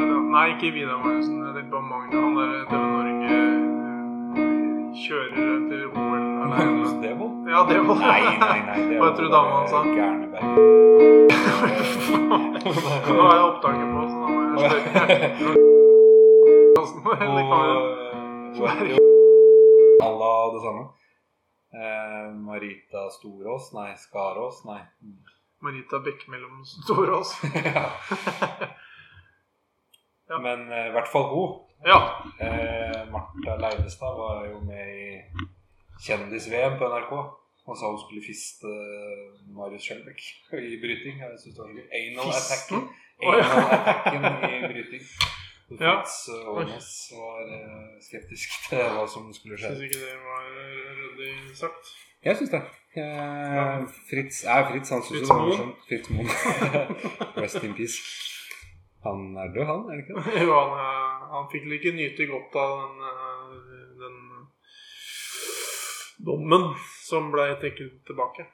ikke Vidar Magnussen. Jeg tenkte på Magne. Han der TV Norge eh, kjører til OL alene. Magnus Devold? Ja, det var Nei, nei, nei. det Hva var tror du bare dama han sa? Gærneberg. Nå har jeg opptaket på, så da må jeg slutte. Eller kan jeg- Og jo, Alla det samme. Eh, Marita Storås? Nei, Skarås? Nei. Marita Bekke mellom Storås. ja. Ja. Men eh, i hvert fall hun. Ja. Eh, Martha Leivestad var jo med i Kjendis-VM på NRK. Han sa hun skulle fiste Marius Skjelbæk i bryting. Jeg synes det var så gøy. Anal attacken. Fisten? Å, ja. Anal attacken i bryting. Og Ja. Fritz Aanes var eh, skeptisk til hva som skulle skje. Syns ikke det var ryddig sagt. Jeg syns det. Eh, Fritz er Fritz. Han syns Fritz det var Moen. morsomt. Fritz Moen. Rest in peace. Han er død, han, er det ikke det? Jo, han, eh, han fikk vel ikke nyte godt av den, eh, den dommen som ble trukket tilbake.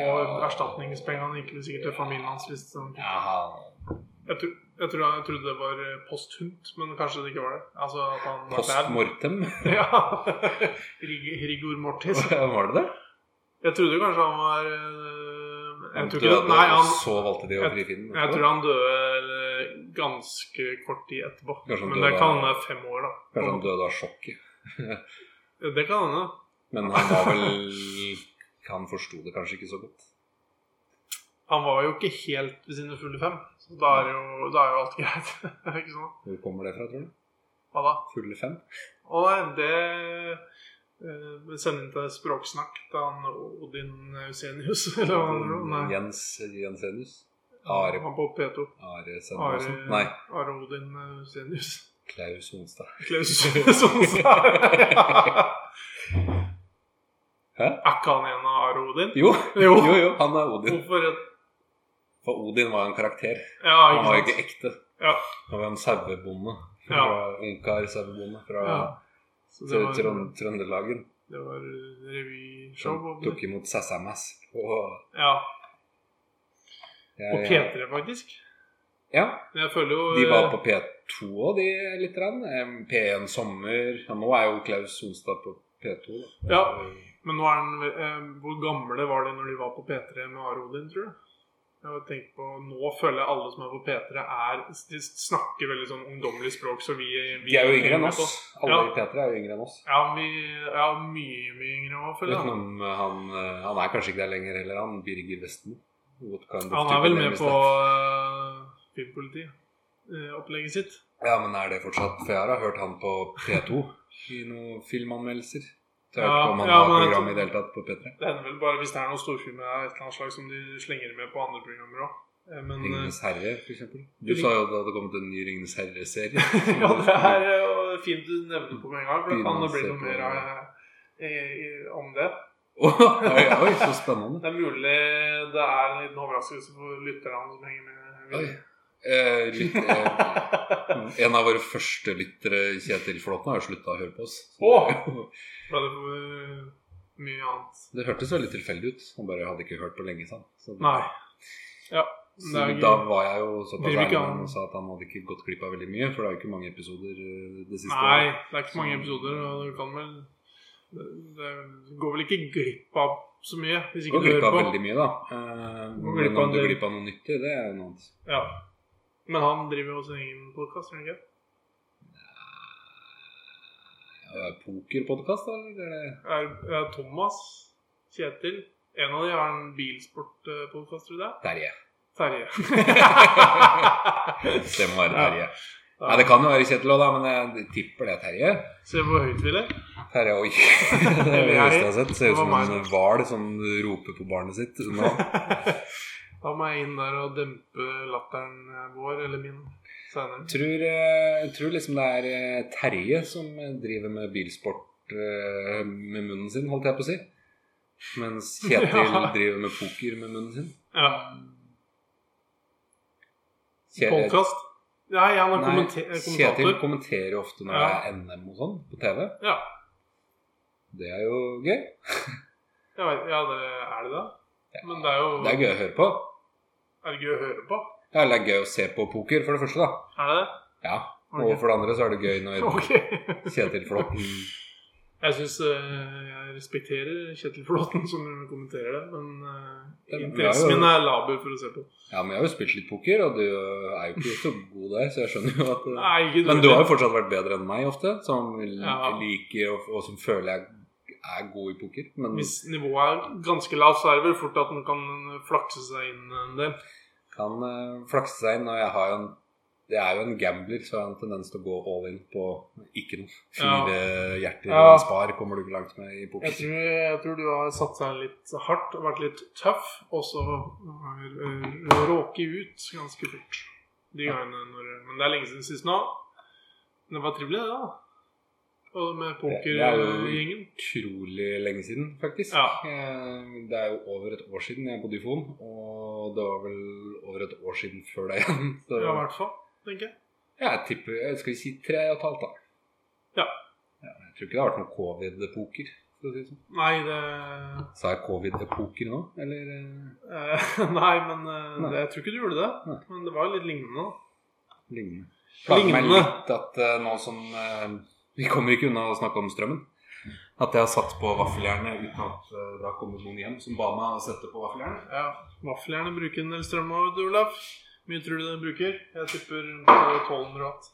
Og erstatningspengene gikk vel sikkert til familien hans. Hvis han Ja, han jeg, tro, jeg, tror, jeg trodde det var eh, posthumt, men kanskje det ikke var det. Altså at han var Post mortem. der. Ja. Rig, rigor mortis. Var det det? Jeg trodde kanskje han var eh, Han jeg tror døde, ikke, Nei, og han, så valgte de å frifinne jeg tror han døde eh, ganske kort tid etterpå. Kanskje han Men det døde kan av- hende fem år, Kanskje han da. døde av sjokket. Det kan hende. Men han var vel Han forsto det kanskje ikke så godt. Han var jo ikke helt ved sine fulle fem, så da er jo, da er jo alt greit. Er det ikke sånn? Hvor kommer det fra, tror du? Hva da? Fulle fem? Å nei, det eh, vi sender inn til Språksnakk til han Odin Eusenius, eller hva han heter. Nei. Jens Jensenius? Are Han på P2. Are Are, Sendåsen? Nei, Are Odin Eusenius. Klaus Monstad. Klaus Sonstad. Hæ? Er ikke han en av Are Odin? Jo. Jo. jo, jo, han er Odin. Hvorfor et For Odin var en karakter. Ja, Han ikke var sant. ikke ekte. Ja. Han var en sauebonde. Ja. Fra Ungkar sauebonde fra Ja. Så det var, Trønd Trøndelagen. det var revyshow. Som var det? tok imot Sassamas. Og, Ja. jeg- Og P3, faktisk. Ja, Men jeg føler jo De var på P2 òg, de litt. grann. Em, P1 Sommer ja, Nå er jo Klaus Sonstad på P2. Da. eh, Ja. Men nå er den, vel- eh, hvor gamle var de når de var på P3 med Are Odin, tror du? Jeg har tenkt på, Nå føler jeg alle som er på P3, er, de snakker veldig sånn ungdommelig språk. Så vi, vi De er jo yngre enn oss. Alle Ja. i P3 er jo yngre enn oss. Ja, vi ja, mye mye yngre òg, føler Vet du jeg. om eh, han, eh, han er kanskje ikke der lenger heller, han Birger Vestmo. What kind of Han type er vel name med is på eh, that? filmpolitiopplegget sitt. Ja, men er det fortsatt? For jeg har hørt han på P2 i noen filmanmeldelser. Så jeg vet Ja, ikke om han ja, har men jeg program tror- i det hele tatt på P3. Det hender vel bare hvis det er noen storfilmer av et eller annet slag som de slenger med på andre programmer òg. Men eh, Ringenes herre, for eksempel. Du sa jo at det hadde kommet en ny Ringenes herre-serie. Ja, det er eh, fint du nevner på med en gang, for det Begynner kan det å bli se noe på- mer eh, i- i- om det. oi, oi, så spennende. Det er mulig det er en liten overraskelse for lytterne som henger med. Oi. Eh, litt, eh, En av våre første lyttere, Kjetil Flåten, har jo slutta å høre på oss. Så Åh! Ble det for eh, mye annet? Det hørtes veldig tilfeldig ut. Han bare hadde ikke hørt på lenge. sa han. Så, Nei. Ja. så Det er da gøy. var jeg jo såpass Driver ærlig ikke med han. ham og sa at han hadde ikke gått glipp av veldig mye. For det er jo ikke mange episoder eh, det siste Nei, året. det er ikke så mange episoder, og du kan vel Det det går vel ikke glipp av så mye, hvis Du ikke går du glipp av hører på. veldig mye, da. Eh, Går men glipp om av en du går del. glipp av noe nyttig, det er jo noe annet. Ja. Men han driver jo sin egen podkast, gjør han ikke? Ja, Pokerpodkast, da? Eller er det er, er Thomas, Kjetil En av de har en bilsportpodkast, tror jeg. det er. Terje. Terje. Det må være Ja. Terje. Nei, det kan jo være Kjetil òg, da, men jeg tipper det er Terje. Se hvor høyt vi ler. Her er oi. Det er det høyeste jeg har sett. Ser Det ut som var meg. en hval som roper på barnet sitt. Nå. Da må jeg inn der og dempe latteren eh, vår, eller min, senere. Tror, eh, jeg tror liksom det er eh, Terje som eh, driver med bilsport eh, med munnen sin, holdt jeg på å si. Mens Kjetil Ja. driver med poker med munnen sin. Ja. Kje- Podkast? Nei, han er Nei, kommenter eh, Kjetil kommentator. kommenterer jo ofte når det Ja. er NM og sånn på TV. Ja. Det er jo gøy. Ja, ja, det er det da. Men det er jo Det er gøy å høre på. er det gøy å høre på. Ja, Eller det er gøy å se på poker, for det første, da. Er det det? Ja. Ok. Og for det andre så er det gøy når Ok. Kjetil Flåtten Jeg syns jeg respekterer Kjetil Flåten som kommenterer det, men eh, Det er interessen jo- min er laber, for å se på. Ja, men jeg har jo spilt litt poker, og du er jo ikke så god der, så jeg skjønner jo at eh, Nei, ikke Men du har jo fortsatt vært bedre enn meg ofte, som l- Ja. liker og, og som føler jeg er god i poker. Men Hvis nivået er ganske lavt, så er det vel fort at den kan flakse seg inn en del. kan eh, flakse seg inn, og jeg har jo en jeg er jo en gambler, så jeg har en tendens til å gå all in på ikke noe. Ja. Fire hjerter og Ja. en spar kommer du ikke langt med i Jeg poker. tror, jeg tror du har satsa litt hardt og vært litt tøff, og så har eh, råket ut ganske fort. De gangene når, men det er lenge siden sist nå. Men det var trivelig, det, da. Og med Det er jo- pokergjengen. Utrolig lenge siden, faktisk. Ja. Eh, Det er jo over et år siden jeg bodde i Fon, og det var vel over et år siden før det igjen. Så Ja, i hvert fall, tenker jeg. jeg tipper jeg Skal vi si tre og et halvt, da? Ja. Jeg tror ikke det har vært noe covid-poker. for å si det sånn. Nei, det Sa jeg covid-poker nå, eller? eh, eh, Nei, men eh, Nei. Det, jeg tror ikke du gjorde det. Nei. Men det var jo litt lignende. da. Lignende. Plager meg Lignende. litt at eh, nå som eh, Vi kommer ikke unna å snakke om strømmen. At jeg har satt på vaffeljernet uten at eh, det har kommet noen hjem som ba meg å sette på vaffeljernet. Ja, Vaffeljerne bruker en del strøm òg, Olaf. Hvor mye tror du den bruker? Jeg tipper rundt eh, 1200 watt.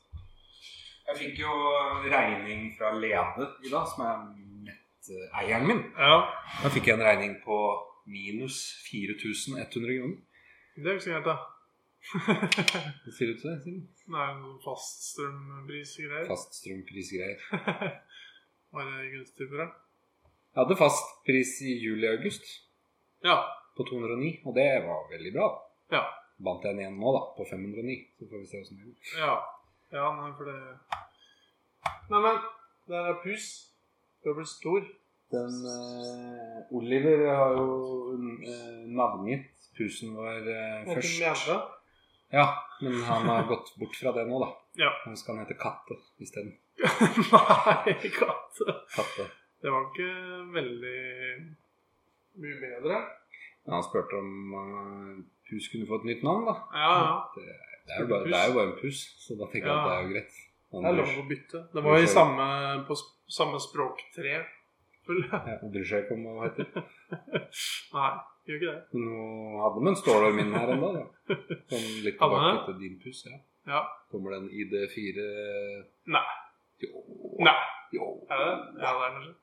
Jeg fikk jo eh, regning fra Lede i dag, som er netteieren min. Ja, Da fikk jeg en regning på minus 4100 kroner. det er jo ikke så gærent, da. Det ser ut til det. siden Det er noen faststrømpris-greier. Faststrømprisgreier. Var det gunstig for deg? Jeg hadde fastpris i juli-august Ja. på 209, og det var veldig bra. Ja. Vant jeg den igjen nå, da, på 509. Så får vi se åssen det går. Ja, ja nei, for det Nei, men der er pus. Du har blitt stor. Den eh, Oliver har jo eh, navngitt pusen vår eh, Og til først. mjelde. Ja, men han har gått bort fra det nå, da. Ja. Nå skal han hete Katte isteden. Nei, katte. Katte. Det var ikke veldig mye bedre. Men han spurte om eh, pus kunne få et nytt navn, da. Ja, ja. Det er jo bare, det er jo bare en pus, så da tenker jeg Ja. at det er jo greit. Han Det er lov bryr- å bytte. Det var i samme, på s- samme språktre. Vel, ja, han bryr seg ikke om hva han heter. Nei, gjør ikke det. Nå hadde vi en stålorm inn her ennå, da. Sånn litt Hadde tilbake det? til din pus, ja. Ja. Kommer den ID4 Nei. Jo. Nei. jo. Er det det? Ja, det er kanskje.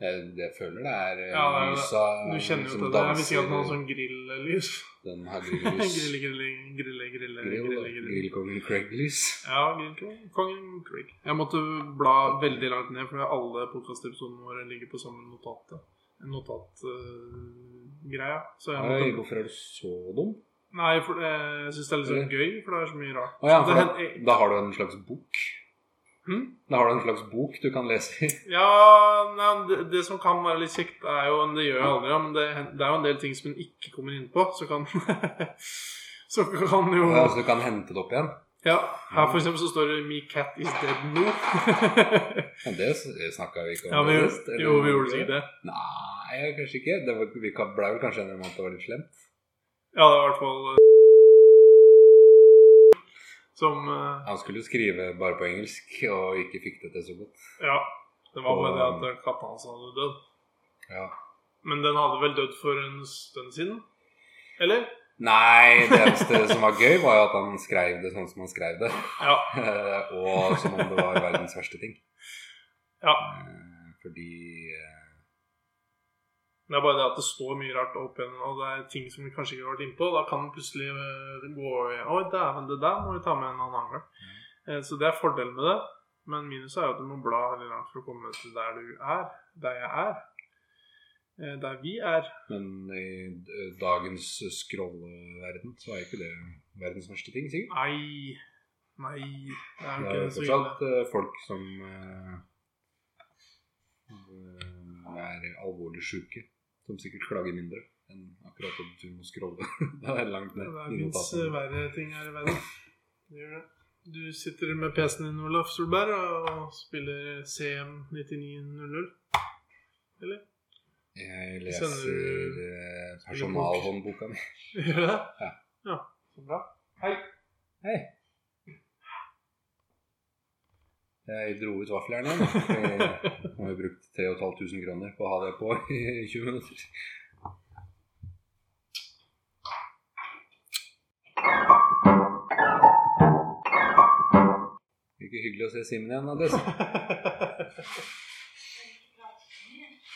Jeg, jeg føler det er eh, Ja, det er det. lysa Du kjenner jo som til det. Jeg visste ikke at den danser, hadde sånn grilllys. Den her Grille, grilles. grille, grille, grille, Grill, grille, grille. grillkongen Craig-lys. Ja, grillkongen kongen Craig. Jeg måtte bla veldig langt ned, for alle podkastepisodene våre ligger på samme notat. Notatgreia. Så jeg Oi, måtte hvorfor er du så dum? Nei, for det, jeg syns det er litt sånn gøy, for det er så mye rart. Å ja, Det for da, hen- da har du en slags bok. Hm? Da har du en slags bok du kan lese i. Ja, nei, det, det som kan være litt kjekt, er jo Det gjør jeg aldri, ja, men det, det er jo en del ting som hun ikke kommer inn på, så kan Så kan jo Ja, så du kan hente det opp igjen. Ja, her for eksempel så står det 'Me cat is dead now'. Men det snakka vi ikke om. ja, vi, sist, gjorde- eller? jo, vi gjorde sikkert det. Nei, kanskje ikke. Det var, vi kan- ble vel kanskje enige om at det var litt slemt. Ja, det var i hvert fall eh, Som eh, Han skulle jo skrive bare på engelsk, og ikke fikk det til så godt. Ja. Det var bare det at katta hans hadde dødd. Ja. Men den hadde vel dødd for en stund siden? Eller? Nei, det eneste som var gøy, var jo at han skrev det sånn som han skrev det. Ja. Eh, og som om det var verdens verste ting. Ja. Eh, Fordi eh, Det er bare det at det står mye rart opp igjen, og det er ting som vi kanskje ikke har vært innpå. Da kan den plutselig eh, gå i Å, dæven, det der må vi ta med en annen gang. Eh, Så det er fordelen med det. Men minuset er jo at du må bla veldig langt for å komme til der du er. Der jeg er. Eh, Der vi er. Men i d- dagens scrolleverden så er jo ikke det verdens verste ting, sikkert. Nei. Nei. Det er jo Det ikke er jo så ille. fortsatt eh, folk som eh, er alvorlig syke, som sikkert klager mindre enn akkurat at du må scrolle. det er langt ned Det i fins notatene. verre ting her i verden. Det gjør det. Du sitter med PC-en din, Olaf Solberg, og spiller CM9900. Eller? Jeg Sender leser du- eh, personalhåndboka mi. Gjør det? Ja. Ja, så bra. Hei. Hei. Jeg dro ut eh, vaffeljernet. Jeg har jo brukt 3500 kroner på å ha det på i 20 minutter. Ikke hyggelig å se Simen igjen, Andres.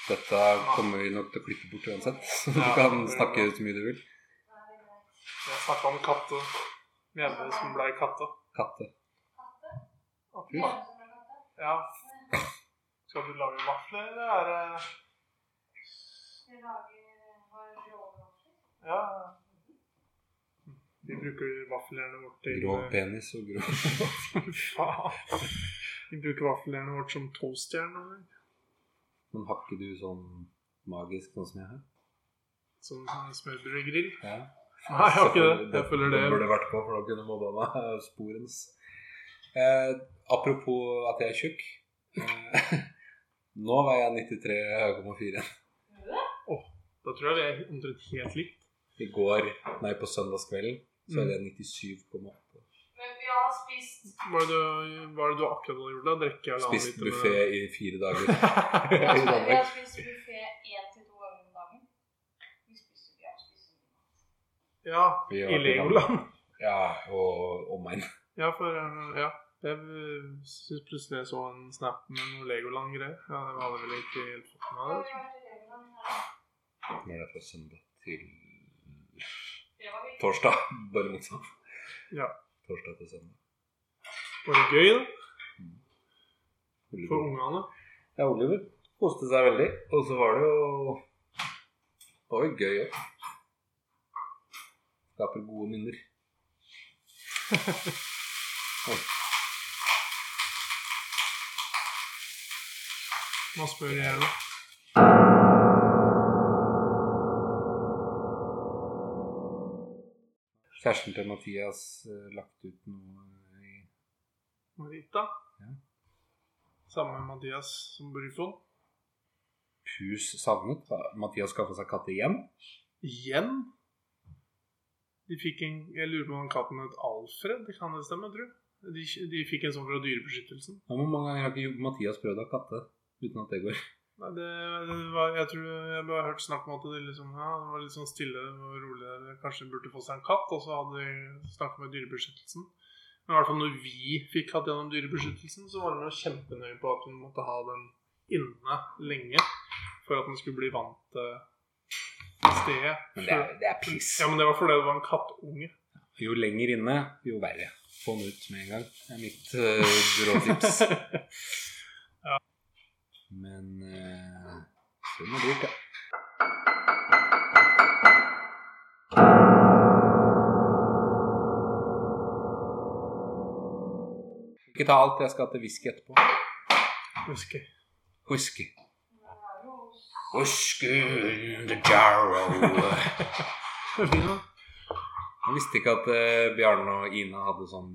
Dette kommer vi nok til å klippe bort uansett. så Du Ja. kan snakke så mye du vil. Jeg snakka om katt og mjelde som blei katta. Katte. Ja. Skal du lage vafler, eller er det Ja. De bruker vaffeljernet vårt til Grå penis og grå Faen. De bruker vaffeljernet vårt som toastjern. eller? Men har ikke du sånn magisk, sånn som jeg har? Som smørbrødgrill. Ja. Nei, jeg har ikke det. Jeg føler det. burde vært på, for da kunne mobba meg eh, sporens. Eh, apropos at jeg er tjukk. Eh, nå veier jeg 93,4. Da tror jeg vi er omtrent helt likt. I går, nei, på søndagskvelden, så Mm. er det 97,8. Hva er det du, hva er det du akkurat har gjort? da? Drikke halvannen Spist liter med- buffé i fire dager. I Vi har Danmark. spist buffé én til to ganger om dagen. Vi spiser vi har spist Ja. Vi har I vært i Legoland. Ja, og omegn. Ja, for eh, Ja. Jeg syns plutselig jeg så en snap med noe Legoland-greier. Ja, det hadde vel ikke helt fått med meg. det. Når det er fra søndag til det. torsdag. Bare motsatt. Ja. Torsdag til søndag. Var det gøy, da? Veldig For god. ungene? Ja, Oliver koste seg veldig. Og så var det jo Det var jo gøy òg. Skaper gode minner. Hva spør jeg da? Kjæresten til Mathias eh, lagt ut noe i Marita? Ja. Samme med Mathias som Bryfon. Pus savnet. Mathias skaffa seg katt igjen. Igjen? De fikk en, Jeg lurer på om katten het Alfred? Det kan det stemme, tror jeg. De, de fikk en sånn fra Dyrebeskyttelsen. Ja, men mange ganger har ikke Mathias prøvd å ha katte uten at det går. Nei, det, det var, jeg tror jeg bare har hørt snakk om at det, liksom, ja, det var litt sånn stille og rolig der. Kanskje de burde få seg en katt, og så hadde de snakket med Dyrebeskyttelsen. Men i hvert fall når vi fikk katt gjennom Dyrebeskyttelsen, så var de jo kjempenøye på at hun måtte ha den inne lenge for at den skulle bli vant til stedet. Men det er, det er piss. Ja, men det var fordi det var en kattunge. Jo lenger inne, jo verre. Få den ut med en gang. Det er mitt uh, råtips. Men uh, det er dyrt, ja. Ikke ta alt, jeg skal til whisky etterpå. Husker jeg. Whisky. Whisky in the jarrow. Fint, da. Jeg visste ikke at eh, Bjarne og Ina hadde sånn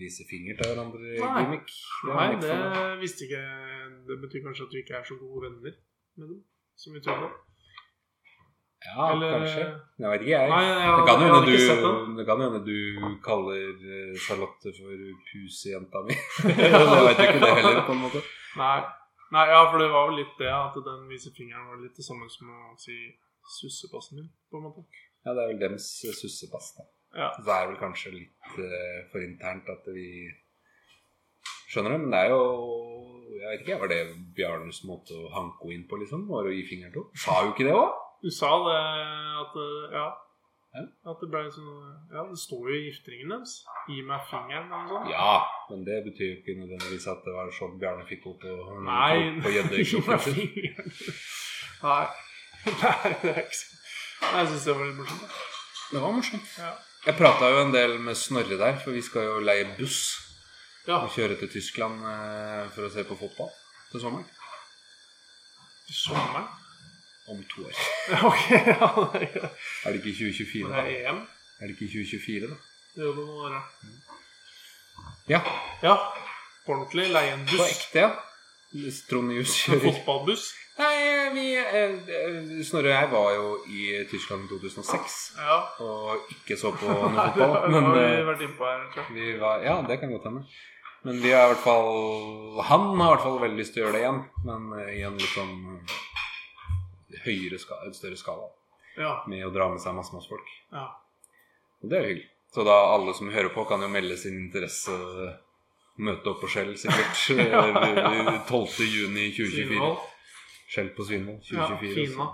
vise finger til hverandre-gimmick. Nei, det visste ikke jeg. Det betyr kanskje at vi ikke er så gode venner med dem som vi trodde. Ja, kanskje. Jeg vet ikke, jeg. Nei, jeg det hadde, kan jeg jo hadde hende ikke sett den. du, det kan jo hende du kaller eh, Charlotte for pusejenta mi. jeg vet jo ikke det heller, på en måte. Nei. Nei, ja, for det var jo litt det at den vise fingeren var litt det samme som å si sussepassen min, på en måte. Ja, det er vel dems eh, sussepass, da. Ja. Så det er vel kanskje litt eh, for internt at vi skjønner det, men det er jo jeg vet ikke, Var det Bjarnes måte å hanke henne inn på, liksom? Var å gi fingeren til henne? Sa jo ikke det òg? Du sa det at eh, Ja. Ja. At det ble sånn Ja, det står jo i gifteringen deres. Gi meg fingeren, eller noe sånt. Ja, men det betyr jo ikke nødvendigvis at det var sånn Bjarne fikk henne på- Nei. på Gi gjeddekroken meg sin. fingeren. Nei. Nei, det er ikke sånn. Nei, Jeg syns det var litt morsomt. da. Det var morsomt. Ja. Jeg prata jo en del med Snorre der, for vi skal jo leie buss ja. og kjøre til Tyskland eh, for å se på fotball til sommeren. I sommeren? Om to år. Ja, ok. Ja, det er greit. Er det ikke 2024, Men da? det er EM. Er det ikke 2024, da? Det gjør det noe år, ja. Ja, Ja. Ordentlig. Leie en på buss. ekte, ja. Trond Jus En kjører fotballbuss. Nei, vi eh, eh, Snorre og jeg var jo i Tyskland i 2006 Ja. og ikke så på noe Nei, det fotball, har men vi eh, vært innpå her, tror jeg. Vi var, ja, det kan godt hende. Men vi har i hvert fall Han har i hvert fall veldig lyst til å gjøre det igjen, men eh, i en litt sånn eh, høyere skala, en større skala. Ja. Med å dra med seg masse, masse folk. ja. Og det er jo hyggelig. Så da alle som hører på, kan jo melde sin interesse. Møte opp på Skjell sikkert 12.6.2024. Svinvoll. Skjell på Svinvoll Ja, 2024. Fina.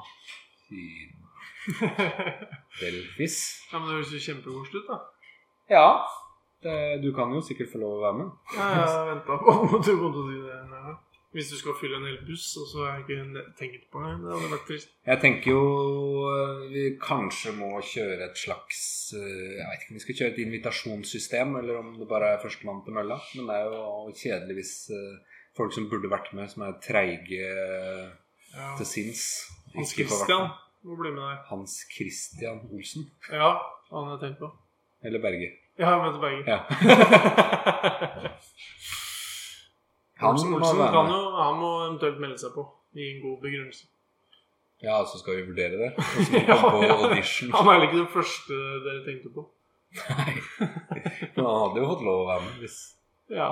Fina. ja, Delfis. men det høres jo kjempekoselig ut, da. Ja. Det, du kan jo sikkert få lov å være med. Ja, jeg har ventet på at du kom til å si det. Nea. Hvis du skal fylle en hel buss, og så har jeg ikke tenkt på det. Det hadde vært trist. Jeg tenker jo eh, vi kanskje må kjøre et slags eh, Jeg vet ikke om vi skal kjøre et invitasjonssystem, eller om det bare er førstemann til mølla. Men det er jo kjedelig hvis eh, folk som burde vært med, som er treige eh, Ja. til sinns ikke Hans får vært Christian med. må bli med der. Hans Christian Olsen. Ja, han har jeg tenkt på. Eller Berge. Jeg har møtt begge. Ja. Han Olsen, må Olsen være kan med. jo, han må eventuelt melde seg på. Gi en god begrunnelse. Ja, så skal vi vurdere det. Og så må vi komme Ja, på ja. audition. Han er vel ikke den første dere tenkte på. Men han hadde jo fått lov å være med. Hvis Ja,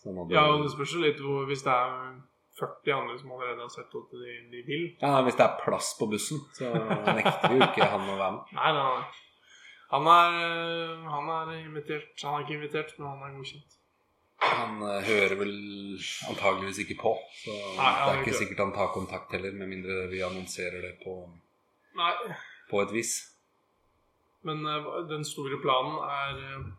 så han hadde... ja og det spørs jo litt hvor, hvis det er 40 andre som allerede har sett at de, de vil. Ja, nei, Hvis det er plass på bussen, så nekter jo ikke han å være med. Nei, nei, nei. Han er, øh, han er invitert. Han er ikke invitert, men han er godkjent. Han eh, hører vel antageligvis ikke på. Så han det gjør er ikke ikke det. sikkert han tar kontakt heller, med mindre vi annonserer det på, Nei, på et vis. men øh, den store planen er øh,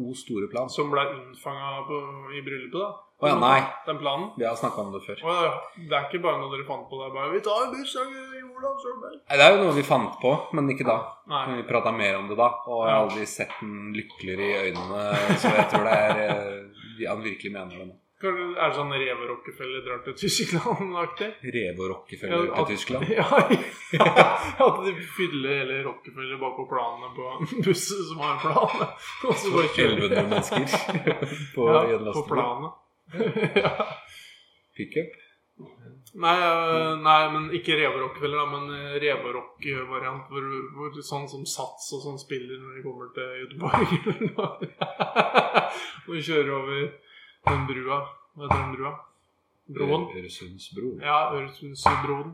O store plan. Som ble unnfanga på- i bryllupet, da. Å ja, nei. Den planen. Vi har snakka om det før. Å ja, det er ikke bare noe dere fant på der. Bare, vi tar en buss av Olav Solberg. Nei, Det er jo noe vi fant på, men ikke da. Nei. Men vi prata mer om det da, og jeg har aldri sett den lykkeligere i øynene. Så jeg tror det er eh, Han virkelig mener det nå. Kanskje Er det sånn Reve Rockefeller drar til Tyskland-aktig? Reve og Rockefeller Ja, til at- Tyskland. Ja, ja. At de fyller hele Rockefeller bare på planene på en buss som har en plan. Og så bare kjører 1100 mennesker på ja, en på lastebil. planet. ja. Pickup. Nei, øh, nei, men ikke reverockfeller, da, men øh, reverock-variant. Hvor, hvor sånn som Sats og sånn spiller når de kommer til Göteborg. eller noe. Når de kjører over den brua. Hva heter den brua? Broen? Øresundsbroen. Ja, Øresundsbroen.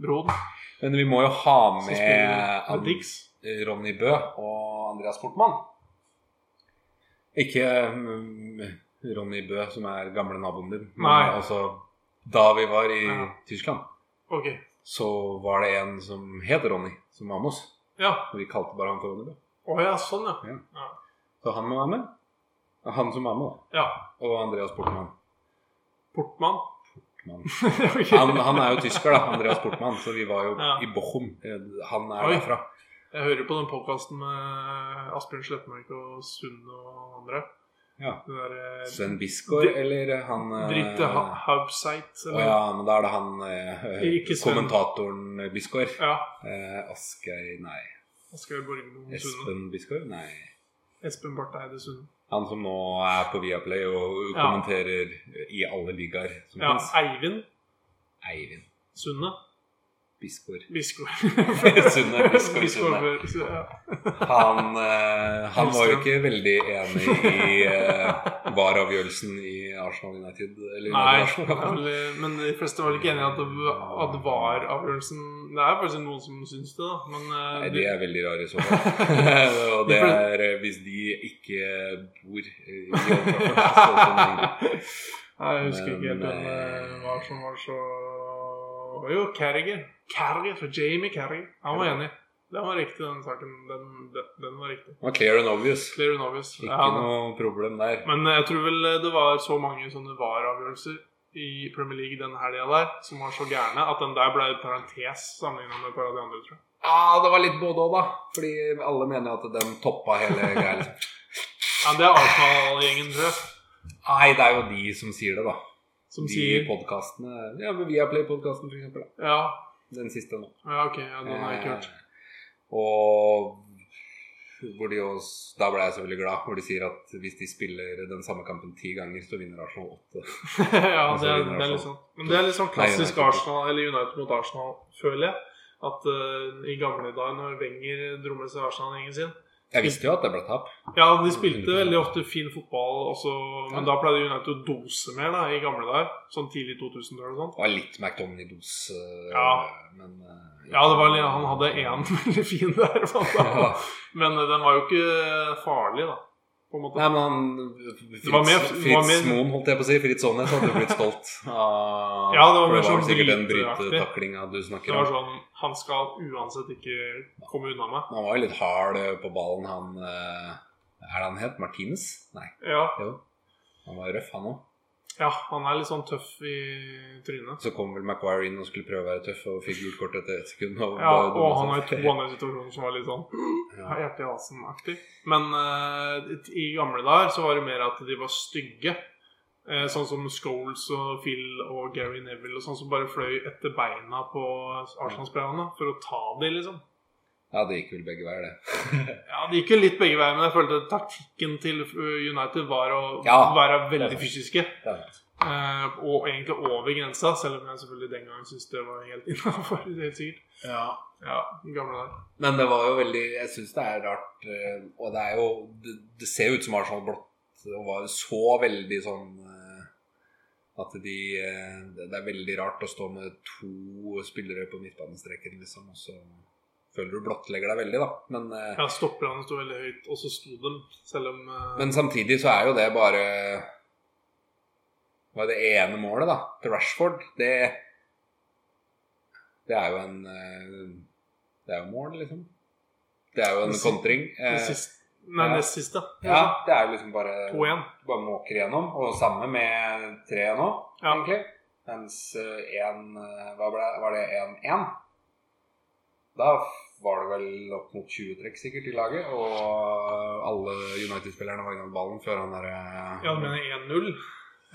Broen. Men vi må jo ha Som med, spiller med An- Dix. Eh, Ronny Bø og Andreas Portmann. Ikke mm, Ronny Bø, som er gamle naboen din. Men Nei. altså, da vi var i Ja. Tyskland, Ok. så var det en som het Ronny, som var med oss. Ja. Og vi kalte bare han for Ronny Bø. Å ja, sånn, ja. Så han må være med. Han som var med, da. Ja. Og Andreas Portmann. Portmann. Portmann. Ok. Han, han er jo tysker, da. Andreas Portmann. Så vi var jo Ja. i Bochum. Eh, Han er Oi. derfra. Jeg hører på den podkasten med Asbjørn Slettmark og Sund og andre. Ja. Det der, øh, Sven Bisgaard, Dri- eller han eh, Dritte ha Haubseit. Å ja, men da er det han eh, Ikke Sven. kommentatoren Bisgaard. ja. Eh, Asgeir Nei, Asgeir Borgermoen Sunde. Espen Bisgaard? Nei. Espen Barth Eide Sunde. Han som nå er på Viaplay og Ja. kommenterer i alle ligaer som Ja, finnes. Eivind Eivind Sunde. Bisgaard. Biskår. Sunde, Biskår, Sunde. Sunde. Ja. Han, eh, han var jo ikke veldig enig i eh, vareavgjørelsen i Arsenal United. Eller Nei, Arsenal. men- men de fleste var ikke enig i at, det- at VAR-avgjørelsen Det er faktisk noen som syns det, da. Men eh, Nei, de, de er veldig rare i så fall. og det De fleste- er eh, hvis de ikke bor i Old Trafford. så- så mener jeg. Nei, jeg husker ikke helt Men, hvem eh, det var som var så Jo, Carriger. Carriger for Jamie Carriger. Han var enig. Den var riktig, den saken. Den, den, den var riktig. Det var clear and obvious. Clear and obvious. Ikke Ja, men- noe problem der. Men eh, jeg tror vel det var så mange sånne VAR-avgjørelser i Premier League den helga der, som var så gærne, at den der ble parentes sammenligna med et par av de andre, tror jeg. Ja, det var litt både òg, da. Fordi alle mener at den toppa hele greia. liksom. Ja, det er Arsenal-gjengen, tror jeg, Nei, det er jo de som sier det, da. som de sier podkastene. Ja, men Viaplay-podkasten, for eksempel. Da. ja, Den siste nå. ja, ok, ja, den har jeg ikke hørt. Eh, Og hvor de også, da ble jeg så veldig glad, hvor de sier at hvis de spiller den samme kampen ti ganger, så vinner Arsenal åtte. ja, det, er- det er litt sånn. Men det er litt sånn klassisk Nei, United. Arsenal, eller United mot Arsenal, føler jeg. At eh, i gamle dager, når Wenger dro med seg Arsenal-gjengen sin, Jeg visste jo at det ble tap. Ja, de spilte veldig ofte fin fotball også, men da pleide United å dose mer da, i gamle dager. Sånn tidlig 2000-tall og sånn. Det var litt McDonagh-dos, Ja. men eh, Ja, det var, litt- han hadde én veldig fin der, blant Ja. annet. men eh, den var jo ikke farlig, da. På en måte. Nei, men han Fritz, var mer- det var Fritz mer- Moen, holdt jeg på å si. Fritz Aanes hadde jo blitt stolt. av- Ja, det for var mer det var sånn sikkert den bryteaktig. brytetaklinga du Det snakker var om. sånn Han skal uansett ikke komme unna meg. Han var jo litt hard eh, på ballen, han eh, Er det han het? Martinez? Nei, Ja, jo. Han var røff, han òg. ja han er litt sånn tøff i trynet. Så kom vel Maguire inn og skulle prøve å være tøff og fikk gult kort etter ett sekund. Og Ja, bare og dummet han har seg. to andre situasjoner som var litt sånn sånn, Ja. hjerte i halsen-aktig. Men eh, i gamle dager så var det mer at de var stygge. Eh, sånn som Scholes og Phil og Gary Neville og sånn som bare fløy etter beina på Arsenal-spillerne for å ta de liksom. ja, det gikk vel begge veier, det. Ja, Det gikk jo litt begge veier, men jeg følte taktikken til eh, United var å Ja, det være er veldig sant. fysiske. Det er sant. eh, og egentlig over grensa, selv om jeg selvfølgelig den gangen syntes det var helt innafor. Helt sikkert. Ja, i gamle dager. Men det var jo veldig Jeg syns det er rart eh, Og det er jo Det, det ser jo ut som Arsenal blått og var så veldig sånn eh, At de eh, Det det er veldig rart å stå med to spillere på midtbanestreken, liksom, og så føler du blottlegger deg veldig, da. Men, eh, Ja, Stopperne sto veldig høyt, og så sto de, selv om eh, men samtidig så er jo det bare Var det ene målet, da, til Rashford, det Det er jo en eh, Det er jo mål, liksom. Det er jo Det en si- kontring. Den eh, siste. Nei, ja. nest siste. Ja, det er jo liksom bare 2-1. Bare måker igjennom. Og samme med tre nå, Ja. egentlig. Mens én Hva ble, var det 1-1? Da var det vel opp mot 20 trekk sikkert i laget. Og alle United-spillerne var innom ballen før han eh, derre Ja, du mener 1-0?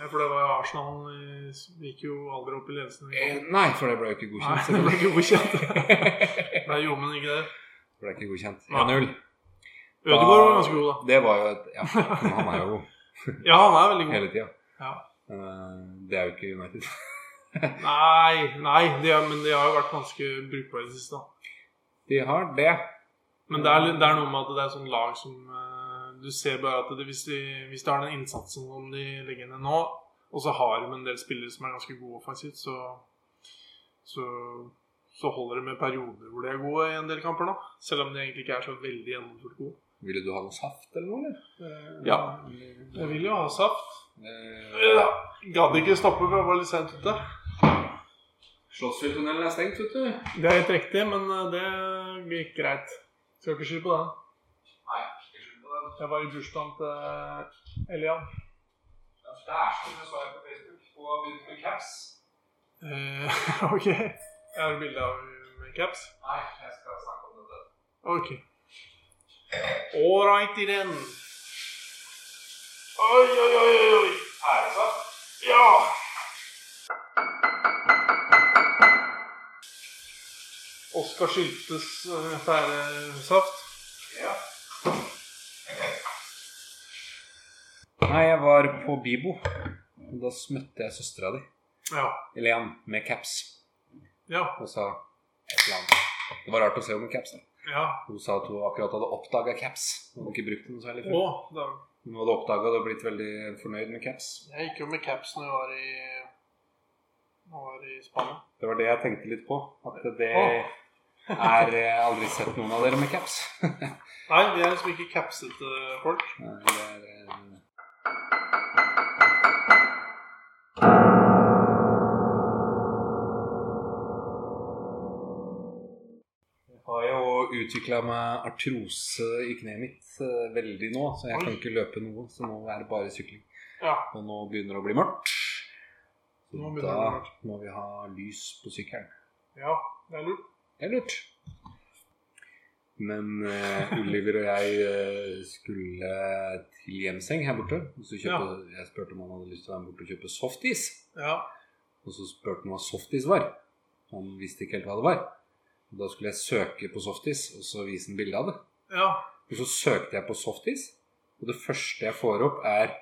Ja, For det var jo Arsenal eh, gikk jo aldri opp i ledelsen. Eh, Nei, for det ble jo ikke Nei, godkjent. det ble ikke godkjent. det Nei, jo, men ikke det. ble ikke godkjent. Nei. 1-0. Ødegaard var ganske god, da. Det var jo et Ja, men han er jo god Ja, han er veldig god. hele tida. Ja. Det er jo ikke United. Nei, nei de er, men de har jo vært ganske brukbare i det siste. da De har det. Men det er, litt- det er noe med at det er sånn lag som eh, Du ser bare at det, hvis, de, hvis de har den innsatsen som de legger ned nå, og så har de en del spillere som er ganske gode offensivt, så, så så holder det med perioder hvor de er gode i en del kamper, da. Selv om de egentlig ikke er så veldig gjennomført gode. Ville du ha noe saft eller noe? Eller? Ja. Eh, Jeg vil jo ha saft. Eh, Gadd ikke stoppe, for jeg var litt sent ute. Slottsfjelltunnelen er stengt, vet du. Det er helt riktig, men eh, det gikk greit. Skal ikke skylde på den. Nei, ikke skjønner på den. Jeg var i bursdagen til Elian. Ja, Der skulle jeg svare på Facebook og begynte med caps. Eh, ok. Jeg har bilde av med caps. Nei, jeg skal snakke om dette. Ok. All right i den. Oi, oi, oi, oi, oi. Er det sant? Ja! Oskar Syltes eh, pæresaft. Ja. Nei, jeg var på Bibo. Da møtte jeg søstera di, Ja. Elian, med caps. Ja. Og sa et eller annet. Det var rart å se henne med caps. Da. Ja. Hun sa at hun akkurat hadde oppdaga caps. Hun hadde ikke brukt den særlig Å, før. da. Hun hadde oppdaga det og blitt veldig fornøyd med caps. Jeg gikk jo med caps når jeg var i, når jeg var i Spania. Det var det jeg tenkte litt på. At det Å. er eh, aldri sett noen av dere med caps. Nei, vi er liksom ikke capsete folk. Nei, det er, eh, Jeg har jo utvikla meg artrose i kneet mitt eh, veldig nå, så jeg kan Oi. ikke løpe noe. Så nå er det bare sykling. Ja. Og nå begynner det å bli mørkt. Så Nå begynner det da å bli mørkt. må vi ha lys på sykkelen. Ja, det er lurt. Det er lurt. Men eh, Oliver og jeg eh, skulle til Gjemseng her borte. Og så kjøpte, Jeg spurte om han hadde lyst til å være med bort og kjøpe softis. Ja. Og så spurte han hva softis var. Han visste ikke helt hva det var. Og da skulle jeg søke på softis, og så vise han bilde av det. ja. Og så søkte jeg på softis, og det første jeg får opp, er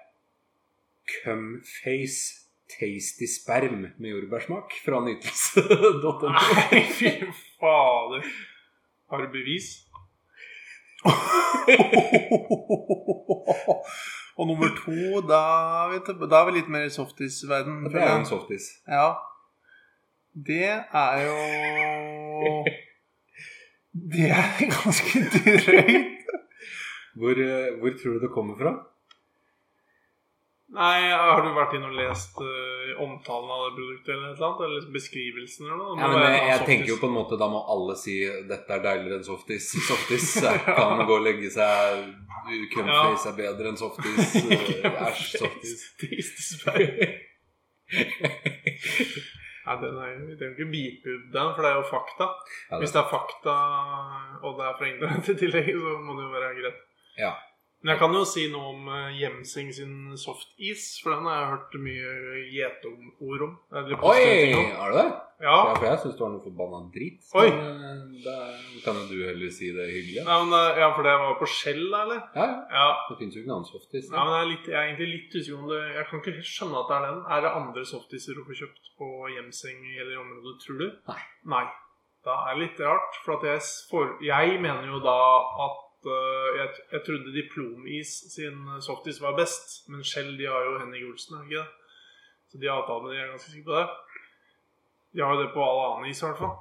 Cumface Tasty Sperm med jordbærsmak fra nytelse.no. Nei, fy fader. Har du bevis? Og nummer to, da, er vi til- da er vi litt mer i softis-verden. Det er jo en softis. Ja. Det er jo Det er ganske drøyt. Hvor, eh, hvor tror du det kommer fra? Nei, har du vært inn og lest eh, omtalen av det produktet eller et eller annet? Eller beskrivelsen eller noe? Ja, Det må men være jeg, en jeg annen tenker jo softis. på en måte Da må alle si 'dette er deiligere enn softis'. Softis er- kan gå og legge seg. Cumface er bedre enn softis. eh, Æsj, softis. Nei, den er jo, vi trenger ikke beepe ut den, for det er jo fakta. Ja, det- Hvis det er fakta, og det er fra internett i tillegg, så må det jo være greit. Ja. Men jeg kan jo si noe om eh, Gjemsing sin softis, for den har jeg hørt mye gjeteord om. Eller positive Oi! ting om. Er det det? Ja. Ja, for jeg syns det var noe forbanna drit. Oi. Men, eh, Da kan jo du heller si det hyggelig. Ja, Nei, men, eh, ja, for det var på skjell, da, eller? ja. Ja. Det fins jo ikke noen annen softis. Ja, men jeg er, litt, jeg er egentlig litt usikker om det Jeg kan ikke helt skjønne at det er den. Er det andre softiser å få kjøpt på Gjemseng eller området, tror du? Nei. Nei. Da er det litt rart, for at jeg, s- for, jeg mener jo da at øh, jeg, jeg trodde Diplomis sin softis var best, men Shell de har jo Henning Olsen, er det ikke det? Så de har avtale med dem, jeg er ganske sikker på det. De har jo det på all annen is, i hvert fall.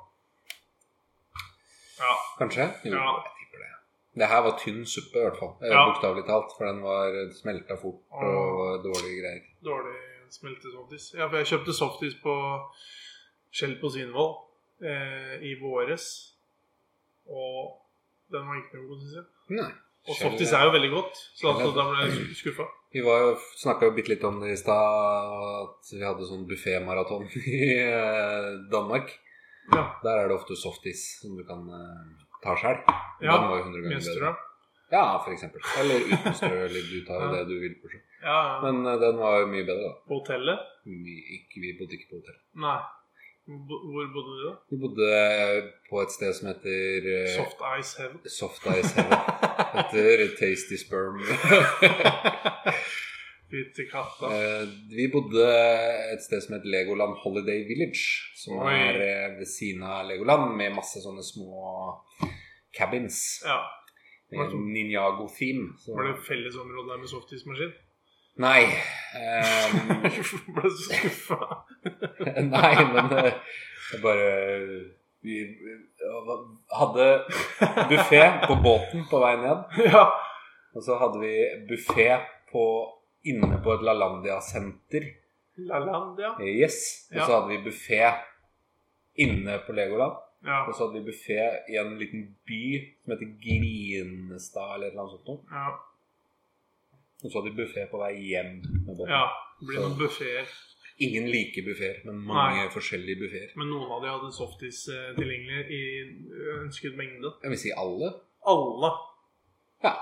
Ja. Kanskje? Jo, Ja. jeg tipper det. Det her var tynn suppe, i hvert fall. Eh, Ja. Bokstavelig talt. For den var smelta fort og var dårlige greier. Dårlig smelte softis. Ja, for jeg kjøpte softis på Skjell på Svinvoll eh, i våres. Og den var ikke noe god, syns jeg. Nei. Og Skjell- softis er jo veldig godt, så Skjell er- altså, da ble jeg skuffa. Vi snakka jo bitte litt om det i stad, at vi hadde sånn buffémaraton i eh, Danmark. Ja. Der er det ofte softis som du kan eh, ta sjøl. Ja, Den var jo 100 Med ganger strø. bedre. Ja, for eksempel. Eller uten strø, eller du tar jo Ja. det du vil. for seg. Ja, ja. Men eh, den var jo mye bedre, da. På hotellet? Vi, ikke, vi bodde ikke på hotell. Nei. Bo- Hvor bodde du da? Vi bodde eh, på et sted som heter eh, Soft Ice Heaven. Soft Ice Heaven. Etter Tasty Sperm. Fytti katta. Eh, Vi bodde et sted som het Legoland Holiday Village, som Oi. er eh, ved siden av Legoland, med masse sånne små cabins. Ja. Med Ninjago-theme. så- Var det fellesområde der med softismaskin? Nei. eh, Hvorfor ble du så skuffa? nei, men eh, jeg bare Vi eh, hadde buffé på båten på vei ned. ja. Og så hadde vi buffé på, inne på et LaLandia-senter. Lalandia. Yes. Og Ja. så hadde vi buffé inne på Legoland. Ja. Og så hadde vi buffé i en liten by som heter Grinestad eller et eller annet sånt noe. ja. Og så hadde vi buffé på vei hjem med båten. ja. Det blir noen buffeer. Ingen like buffeer, men mange forskjellige buffeer. Men noen av de hadde softis eh, tilgjengelig i ønsket mengde. Jeg vil si alle. Alle. Ja.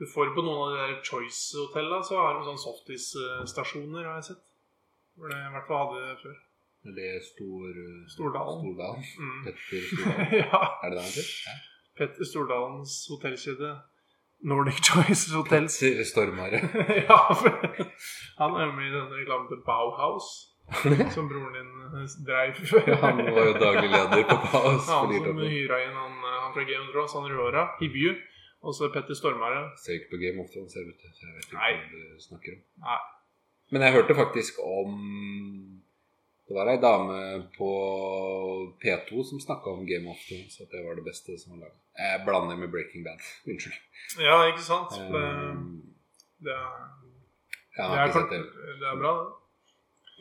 Du får på noen av de der Choice-hotellene, så har de sånne softis-stasjoner, har jeg sett. Hvor det i hvert fall hadde det før. Eller Stor, eh, Stordalen. Stordalen. Mm. Petter Stordalen. ja. Er det det han heter? Petter Stordalens hotellkjede. Nordic Choice Hotels. Petter Stormare. ja, for han er jo med i denne reklamen til Bauhaus, som broren din eh, dreiv før. Han var jo daglig leder på Paus. Han som hyra inn han, eh, han fra Game of Thrones, han rødhåra, Hibyu. Og så Petter Stormare. Ser ikke på Game of Thrones, jeg, vet, så jeg vet ikke Nei. hva du snakker om. Nei. Men jeg hørte faktisk om Det var ei dame på P2 som snakka om Game of Thrones, at det var det beste som var laga. Jeg blander med Breaking Bad. Unnskyld. Ja, ikke sant? Eh, Det, det, er, jeg det, har er, ikke sett det. kort- det er bra, det.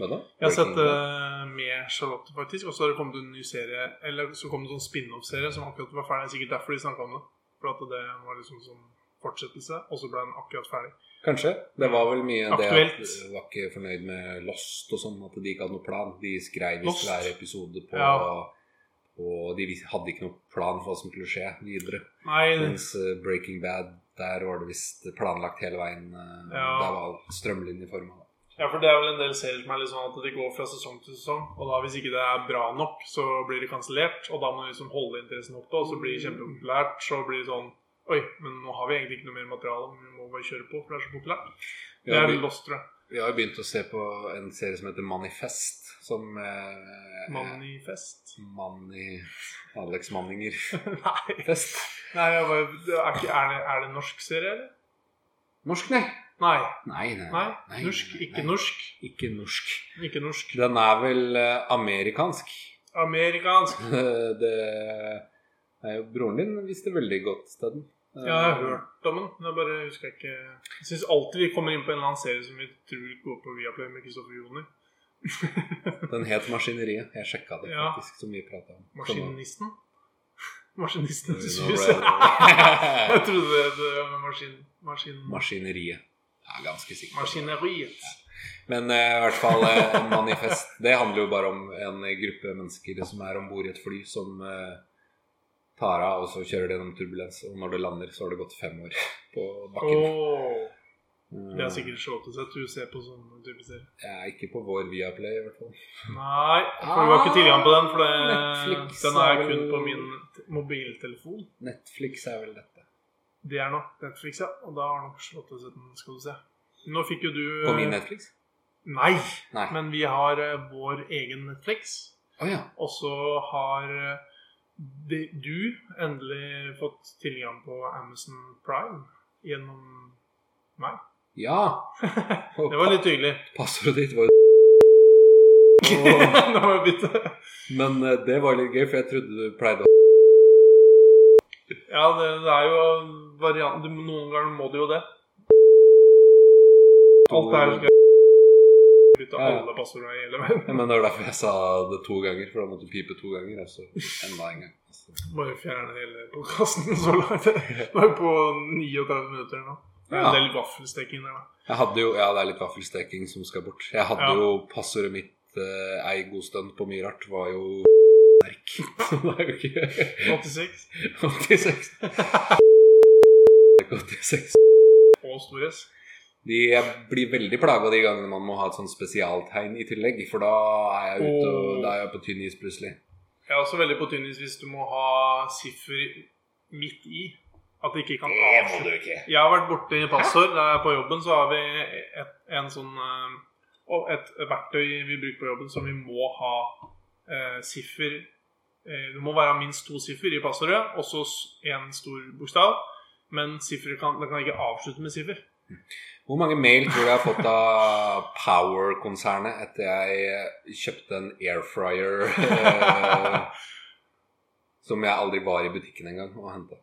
Hva da? Jeg har sett eh, Breaking Bad? det med Charlotte, faktisk. Og så har det kommet en ny serie Eller så kom det en sånn spin-off-serie som akkurat var ferdig. Det er Sikkert derfor de snakka om det. For at det var liksom sånn fortsettelse, og så ble den akkurat ferdig. Kanskje. Det var vel mye det at Aktuelt. de var ikke fornøyd med Lost og sånn, at de ikke hadde noe plan. De skrev visst Lost. hver episode på Ja. Og de vis- hadde ikke noe plan for hva som skulle skje videre. Nei, Mens eh, Breaking Bad, der var det visst planlagt hele veien. eh, Ja. Der var alt strømlinjeforma. ja, for det er vel en del serier som er litt sånn at det går fra sesong til sesong. Og da hvis ikke det er bra nok, så blir det kansellert. Og da må du liksom holde interessen oppe, og så blir det kjempepopulært. Så blir det sånn Oi, men nå har vi egentlig ikke noe mer materiale, men vi må bare kjøre på, for det er så populært. Det Ja, er vi- Lost, tror jeg. Vi har jo begynt å se på en serie som heter Manifest, som eh, Manifest. Manni Alex Manninger Nei. Fest. Nei, jeg bare, det er, ikke, er, det, er det en norsk serie, eller? Norsk, nei. Nei. Nei, nei. nei, nei, Norsk? nei, Ikke nei. norsk. Ikke norsk. Ikke norsk. Den er vel eh, amerikansk. Amerikansk. det er jo Broren din visste veldig godt til den. Ja, jeg har hørt om den, men jeg bare husker jeg ikke Jeg syns alltid vi kommer inn på en eller annen serie som vi tror går på Viaplay med Kristoffer Joner. Den het 'Maskineriet'. Jeg sjekka det Ja. faktisk, som vi prata om. Maskinisten? Maskinisten til Sånn, Sus. nå Jeg ble det- trodde det- det var maskin... maskin Maskineriet. Jeg er ganske sikker. på det. maskineriet. Men eh, i hvert fall eh, en manifest. Det handler jo bare om en gruppe mennesker som er om bord i et fly som eh, tar av, og så kjører det gjennom turbulens. Og når det lander, så har det gått fem år på bakken. Åh, Mm, det er sikkert slått seg at du ser på sånne type serier. Jeg er ikke på vår Viaplay, i hvert fall. Nei, for du har ikke tilgang på den, for det, Ah, Netflix den er er vel- kun på min t- mobiltelefon. Netflix er vel dette. Det er nok Netflix, ja. Og da har nok slått seg den, skal du se. Nå fikk jo du eh, På min Netflix? Nei, Nei. Å men vi har eh, vår egen Netflix. ja. Og så har eh, de, du endelig fått tilgang på Amazon Prime gjennom meg. Ja! Og Det var litt hyggelig. pa- passordet ditt var Nå jo må jeg bytte. Men eh, det var litt gøy, for jeg trodde du pleide å Ja, det, det er jo varianten. Du- Noen ganger må du jo det. Alt er skal jeg bytte Ja, ja. alle passordene i hele verden. Ja, Men det var derfor jeg sa det to ganger, for da måtte du pipe to ganger. Altså. Enda en gang. Altså. Må jo fjerne hele podkasten så langt. Nå er vi på 39 minutter nå. Det er Ja. en del vaffelsteking der, da. Jeg hadde jo, ja, det er litt vaffelsteking som skal bort. Jeg hadde Ja. jo passordet mitt eh, ei god stund på mye rart, var jo merk. Så det er jo ikke 86 86. 86. og stor S. De, jeg blir veldig plaga de gangene man må ha et sånn spesialtegn i tillegg, for da er jeg ute og da er jeg på tynn is plutselig. Jeg er også veldig på tynn is hvis du må ha siffer midt i. At det ikke kan avslutte. ikke. Jeg har vært borte i passord. Der jeg er på jobben, så har vi et, en sånn eh, og et verktøy vi bruker på jobben som vi må ha eh, siffer eh, Det må være minst to siffer i passordet, og så én stor bokstav. Men siffer kan, det kan ikke avslutte med siffer. Hvor mange mail tror du jeg har fått av Power-konsernet etter jeg kjøpte en airfryer eh, som jeg aldri var i butikken engang og henta?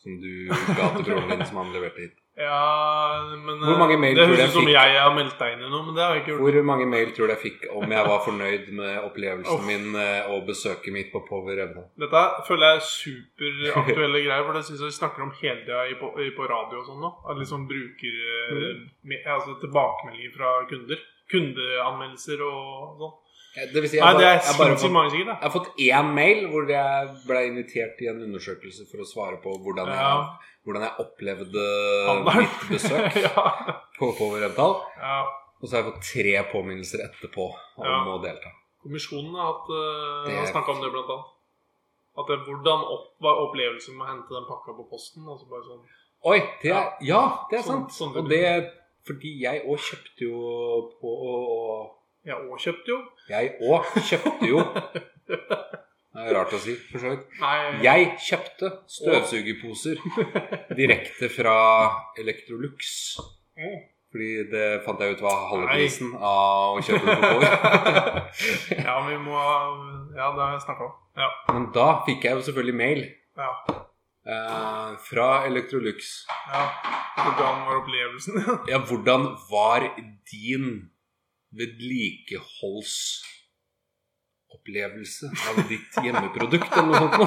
Som du ga til broren din, som han leverte hit. Ja, men eh, Hvor mange mail Det tror du jeg høres ut som fikk? jeg har meldt deg inn i noe, men det har jeg ikke gjort. Hvor mange mail tror du jeg fikk om jeg var fornøyd med opplevelsen min eh, og besøket mitt på Power Evne? Dette føler jeg er superaktuelle greier, for det syns jeg vi snakker om hele tida i på, i på radio og sånn nå. At liksom bruker Mm. eh, me- altså tilbakemeldinger fra kunder. Kundeanmeldelser og sånn. Eh, Det vil si, jeg, Nei, det bare, er jeg, bare sinnssykt fått, mange sikkert, jeg har fått én mail hvor jeg ble invitert i en undersøkelse for å svare på da. hvordan Ja. jeg, hvordan jeg opplevde Handler. mitt besøk ja. på Power Evdal. ja. Og så har jeg fått tre påminnelser etterpå om Ja. å delta. Kommisjonen har, hatt, eh, Det- har snakka om det, blant annet. At det, hvordan opp, var opplevelsen med å hente den pakka på posten? Altså bare sånn Oi! Det er, ja, det er Sånn- sant. sånn og det fordi jeg òg kjøpte jo på og, og Jeg òg kjøpte jo. Jeg òg kjøpte jo Det er rart å si, for så vidt. Nei, Jeg kjøpte støvsugerposer direkte fra Electrolux. Mm. Fordi det fant jeg ut var halve Nei. prisen av å kjøpe det på Power. ja, vi må Ja, det har jeg snakka om. Ja. Men da fikk jeg jo selvfølgelig mail ja. eh, fra Electrolux. Ja, Hvordan var opplevelsen? Ja, hvordan var din vedlikeholdsopplevelse av ditt hjemmeprodukt, eller noe sånt? nå?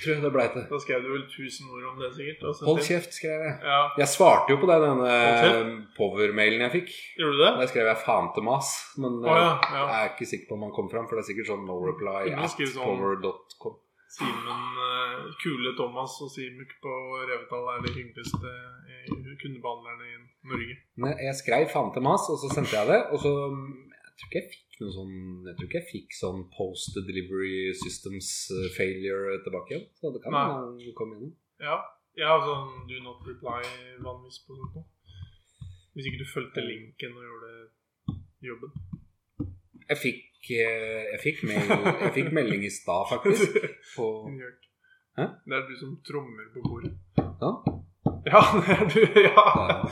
Tror jeg det blei til. da skrev du vel tusen ord om det, sikkert. og sendte Hold inn. kjeft, skrev jeg. Ja, Jeg svarte jo på den denne kjeft. power-mailen jeg fikk. Gjorde du det? Der skrev jeg 'faen til mas', men Å ja. eh, ja. jeg er ikke sikker på om han kom fram, for det er sikkert sånn no reply Kunne du at skrive sånn? power.com. Simen eh, Kule Thomas og Simuk på Revetal er de hyggeligste eh, kundebehandlerne i Norge. Men jeg skrev 'faen til mas', og så sendte jeg det. Og så mm, Jeg tror ikke jeg fikk noe sånn Jeg tror ikke jeg fikk sånn post delivery systems eh, failure tilbake igjen. Så det kan Nei. hende komme gjennom. Ja. Jeg har sånn do not reply vanligvis på sånt noe. Hvis ikke du fulgte linken og gjorde jobben. Jeg fikk, eh, jeg fikk, mail, jeg fikk melding i stad, faktisk. På, Gjort. Hæ? Det er du som trommer på bordet. Sånn. Ja, det er du. Ja. Ja.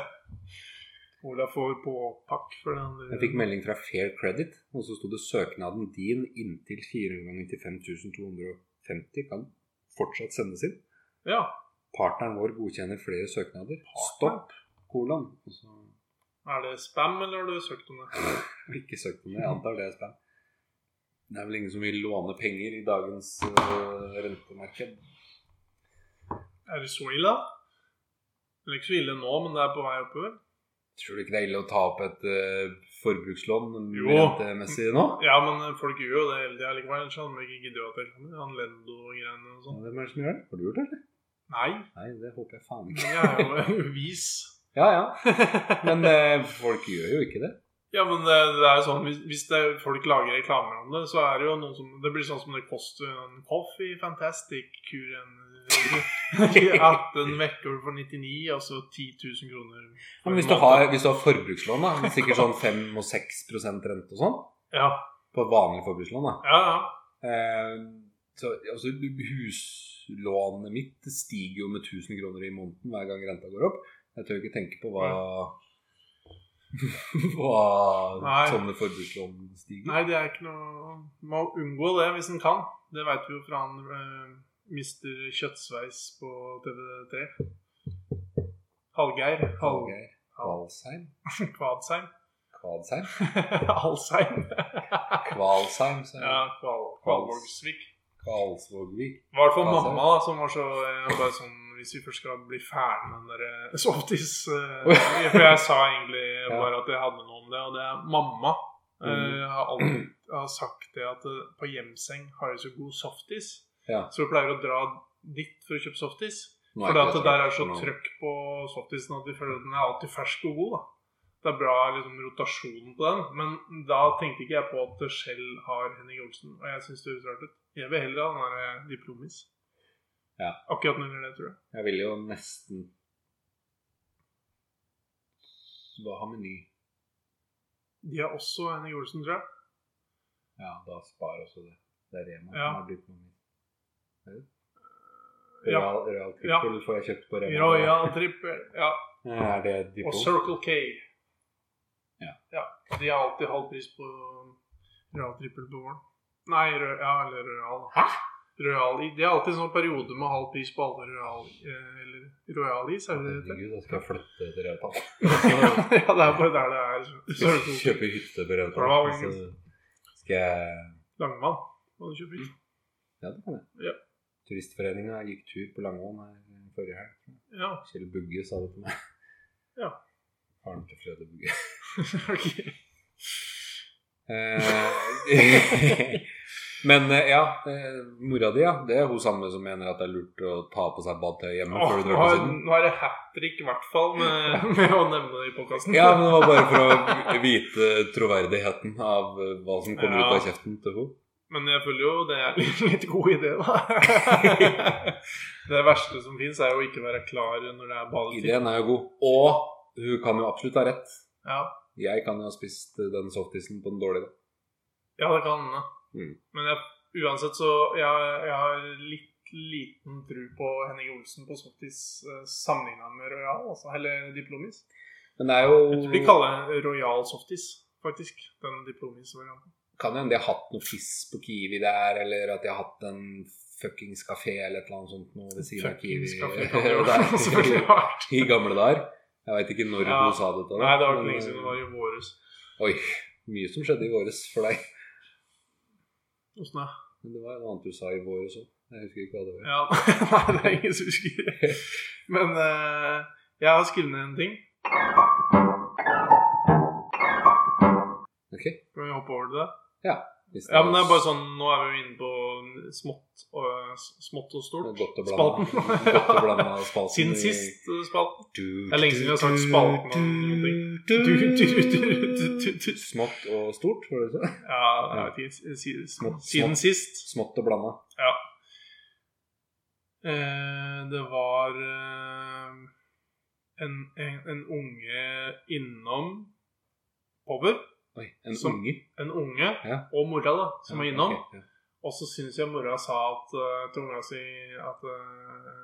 Ola får påpakk for den. eh, Jeg fikk melding fra Fair Credit, og så sto det søknaden din inntil 495 250 kan fortsatt sendes inn. Ja. Partneren vår godkjenner flere søknader. Stopp, kolon. Og så Er det spam, eller har du søkt om det? Jeg har Ikke søkt om det. Jeg antar det er spam. Det er vel ingen som vil låne penger i dagens øh, rentemarked. Er det så ille? Det er ikke så ille nå, men det er på vei oppover. Tror du ikke det er ille å ta opp et øh, forbrukslån Jo. rentemessig nå? Ja, men eh, folk gjør jo det hele tida likevel. Ellers hadde de ikke giddet å tegne. Han Lendo og greiene og Ja, sånn. Hvem er det som gjør det? Har du gjort det? eller? Nei, Nei, det håper jeg faen ikke. men jeg er jo vis. Ja ja. Men øh, folk gjør jo ikke det. Ja, men det, det er jo sånn Hvis, hvis det, folk lager reklamer om det, så er det jo noe som Det blir sånn som det koster en coffee, fantastic, kuren i 18 vekker for 99, altså 10 000 kroner. Ja, men hvis, du har, hvis du har forbrukslån, da, sikkert sånn 5 og 6 rente og sånn, Ja, på et vanlig forbrukslån, da ja, ja. Eh, så, altså, huslånet mitt det stiger jo med 1000 kroner i måneden hver gang renta går opp. Jeg tør ikke tenke på hva Hva Nei. sånne forbrukslån stiger. Nei, det er ikke noe Må unngå det hvis en kan. Det veit vi jo fra han eh, mister kjøttsveis på TV3. Hallgeir. Hall... Hallgeir Kvalsheim? Kvadsheim. Kvadsheim? Alsheim. Kvalsheim, sa jeg. Ja, Kval... Kvalvågsvik. Kvalsvågvik. I hvert fall Kvalsheim. mamma da, som var så eh, bare sånn Hvis vi først skal bli ferdig med den der eh, softis eh, For jeg sa egentlig Ja. bare at jeg hadde noe om det, og det er mamma. eh, Mm. har alltid har sagt det at eh, på hjemseng har de så god softis. Ja. Så vi pleier å dra dit for å kjøpe softis. Nå er For ikke at det jeg der er så for noe. trøkk på softisen at vi føler at den er alltid fersk og god. da. Det er bra liksom, rotasjon på den. Men da tenkte ikke jeg på at Shell har Henning Olsen. Og jeg syns det høres rart ut. Jeg vil heller ha den der eh, diplomis. Ja. Akkurat når det gjelder det, tror jeg. Jeg ville jo nesten Hva har Meny? De har også Henning Olsen, tror jeg. Ja, da sparer også det. Det er Rema Ja. som har blitt noe mer. Ja. Real, real Ja. Triple får jeg kjøpt på Rema. Royal Trippel. Ja. Er det de Og på? Circle K. Ja. De har alltid halv pris på eh, Royal Trippel på våren. Nei, rø ja, eller Royal. da. Royal i- De har alltid sånn periode med halv pris på alle Royal eh, Eller Royal is, er det det heter? Herregud, da skal jeg flytte til Rautal. ja, det er bare der det sånn er Circle K. Kjøper hytte på Bra, Rautal. Så skal jeg Langvann. Hva du kjøper. Ja, det kan jeg. Ja. Turistforeninga gikk tur på Langvann her forrige helg. Ja. Kjell Bugge sa det til meg. Ja. Faren til Frede Bugge. Ok. Eh, Men eh, ja, eh, mora di, ja. Det er hun samme som mener at det er lurt å ta på seg badetøy hjemme Åh, før du nå, drar på har, siden. nå er det hat trick, i hvert fall, med, med å nevne det i podkasten. Ja, men det var bare for å vite troverdigheten av eh, hva som kommer Ja. ut av kjeften til henne. Men jeg føler jo det er en litt god idé, da. det verste som fins, er jo å ikke være klar når det er badetid. Ideen er jo god. Og hun kan jo absolutt ha rett. Ja. Jeg kan jo ha spist eh, den softisen på den dårlige. ja, det kan hende. Mm. Men jeg, uansett så jeg, jeg har litt liten tru på Henning Olsen på softis eh, sammenligna med Royal, altså, eller Diplomis. Men det er Jeg tror de jo kaller det Royal softis, faktisk. Den Diplomis-varianten. Kan jo hende jeg har hatt noe fiss på Kiwi der, eller at jeg har hatt en fuckings kafé eller et eller annet sånt noe ved siden av Kiwi. Fuckings kaffe kan det jo være Der. selvfølgelig vært. I gamle dager. Jeg veit ikke når Ja. du sa det. til deg, Nei, det var ikke men, lenge siden det var i våres. Oi, mye som skjedde i våres for deg. Åssen er det? Men det var noe annet du sa i våres òg. Jeg husker ikke hva det var. Ja, nei, det er ingen som husker. Men eh, jeg har skrevet ned en ting. Ok, Skal vi hoppe over til det? hvis Ja, men det er bare sånn, Nå er vi jo inne på smått og, smått og Det er stort. Godt å blande Spalten. Godt å blande spalten Siden i- sist eh, spalten. Du- Det er lenge siden vi har sagt spalten og noen ting. du- Du- du- du- du- du- du- du. Smått og stort, var det du sa? Ja, jeg vet ikke. si- si- Smått- Siden smått. sist. Smått og blanda. Eh, det var eh, en, en, en unge innom Power. Oi, en Som- unge. En unge Ja. og mora da, som var innom. Ok, ja. Og så syns jeg mora sa at, eh, til unga si at, eh,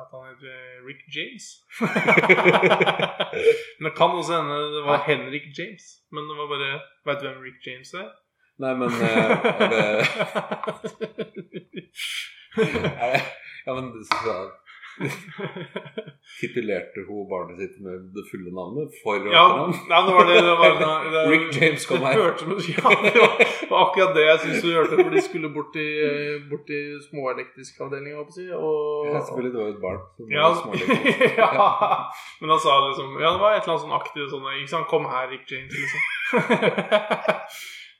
at han heter Rick James. men det kan også hende det var Henrik James. Men det var bare Veit du hvem Rick James er? Nei, men eh, er det, er det, Ja, men det- så, Titulerte hun barnet sitt med det fulle navnet for ja, etternavn? ja, det var det. det, var, det, det Rick James kom her. Hørte, men, ja, det var, det var akkurat det jeg syns du hørte, for de skulle bort til, eh, bort til småelektrisk avdeling, holdt jeg på Ja, å si. Og, selvfølgelig, det var jo et barn. som ja, var smålig. ja. Men han sa liksom Ja, det var et eller annet sånn aktivt sånn Ikke sant, kom her, Rick James, liksom.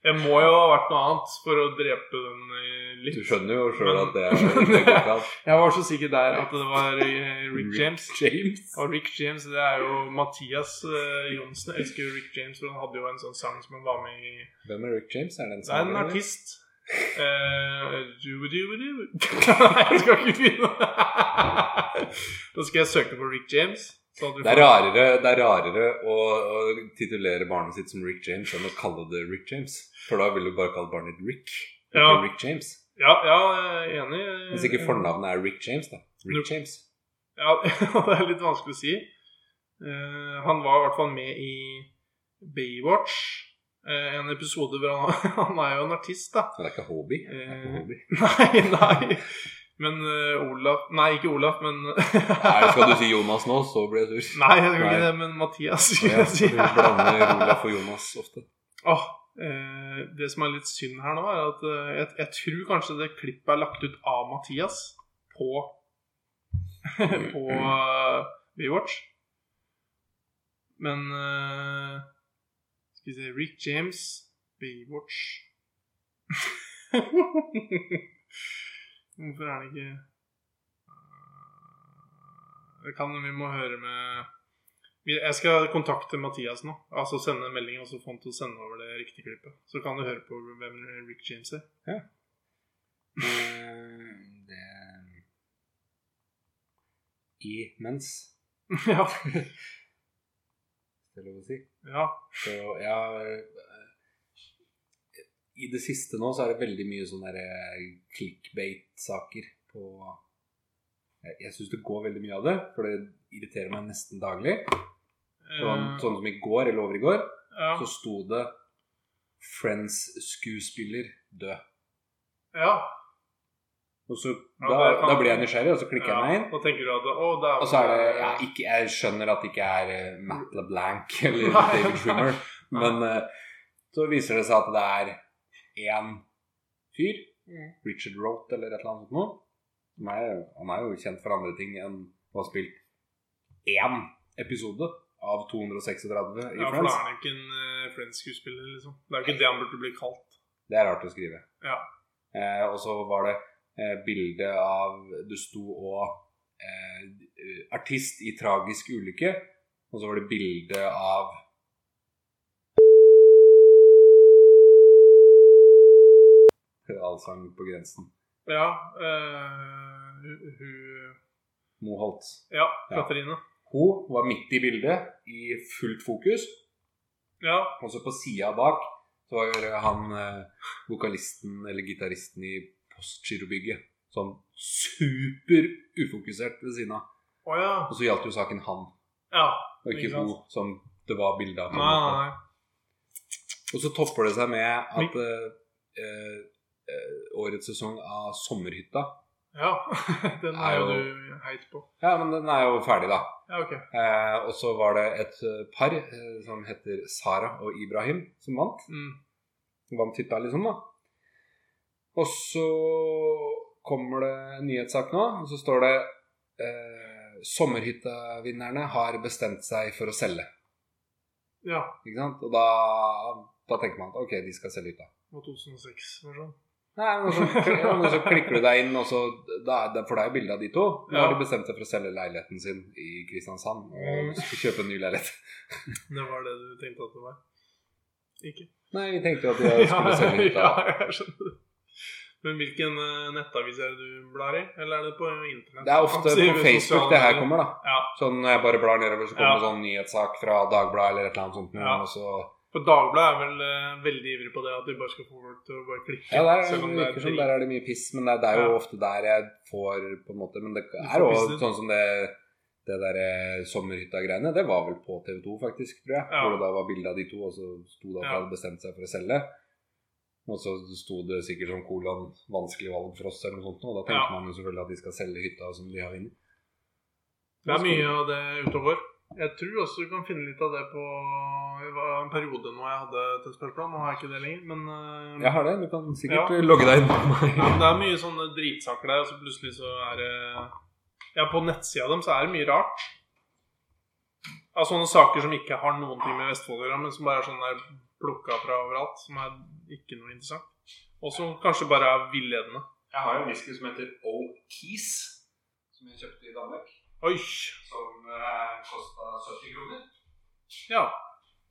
Det må jo ha vært noe annet for å drepe den eh, Du litt. skjønner jo sjøl at det, er- det går ikke an. Jeg var så sikker der at det var eh, Rick James. James. Og Rick James, det er jo Mathias eh, Johnsen. Jeg elsker jo Rick James, for han hadde jo en sånn sang som han var med i Hvem er Rick James? Er det en Det er sanger, en eller? artist. Eh, du-du-du-du. Nei, jeg skal ikke begynne. da skal jeg søke på Rick James. Så at du Det er får- rarere, det er rarere å, å titulere barnet sitt som Rick James enn å kalle det Rick James. For da vil du bare kalle barnet ditt Rick. Ikke Ja. Rick James. Ja, ja, jeg er enig. Hvis ikke fornavnet er Rick James, da. Nå- Rick James. Ja, det er litt vanskelig å si. Eh, han var i hvert fall med i Baywatch. eh, en episode hvor han, han er jo en artist, da. Men det er ikke hobby. Det er, ikke Eh. hobby. Nei, nei. Men eh, Olaf Nei, ikke Olaf, men Nei, skal du si Jonas nå, så blir jeg sur. Nei, jeg skal ikke Nei. det, men Mathias skulle Ja, jeg for si. du blander Olaf og Jonas ofte. Åh, eh, det som er litt synd her nå, er at eh, jeg, jeg tror kanskje det klippet er lagt ut av Mathias på på eh, WeWatch. Men eh, Skal vi se Rick James, WeWatch Hvorfor er det ikke Eh, Det kan vi må høre med vi- Jeg skal kontakte Mathias nå. Altså sende en melding, og så få han til å sende over det riktige klippet. Så kan du høre på hvem Rick James er. eh, Det... I mens, ja. det er lov å si. ja. Så ja eh, I det siste nå så er det veldig mye sånne der, eh, clickbait-saker på Jeg, jeg syns det går veldig mye av det, for det irriterer meg nesten daglig. Sånn, Eh, sånn som i går, eller over i går, ja. så sto det 'Friends-skuespiller død'. ja. Og så, Ja, da, det kan- da blir jeg nysgjerrig, og så klikker ja. jeg meg inn. Da tenker du at Å, det er Og så er det ja, ikke, Jeg skjønner at det ikke er eh, Matt LeBlanc eller Nei. David Trimmer, men eh, så viser det seg at det er én fyr, Richard Roth eller et eller annet sånt noe. Han er, jo- han er jo kjent for andre ting enn å ha spilt én episode av 236 i Ja, for da er Friends. han jo ikke en uh, Friends-skuespiller, liksom. Det er jo ikke det han burde bli kalt. Det er rart å skrive. Ja. Eh, og så var det eh, bilde av Det sto òg eh, artist i tragisk ulykke. Og så var det bilde av Allsang på grensen. Ja. eh, hun- hun Moholt. Ja, Ja. Katrine. Hun var midt i bildet, i fullt fokus. Ja. Og så Altså, på sida bak så var han eh, vokalisten eller gitaristen i Postgirobygget. Sånn super ufokusert ved siden av. Å ja. Og så gjaldt jo saken han, Ja. og ikke Ikke sant. hun som det var bilde av. på en Nei, nei, måte. nei. Og så topper det seg med at eh, eh, eh, årets sesong av Sommerhytta Ja. Den er jo Er jo- du heit på. Ja, men den er jo ferdig, da. Ja, ok. Eh, og så var det et eh, par eh, som heter Sara og Ibrahim, som vant. Mm. vant hytta, liksom, da. Og så kommer det en nyhetssak nå, og så står det eh, 'Sommerhyttevinnerne har bestemt seg for å selge'. Ja. Ikke sant? Og da, da tenker man at ok, de skal selge hytta. Det var 2006, var det sånn? Nei, men så, ja, men så klikker du deg inn, og så, da, er det- for det er jo bilde av de to. Nå har Ja. de bestemt seg for å selge leiligheten sin i Kristiansand Mm. og skal kjøpe en ny leilighet. Det var det du tenkte at det var? Ikke? Nei, vi tenkte jo at de skulle selge hytta. ja, jeg skjønner det. Men hvilken eh, nettavis er det du blar i? Eller er det på internett? Det er ofte Altså, i på Facebook sosiale det her medier. kommer, da. Ja. Sånn når jeg bare blar nedover, så kommer Ja. det sånn nyhetssak fra Dagbladet eller et eller annet sånt. noe, Ja. Og så For Dagbladet er vel eh, veldig ivrig på det, at de bare skal få folk til å bare klikke. Ja, der, selv om det er virker som drit. der er det mye piss, men det, det er jo Ja. ofte der jeg får på en måte Men det får er pisse jo litt. sånn som det, det der eh, sommerhytta-greiene. Det var vel på TV2, faktisk, tror jeg. Ja. Hvor det da var bilde av de to, og så sto det at de Ja. hadde bestemt seg for å selge. Og så sto det sikkert som kolon 'vanskelig valg for oss' eller noe sånt. Og da tenker Ja. man jo selvfølgelig at de skal selge hytta som de har inni. Det er mye av det utover. Jeg tror også du kan finne litt av det på Det var en periode nå jeg hadde testspillplan. Nå har jeg ikke det lenger, men eh, Jeg har det. Du kan sikkert Ja. eh, logge deg inn på meg. Ja, men det er mye sånne dritsaker der, og så plutselig så er det Ja, på nettsida dem så er det mye rart. Av sånne saker som ikke har noen ting med Vestfold å gjøre, men som bare er sånn der plukka fra overalt, som er ikke noe interessant. Og som kanskje bare er villedende. Jeg har jo en whisky som heter O'Kees, som jeg kjøpte i Danmark. Oi! Som eh, kosta 70 kroner. Ja,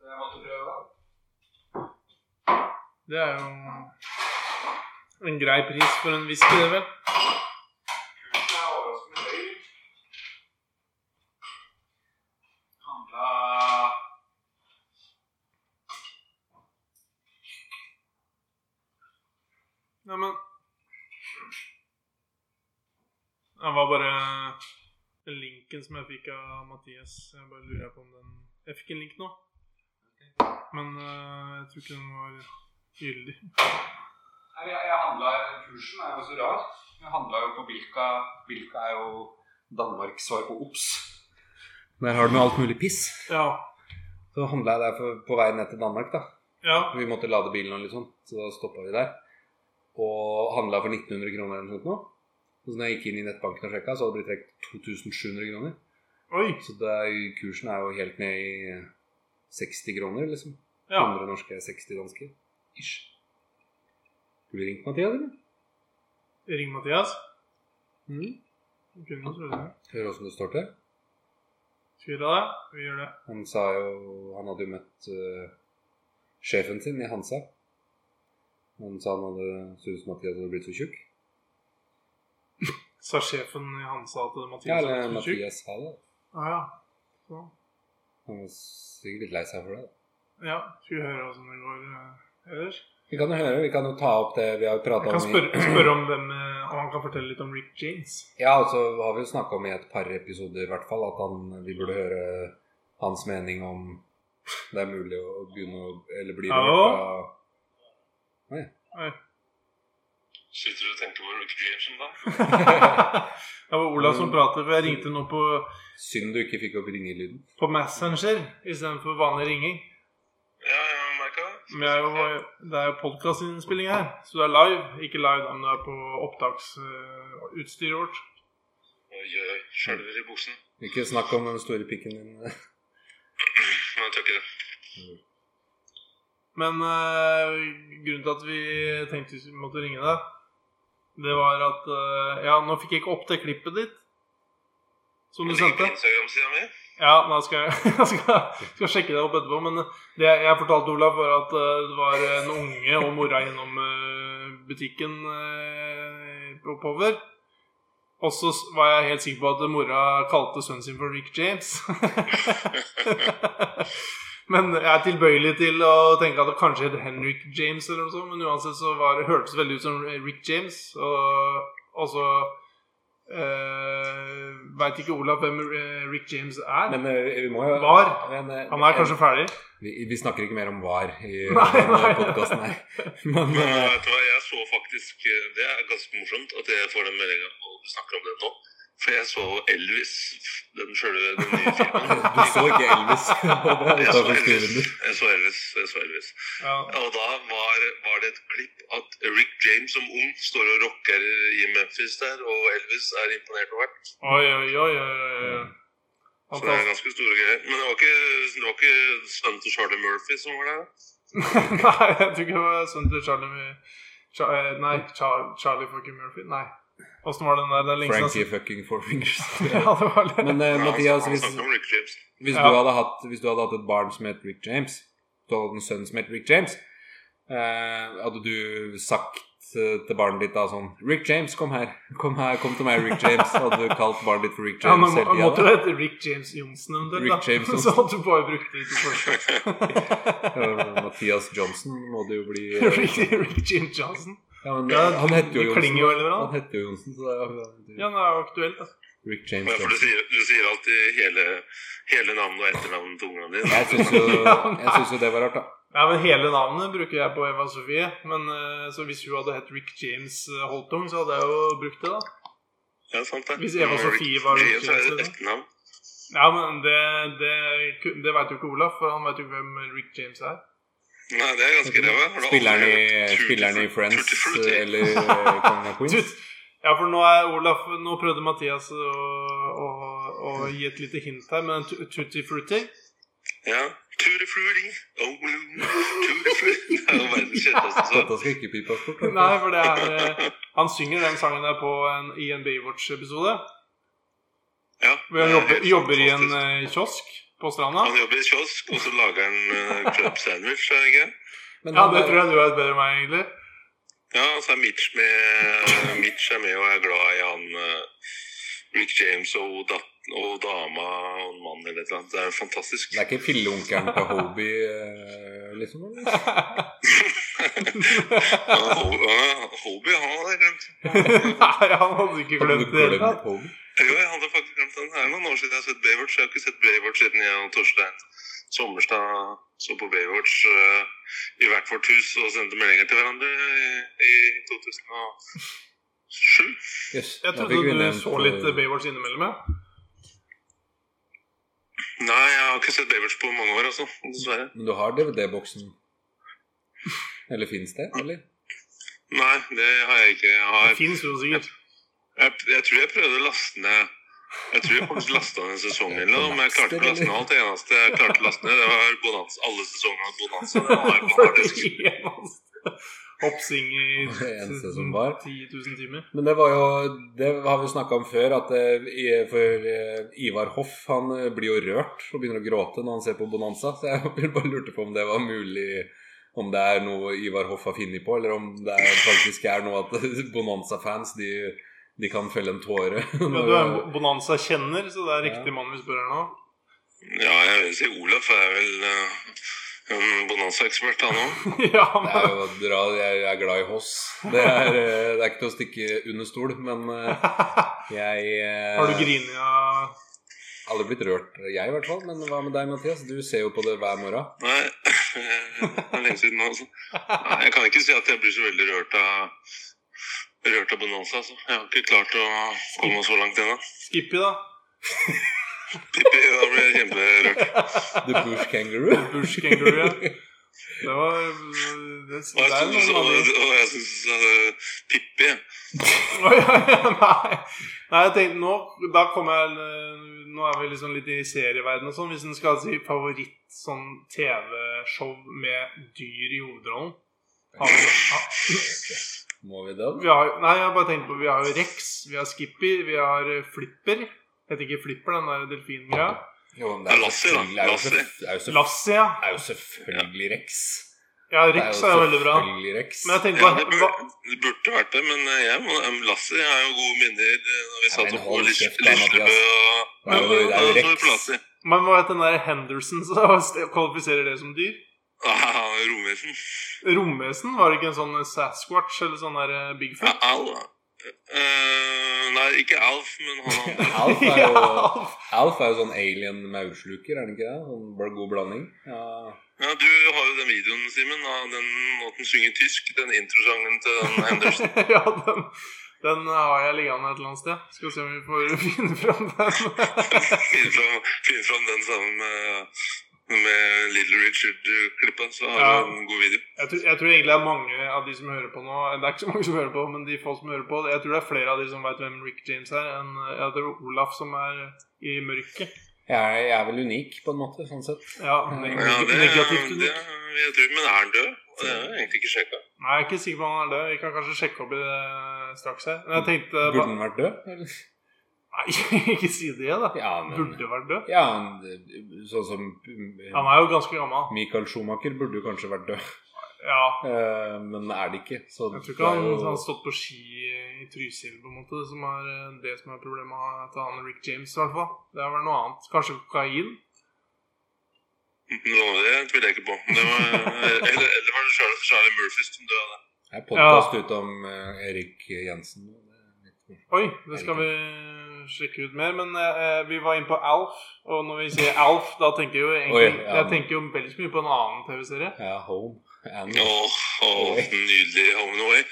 Jeg måtte prøve den. det er jo en grei pris for en whisky, det vel? Kursen er overraskende høy. Handla Ja, men Det var bare den linken som jeg fikk av Mathias. Jeg bare lurer på om den Jeg fikk en link nå, men eh, jeg tror ikke den var gyldig. Nei, Jeg, jeg handla Kursen er jo så rar. Jeg handla jo på Bilka. Bilka er jo Danmarks svar på Ops. Der har du med alt mulig piss. Ja. Så handla jeg der for, på vei ned til Danmark, da. Ja. Vi måtte lade bilen og litt sånn, så da stoppa vi der. Og handla for 1900 kroner eller noe sånt. nå. Så når jeg gikk inn i nettbanken og sjekka, så hadde det blitt trukket 2700 kroner. Oi. Så det er, jo- kursen er jo helt ned i 60 kroner, liksom. Ja. 100 norske, 60 danske. Ish. Skulle du ringt Mathias, eller? Ring Mathias. Mm. Du kunne jo tro det. Hører åssen det står til. Skal vi gjøre det? Vi gjør det. Han sa jo Han hadde jo møtt eh, sjefen sin i Hansa. Han sa han hadde syntes Mathias hadde blitt så tjukk. Sa sjefen i Hansa til Ja, Mathias eller var litt tjukk? Mathias sa det. Ah, ja. Så. Han var sikkert litt lei seg for det. da. ja. Skal vi høre åssen det går eh, ellers? Vi kan jo høre, vi kan jo ta opp det vi har prata Jeg om. kan i- spørre, spørre om hvem eh, Om han kan fortelle litt om Rick James. Ja, og så har vi jo snakka om i et par episoder i hvert fall at han, vi burde høre hans mening om det er mulig å begynne å Eller bli Hallo? rørt av Sitter du og tenker på Rick Jameson, da? det var Olav som pratet, for jeg ringte nå på, Synd du ikke fikk opp ringelyden. på Messenger istedenfor vanlig ringing. Ja, jeg har merka det. Men jeg er jo, det er jo podkastinnspilling her, så det er live. Ikke live, da, men det er på opptaksutstyret vårt. Oi, oi, skjelver i buksen. Ikke snakk om den store pikken din. Nei, jeg tør ikke det. Men eh, grunnen til at vi tenkte vi måtte ringe deg, det var at eh, Ja, nå fikk jeg ikke opp det klippet ditt som du Det ligger sendte. på Instagram-sida mi. Ja, da skal jeg, jeg skal, skal sjekke det opp etterpå. Men det jeg jeg fortalte Olav, var at eh, det var en unge og mora innom eh, butikken eh, oppover. Og så s- var jeg helt sikker på at mora kalte sønnen sin for Rick James. men jeg er tilbøyelig til å tenke at det kanskje heter Henrik James eller noe sånt. Men uansett så var, det- hørtes det veldig ut som Rick James. Og, og så uh, veit ikke Olav hvem eh, Rick James er. Men eh, vi må jo Var. Men, eh, Han er kanskje ferdig? vi, vi snakker ikke mer om var i Nei, nei. podkasten her. Men Men eh, vet du hva, jeg så faktisk eh, Det er ganske morsomt at jeg får den meldinga og du snakker om det nå. For jeg så Elvis, den sjølve den nye filmen. du så ikke Elvis. Det Jeg så står på Elvis. skrivebundet. Jeg så Elvis. Jeg så Elvis. Ja. Og da var, var det et klipp at Rick James som ung står og rocker i Memphis der, og Elvis er imponert over hvert. Oi, oi, oi. oi, oi. Så det er ganske store greier. Men det var ikke, det var ikke sønnen til Charlie Murphy som var der? nei, jeg tror ikke det var sønnen til Charlie Mu- Cha- eh, Nei, Char Charlie fucking Murphy. Nei. Åssen var den der? Den lengste Frankie fucking Four Fingers. Ja, det var det. Men eh, Ja, han- Mathias, han hvis, snakker om Rick James. hvis, Ja. du hadde hatt, hvis du hadde hatt et barn som het Rick James, du hadde hatt en sønn som het Rick James, eh, hadde du sagt eh, til barnet ditt da sånn Rick James, kom her. Kom her, kom til meg, Rick James. Hadde du kalt barnet ditt for Rick Ja, James men må- hele måtte tida? det hete Rick James Johnsen eventuelt? Rick James da? Johnsen. Så at du bare brukte de to første. Mathias Johnson må det jo bli. eh, Rick, Rick James Johnson. Ja, men Ja, han heter jo de Johnsen. klinger jo veldig bra. Han heter jo Johnsen, så det er jo Ja, det er altså. jo aktuelt. da. Rick James Ja, for du Johnson. sier, du sier alltid hele, hele navnet og etternavnet til ungene dine. Jeg syns jo, jeg synes jo det var rart, da. Ja, men Hele navnet bruker jeg på Eva Sofie. Men eh, så hvis hun hadde hett Rick James eh, Holtung, så hadde jeg jo brukt det, da. Ja, sant det. Hvis Eva Sofie var Rick James, så er James, det liksom. etternavn. Ja, men det, det, ku- det veit jo ikke Olaf, for han veit jo ikke hvem Rick James er. Nei, det er ganske ræva. Har du aldri Spilleren hørt i, Tutti spilleren i Frutti? Friends Tutti Frutti. eh, eller eh, Kongen av Queens. Tut. Ja, for nå er Olaf Nå prøvde Mathias å, å, å gi et lite hint her, men tu- Tutti Frutti Ja. Tutti Frutti. Oh, Tutti Frutti. Det er jo verdens kjetteste sang. Dette skal ikke pipes bort. Nei, for det er eh, Han synger den sangen der på en, E i en Baywatch-episode. Hvor Ja, han det er jobber, helt jobber i en fantastisk. eh, kiosk på stranda. Han jobber i kiosk, og så lager han eh, club sandwich, er det ikke? Men Ja, han eh, det er- tror jeg du vet bedre enn meg, egentlig. Ja, og så er Mitch med. eh, Mitch er med og er glad i han eh, Rick James og, dat og dama og en mann eller et eller annet. Det er jo fantastisk. Det er ikke filleunkelen til Hobie, eh, liksom? eller? Ja, Ho- ja, Hobie, han hadde jeg glemt. Har Nei, han hadde ikke du glemt det. hele tatt. glemt Hobie? Jo, jeg hadde faktisk glemt den. Det er noen år siden jeg har sett Baywatch. Jeg har ikke sett Baywatch siden jeg og Torstein Sommerstad så på Baywatch eh, i hvert vårt hus og sendte meldinger til hverandre i, i 2007. Jøss. da Jeg fikk vi trodde du nevnt, så litt eh, Baywatch innimellom. jeg. Nei, jeg har ikke sett Baywatch på mange år, altså. Dessverre. Men du har DVD-boksen? Eller fins det, eller? Nei, det har jeg ikke. Jeg har Det fins jo sikkert. Jeg, jeg tror jeg prøvde å laste ned Jeg tror jeg faktisk lasta ned sesongen eller noe, men jeg klarte ikke å laste ned alt. Det eneste jeg klarte å laste ned, det var Bonanza. Alle sesongene av Bonanza. Den har jeg på harddisk. Hoppsing i Det eneste som var. 10 000 timer. Men det var jo Det har vi snakka om før, at eh, i- for eh, Ivar Hoff han eh, blir jo rørt og begynner å gråte når han ser på Bonanza. Så jeg bare lurte på om det var mulig Om det er noe Ivar Hoff har funnet på, eller om det er, faktisk er noe at Bonanza-fans de, de kan felle en tåre. Ja, du er en Bonanza-kjenner, så det Ja. er riktig mann vi spør her nå. Ja, jeg vil si Olaf er vel eh, en Bonanza-ekspert, han òg. Ja, Det men er jo å dra, jeg jeg er glad i Hoss. Det er, eh, det er ikke til å stikke under stol, men eh, jeg eh, Har du grinet av Aldri blitt rørt, jeg i hvert fall. Men hva med deg, Mathias? Du ser jo på det hver morgen. Nei, det er lenge siden nå, altså. Nei, jeg kan ikke si at jeg blir så veldig rørt av Rørt av Bonanza, altså. Jeg har ikke klart å komme så langt ennå. Skippy, da? Pippi, da blir jeg kjemperørt. The Bush Kangaroo. Bush Kangaroo. ja. Det var Det, Og det er jeg noe syns- man og- og jeg syns uh, Pippi Oi, Nei, Nei, jeg tenkte nå Da kommer jeg eh, Nå er vi liksom litt i serieverden og sånn. Hvis en skal si favoritt sånn TV-show med dyr i hovedrollen har vi, ha- Må vi det? vi har, Nei, jeg har bare tenkt på Vi har jo Rex, vi har Skippy, vi har eh, Flipper. Heter ikke Flipper, den der delfingreia. Jo, men Det er Lassie, da. selvfølgelig- det er jo Lassie. selvfø- Det er jo, selvfø- Lassie, ja. det er jo selvfølgelig Rex. Ja, Rex er jo veldig bra. Selvfølgelig Rex. Men jeg tenkte Ja, det, bare burde, det burde vært det, men eh, jeg må, em, Lasse jeg har jo gode minner eh, når vi Ja, satt men opp på hold kjeft da, Lislebø og Det er jo, det er jo Ja, så på Rex. Lasse. Men hva heter den der Henderson, så kvalifiserer det som dyr? Ah, Romvesen. Romvesen? Var det ikke en sånn Sasquatch eller sånn der eh, Ja, Bigfoot? Al Eh, Nei, ikke Alf, men han andre. Alf er jo, Ja. Alf er jo sånn alien maursluker, er det ikke det? Sånn bl- god blanding. Ja. Ja, du har jo den videoen, Simen, av den at den synger tysk. Den introsangen til den Henderson. ja, den, den har jeg liggende et eller annet sted. Skal se om vi får finne fram den. Finn fram, finn fram den sammen med, med Little Richard-klippa, så har Ja. du en god video. Jeg tror, jeg tror egentlig det er mange av de som hører på nå Det er ikke så mange som hører på, men de få som hører på Jeg tror det er flere av de som vet hvem Rick James er, enn eh, jeg tror Olaf som er i mørket. Jeg, er, jeg er vel unik, på en måte, sånn sett. Ja, neg Ja, det, negativt. det, unik. jeg tror, men er han død? Det er jo egentlig ikke sjekka. Nei, jeg er ikke sikker på om han er død. Vi kan kanskje sjekke opp i det straks her. Men jeg tenkte Burde den vært død? eller? Nei, ikke si det, da. Ja, men, Burde vært død. ja, men det- sånn som Han er jo ganske gammel. Michael Schumacher burde jo kanskje vært død. Ja. Eh, men er det ikke. Så Jeg tror det ikke er han jo- har sånn stått på ski i Trysil, på en måte. Det som er eh, det som er problemet til han Rick James, i hvert fall. Det er vel noe annet. Kanskje kokain? Nå, det tviler jeg ikke på. Det var, eller, eller var det Charlie, Charlie Murphy som døde? Det er podkast ut om eh, Erik Jensen. Det er litt- Oi, det skal vi sjekke ut mer. Men eh, vi var inne på Alf, og når vi sier Alf, da tenker jeg jo egentlig Oi, ja. Jeg tenker jo veldig mye på en annen TV-serie. Ja, Home. And. Åh, åh, nydelig Home and Away.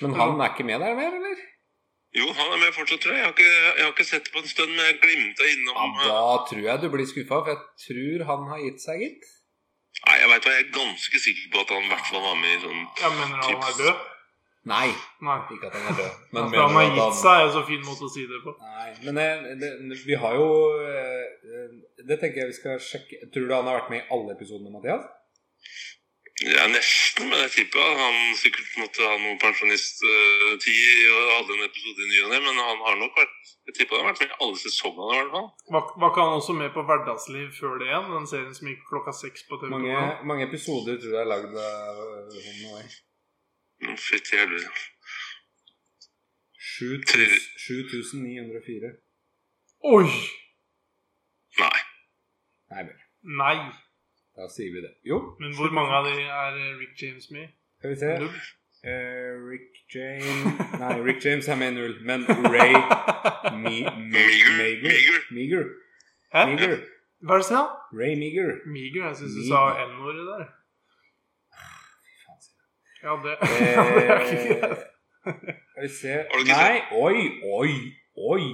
Men han er ikke med der mer, eller? Jo, han er med fortsatt, tror jeg. Jeg har ikke, jeg har ikke sett på en stund, men jeg glimta Ja, innom. eh, da tror jeg du blir skuffa, for jeg tror han har gitt seg, gitt. Nei, jeg vet hva, jeg er ganske sikker på at han i hvert fall var med i sånn Jeg mener han er død. Nei, Nei. ikke at han er død. Men mener han har du at gitt seg, er en så fin måte å si det på. Nei, men eh, det, vi har jo eh, eh, Det tenker jeg vi skal sjekke. Tror du han har vært med i alle episodene, Mathias? Ja, nesten, men jeg tipper at han sikkert måtte ha noe pensjonisttid og hadde en episode i ny og ne, men han har nok vært Jeg tipper han har vært med i alle sesongene i hvert fall. Var, var ikke han også med på Hverdagsliv før det igjen? Den serien som gikk klokka seks på TV2? Mange, mange episoder tror du er lagd av eh, Home and Away? Å, Fytti helvete. 7000 7904. Oi! Nei. Nei vel, Nei. da sier vi det. Jo, Men hvor mange av de er eh, Rick James med i? skal vi se. Null? Eh, Rick James Nei, Rick James er med i null, men Ray Mi- Meager. Mi- Meager. Meager. Meager. Hæ? Meager. Hva er det du sier? Ray Meager. Miger? Jeg syns du Meager. sa N-ordet der. Ja, det Eh, Skal vi se Har du ikke Nei, oi, oi, oi!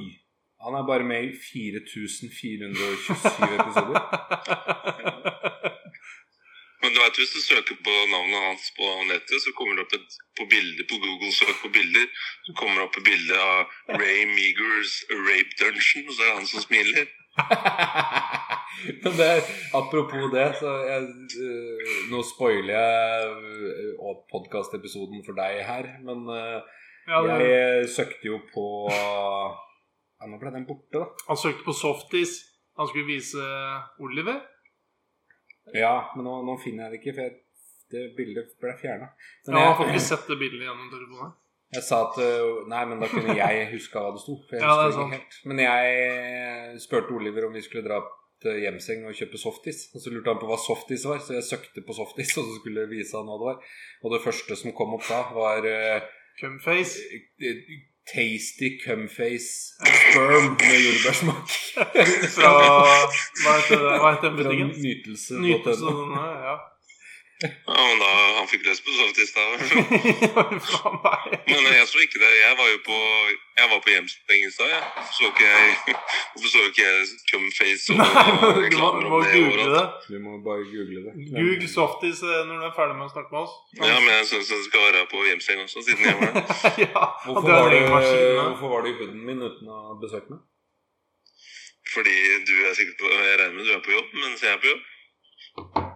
Han er bare med i 4427 episoder. Men du vet, hvis du søker på navnet hans på nettet, så kommer det opp et, på bilder på Google søk på bilder, så kommer det opp et bilde av Ray Meagers Rape Dungeon, og så er det han som smiler. Men det, apropos det, så jeg, eh, nå spoiler jeg uh, podkastepisoden for deg her, men eh, ja, det- Jeg eh, søkte jo på ja, Nå ble den borte, da. Han søkte på softis. Han skulle vise Oliver. Ja, men nå, nå finner jeg det ikke, for jeg, det bildet ble fjerna. Ja, han får ikke sett det bildet gjennom telefonen. Jeg sa at øh, Nei, men da kunne jeg huska hva det sto. For jeg Ja, det er husker sant. ikke helt. Men jeg spurte Oliver om vi skulle dra til Hjemseng og kjøpe softis. Og så lurte han på hva softis var, så jeg søkte på softis, og så skulle jeg vise han hva det var. Og det første som kom opp da, var øh, Cumface. øh, Tasty cumface sperm med jordbærsmak. Fra Hva heter det? Hva heter den Fra butikken? Nytelse nytelse.no. og sånn, ja. Ja, men da han fikk lyst på softis da. Faen meg. Men jeg så ikke det. Jeg var jo på, jeg var på hjemsteng i stad, jeg. Så ikke jeg Hvorfor så ikke jeg Cumface og Nei, men du må, reklamer du om må det google overalt? det. Du må bare google det. Google softis eh, når du er ferdig med å snakke med oss. Ja, men jeg syns det skal være på hjemsteng også, siden jeg var der. ja, Hvorfor det er var, en du, egen maskin, ja. hvorfor var du i hooden min uten å ha besøkt meg? Fordi du er sikkert på Jeg regner med du er på jobb mens jeg er på jobb.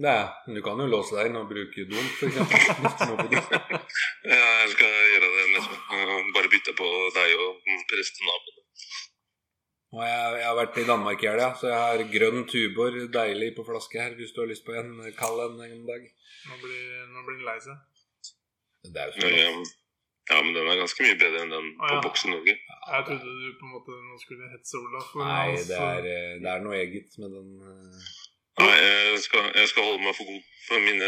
Det er, men du kan jo låse deg inn og bruke doen, for eksempel. Hvis du må på do. Ja, jeg skal gjøre det neste gang. Bare bytte på deg og prestenaboen. Og jeg, jeg har vært i Danmark i helga, så jeg har grønn Tuborg deilig på flaske her hvis du har lyst på en kald en en dag. Nå blir, nå blir den lei seg. Det er jo så Ja, godt. Eh, ja, men den er ganske mye bedre enn den på Ja. Bokse Norge. Jeg trodde du på en måte nå skulle hetse Olaf. men Nei, altså- det er, eh, det er noe eget med den eh, Nei, jeg skal, jeg skal holde meg for god for mine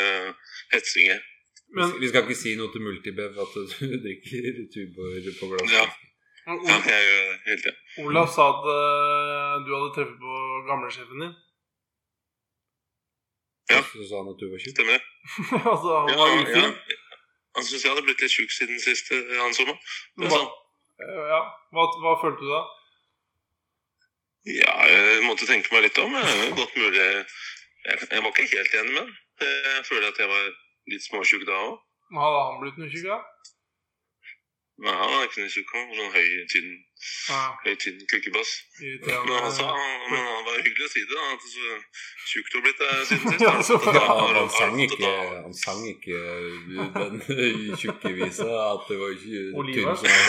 hetsinger. vi, Men skal- vi skal ikke si noe til Multibev at du drikker Tuborg på glass. Ja. Ja, Ol- jeg gjør det hele tida. Olaf sa at eh, du hadde treffet på gamlesjefen din. Ja. Så sa han at du var tjukk. Stemmer det? altså, han Ja, var ja. ufin. Han syns jeg hadde blitt litt sjuk siden sist eh, han så meg. Det Men er hva- sant. Eh, ja. Hva, hva følte du da? Ja, jeg måtte tenke meg litt om. Det er godt mulig jeg, jeg var ikke helt enig med han. Jeg føler at jeg var litt småsjuk da òg. Hadde han blitt noe tjukk, da? Nei, han er ikke noe tjukk. Han var sånn høy, tynn, Ja, høy, tynn kukkebass. Men han sa irriterende. men han var hyggelig å si det. da, At så tjukk du har blitt eh, siden sist. Ja, så da. bra. Ja, men han sang da- ikke, han sang ikke eh, den tjukke visa at det var ikke Oliver. tynn som var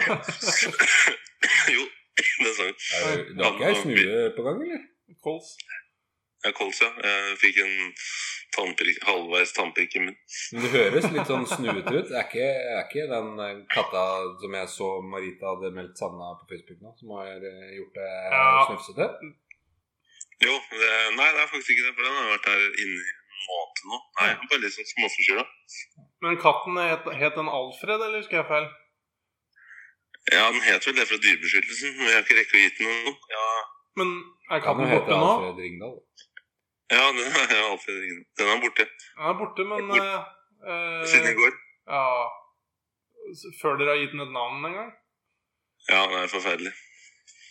høvelflis. Jo, det sang jeg. Er det- Du har ikke ei snue på gang, eller? Kols. Kols, ja. Jeg fikk en tannpirk, halvveis tannpirk i munnen. Men det høres litt sånn snuete ut. Det er ikke, er ikke den eh, katta som jeg så Marita hadde meldt savna på Facebook nå, som har eh, gjort det Ja. snufsete? Jo, det, nei, det er faktisk ikke det, for den har vært her inne i en måned nå. Nei, jeg er bare litt sånn småforkjøla. Men katten het, het den Alfred, eller husker jeg feil? Ja, den het vel det fra Dyrebeskyttelsen, men jeg har ikke rekket å gi den noe. Ja, Men er Kan katten jo hete borte nå? Alfred Ringdal. ja den, ja, Alfred Ringen. den er borte Den er borte, men eh, eh, siden i går. Ja s- Før dere har gitt den et navn en gang? Ja, det er forferdelig.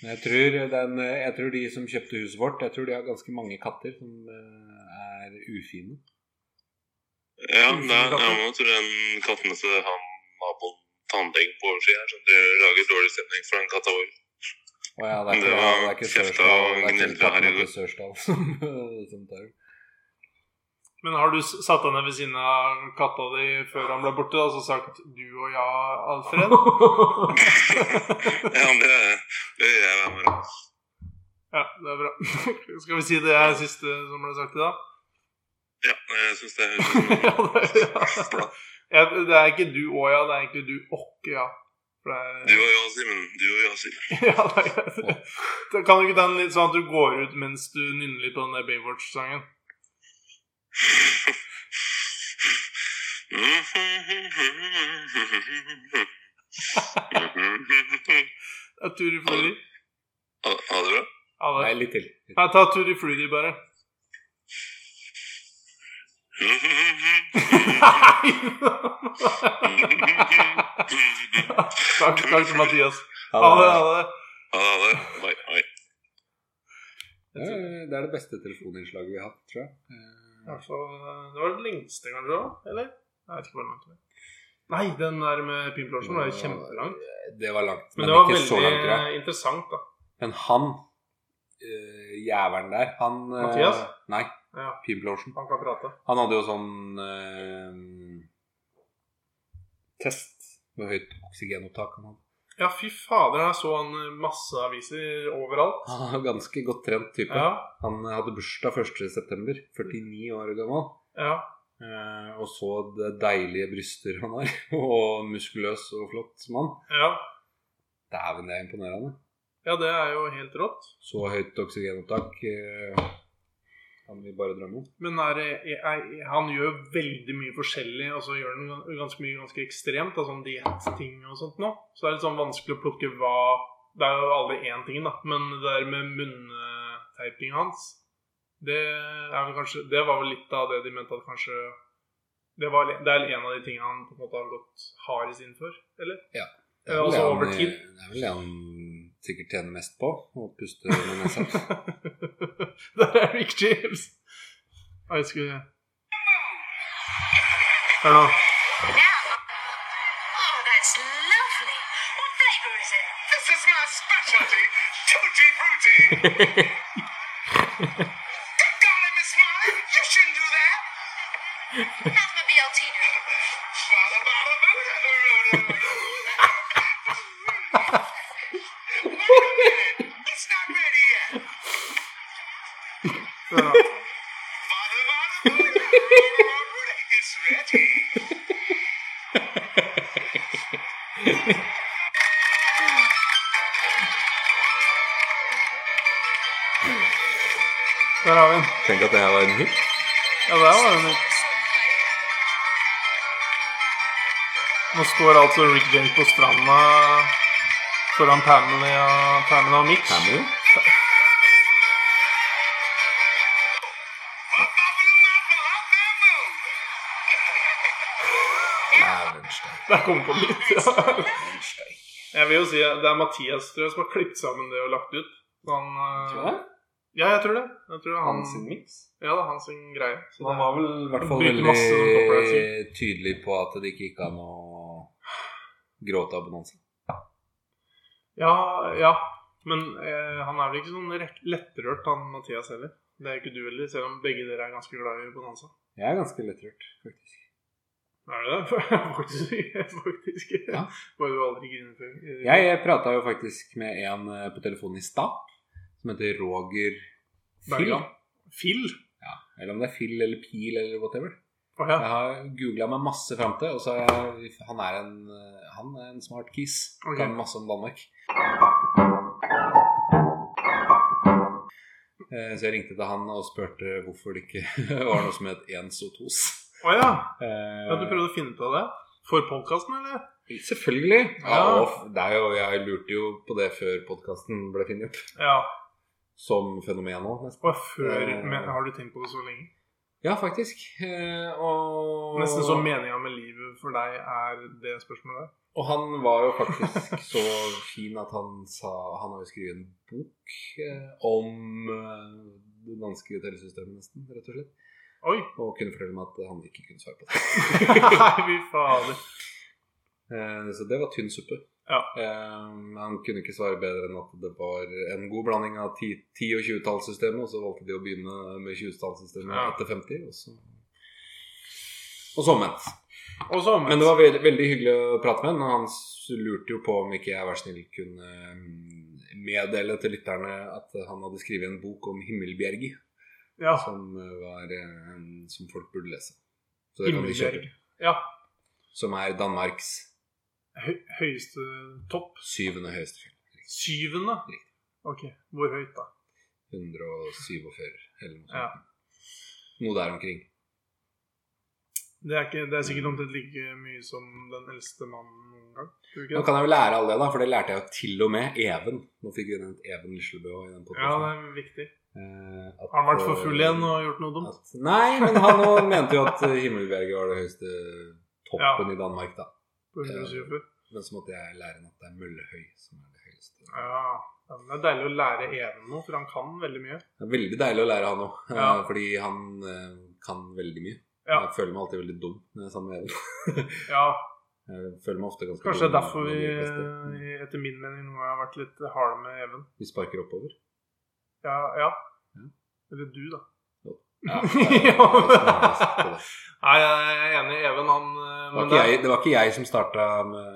Men Jeg tror, den, eh, jeg tror de som kjøpte huset vårt, jeg tror de har ganske mange katter som eh, er ufine. Ja, det er, ja, nå tror jeg den katten til han naboen tannlegen på oversiden her, som det lager dårlig stemning for den katta vår. Og ja, det er ikke, Det ja, var det er ikke kjefta Sørsdal, og det er ikke gneldra her i kattene går. til Sørsdal som, som tar den. Men har du s- satt deg ned ved siden av katta di før han ble borte, og så sagt 'du og ja, Alfred'? Ja, men det, det gjør jeg hver morgen. ja, det er bra. Skal vi si det er siste som ble sagt i dag? Ja, jeg synes det høres ut ja, det, ja. som Ja, det er ikke du og ja, det er egentlig du og ja. For Du det er, og jeg, Simen. Du og jeg, Simen. ja, det er, da kan du ikke ta den litt sånn at du går ut mens du nynner litt på den der Baywatch-sangen? Det er Tutti Frutti. Ha ha det bra. Ja, Nei, det- litt til. Nei, ta Tutti Frutti, bare. Nei! takk, takk til Mathias. Ja, Ha det, det, ha det. Ha det, ha det. Bye, bye. er- det er- det er det beste telefoninnslaget vi har hatt, tror jeg. Eh, Ja, så, eh, det var det lengste, kanskje? da, Eller? Jeg vet ikke hvor langt det var. Nei, den der med Pimplosjen var jo kjempelang. Det var langt, men, Men det var ikke så langt, tror jeg. veldig interessant, da. Men han, eh, jævelen der, han eh, Mathias? Nei, Ja, Pimplotion. han kan prate. Han hadde jo sånn eh, test med høyt oksygenopptak. Han hadde. Ja, fy fader, jeg så han eh, masse aviser overalt. Han er en ganske godt trent type. Ja, Han hadde bursdag 1.9., 49 år gammel. ja. Eh, og så det deilige bryster han har, og muskuløs og flott som han. Ja, Dæven, det er imponerende. ja det er jo helt rått. Så høyt oksygenopptak eh, kan vi bare drømme om. Men er, det- er, er, han gjør jo veldig mye forskjellig, og så gjør han gans- ganske mye ganske ekstremt. Da, sånn diettting og sånt nå. Så det er litt sånn vanskelig å plukke hva Det er jo aldri én ting, da. Men det der med munnteipinga hans, det er vel kanskje Det var vel litt av det de mente at kanskje det, var, det er en av de tingene han på en måte har gått hardest inn for, eller? Det er Ja, vel det altså han- eh, over tid. Det er vel det han sikkert tjener mest på, å puste med nesa. Der er Rick James. Nei, skal vi Hør nå. Oh, that's lovely. What flavour is it? This is my specialty, tutti frutti. Good golly, Miss Molly, you shouldn't do that. How's my BLT doing? Bada, bada, bada, bada, bada. Wait a minute, it's not ready yet. Hør nå. Bada, bada, bada, bada, bada, It's ready. Der har vi den. Tenk at det her var en hit. Ja, der var den. Nå står altså Rick James på stranda foran Pamela, Pamela og Mitch. Hammer. Dæven steik. Der kom på litt, ja. Jeg vil jo si at det er Mathias tror jeg, som har klippet sammen det og lagt ut. Så Han, eh, Tror jeg. Ja, jeg tror det. Jeg tror det er Mm. han, Hans miks. ja, det er hans sin greie. Så Han det, var vel I hvert fall Bruker masse sånn veldig copyright. tydelig på at det ikke gikk an å gråte av bonanza. ja, ja. Men eh, han er vel ikke sånn rett- lettrørt, han Mathias heller. Det er ikke du heller, selv om begge dere er ganske glad i Bonanza. Jeg er ganske lettrørt, faktisk. Er det det? Faktisk. faktisk. Ja. Bare du aldri griner før. Jeg eh, prata jo faktisk med en eh, på telefonen i stad som heter Roger Fyll. Bergan. Phil? Ja, eller om det er Phil eller Pil eller whatever. Å ja. Jeg har googla meg masse fram til, og så har jeg, han, er en, eh, han er en smart kis. Ok. Kan masse om Danmark. Eh, Så jeg ringte til han og spurte hvorfor det ikke var noe som het ens og tos. Å ja. Eh, ja. Du prøvde å finne ut av det? For podkasten, eller? Selvfølgelig. Ja, Ja. og det er jo, jeg lurte jo på det før podkasten ble funnet opp. Ja. Som fenomen nå, nesten. Og før Eh. men, Har du tenkt på det så lenge? Ja, faktisk. Eh, Og Nesten så meninga med livet for deg er det spørsmålet der? Og han var jo faktisk så fin at han sa Han har jo skrevet en bok eh, om eh, det danske telesystemet, nesten, rett og slett. Oi! Og kunne fortelle meg at han ikke kunne svare på det. Nei, fy fader. Eh, så det var tynn suppe. Ja. Eh, men han kunne ikke svare bedre enn at det var en god blanding av 10- 10- og 20-tallssystemet, og så valgte de å begynne med 20-tallssystemet Ja. etter 50, og så Og så omvendt. Og så Men omvendt. det var veldig, veldig hyggelig å prate med ham. Han s- lurte jo på om ikke jeg vær snill kunne mm, meddele til lytterne at han hadde skrevet en bok om Himmelbjerget, Ja. som, eh, var, eh, som folk burde lese. Så det kan de Himmelbjerg. kjøpe. Ja. Som er Danmarks Høy, høyeste topp? syvende høyeste fjell. Syvende? Ok. Hvor høyt, da? 147, eller noe sånt. Ja. Noe der omkring. Det er, ikke, det er sikkert omtrent like mye som den eldste mannen noen gang. Tror du Nå ikke det? kan jeg jo lære alle det, da, for det lærte jeg jo til og med Even. Nå fikk vi nevnt Even Lislebø i den Ja, det podcasten. er viktig. Eh, at- Har han vært for full igjen og gjort noe dumt? At, nei, men han også mente jo at Himmelberget var det høyeste toppen i Danmark, da. På 127? Men så måtte jeg lære henne at det er Møllehøy som er det høyeste. Ja. ja, men Det er deilig å lære Even noe, for han kan veldig mye. Det er veldig deilig å lære han òg, Ja. fordi han eh, kan veldig mye. Ja. Jeg føler meg alltid veldig dum når jeg er sammen med Even. Ja, Jeg føler meg ofte ganske Kanskje det dum er derfor når vi, jeg er fleste. Mm. eh, etter min mening, nå har jeg vært litt harde med Even. Vi sparker oppover. Ja, ja. Ja. Eller du, da. Ja, Ja. Nei, jeg er enig i Even, han eh, det, var Men ikke det, jeg, det var ikke jeg som starta med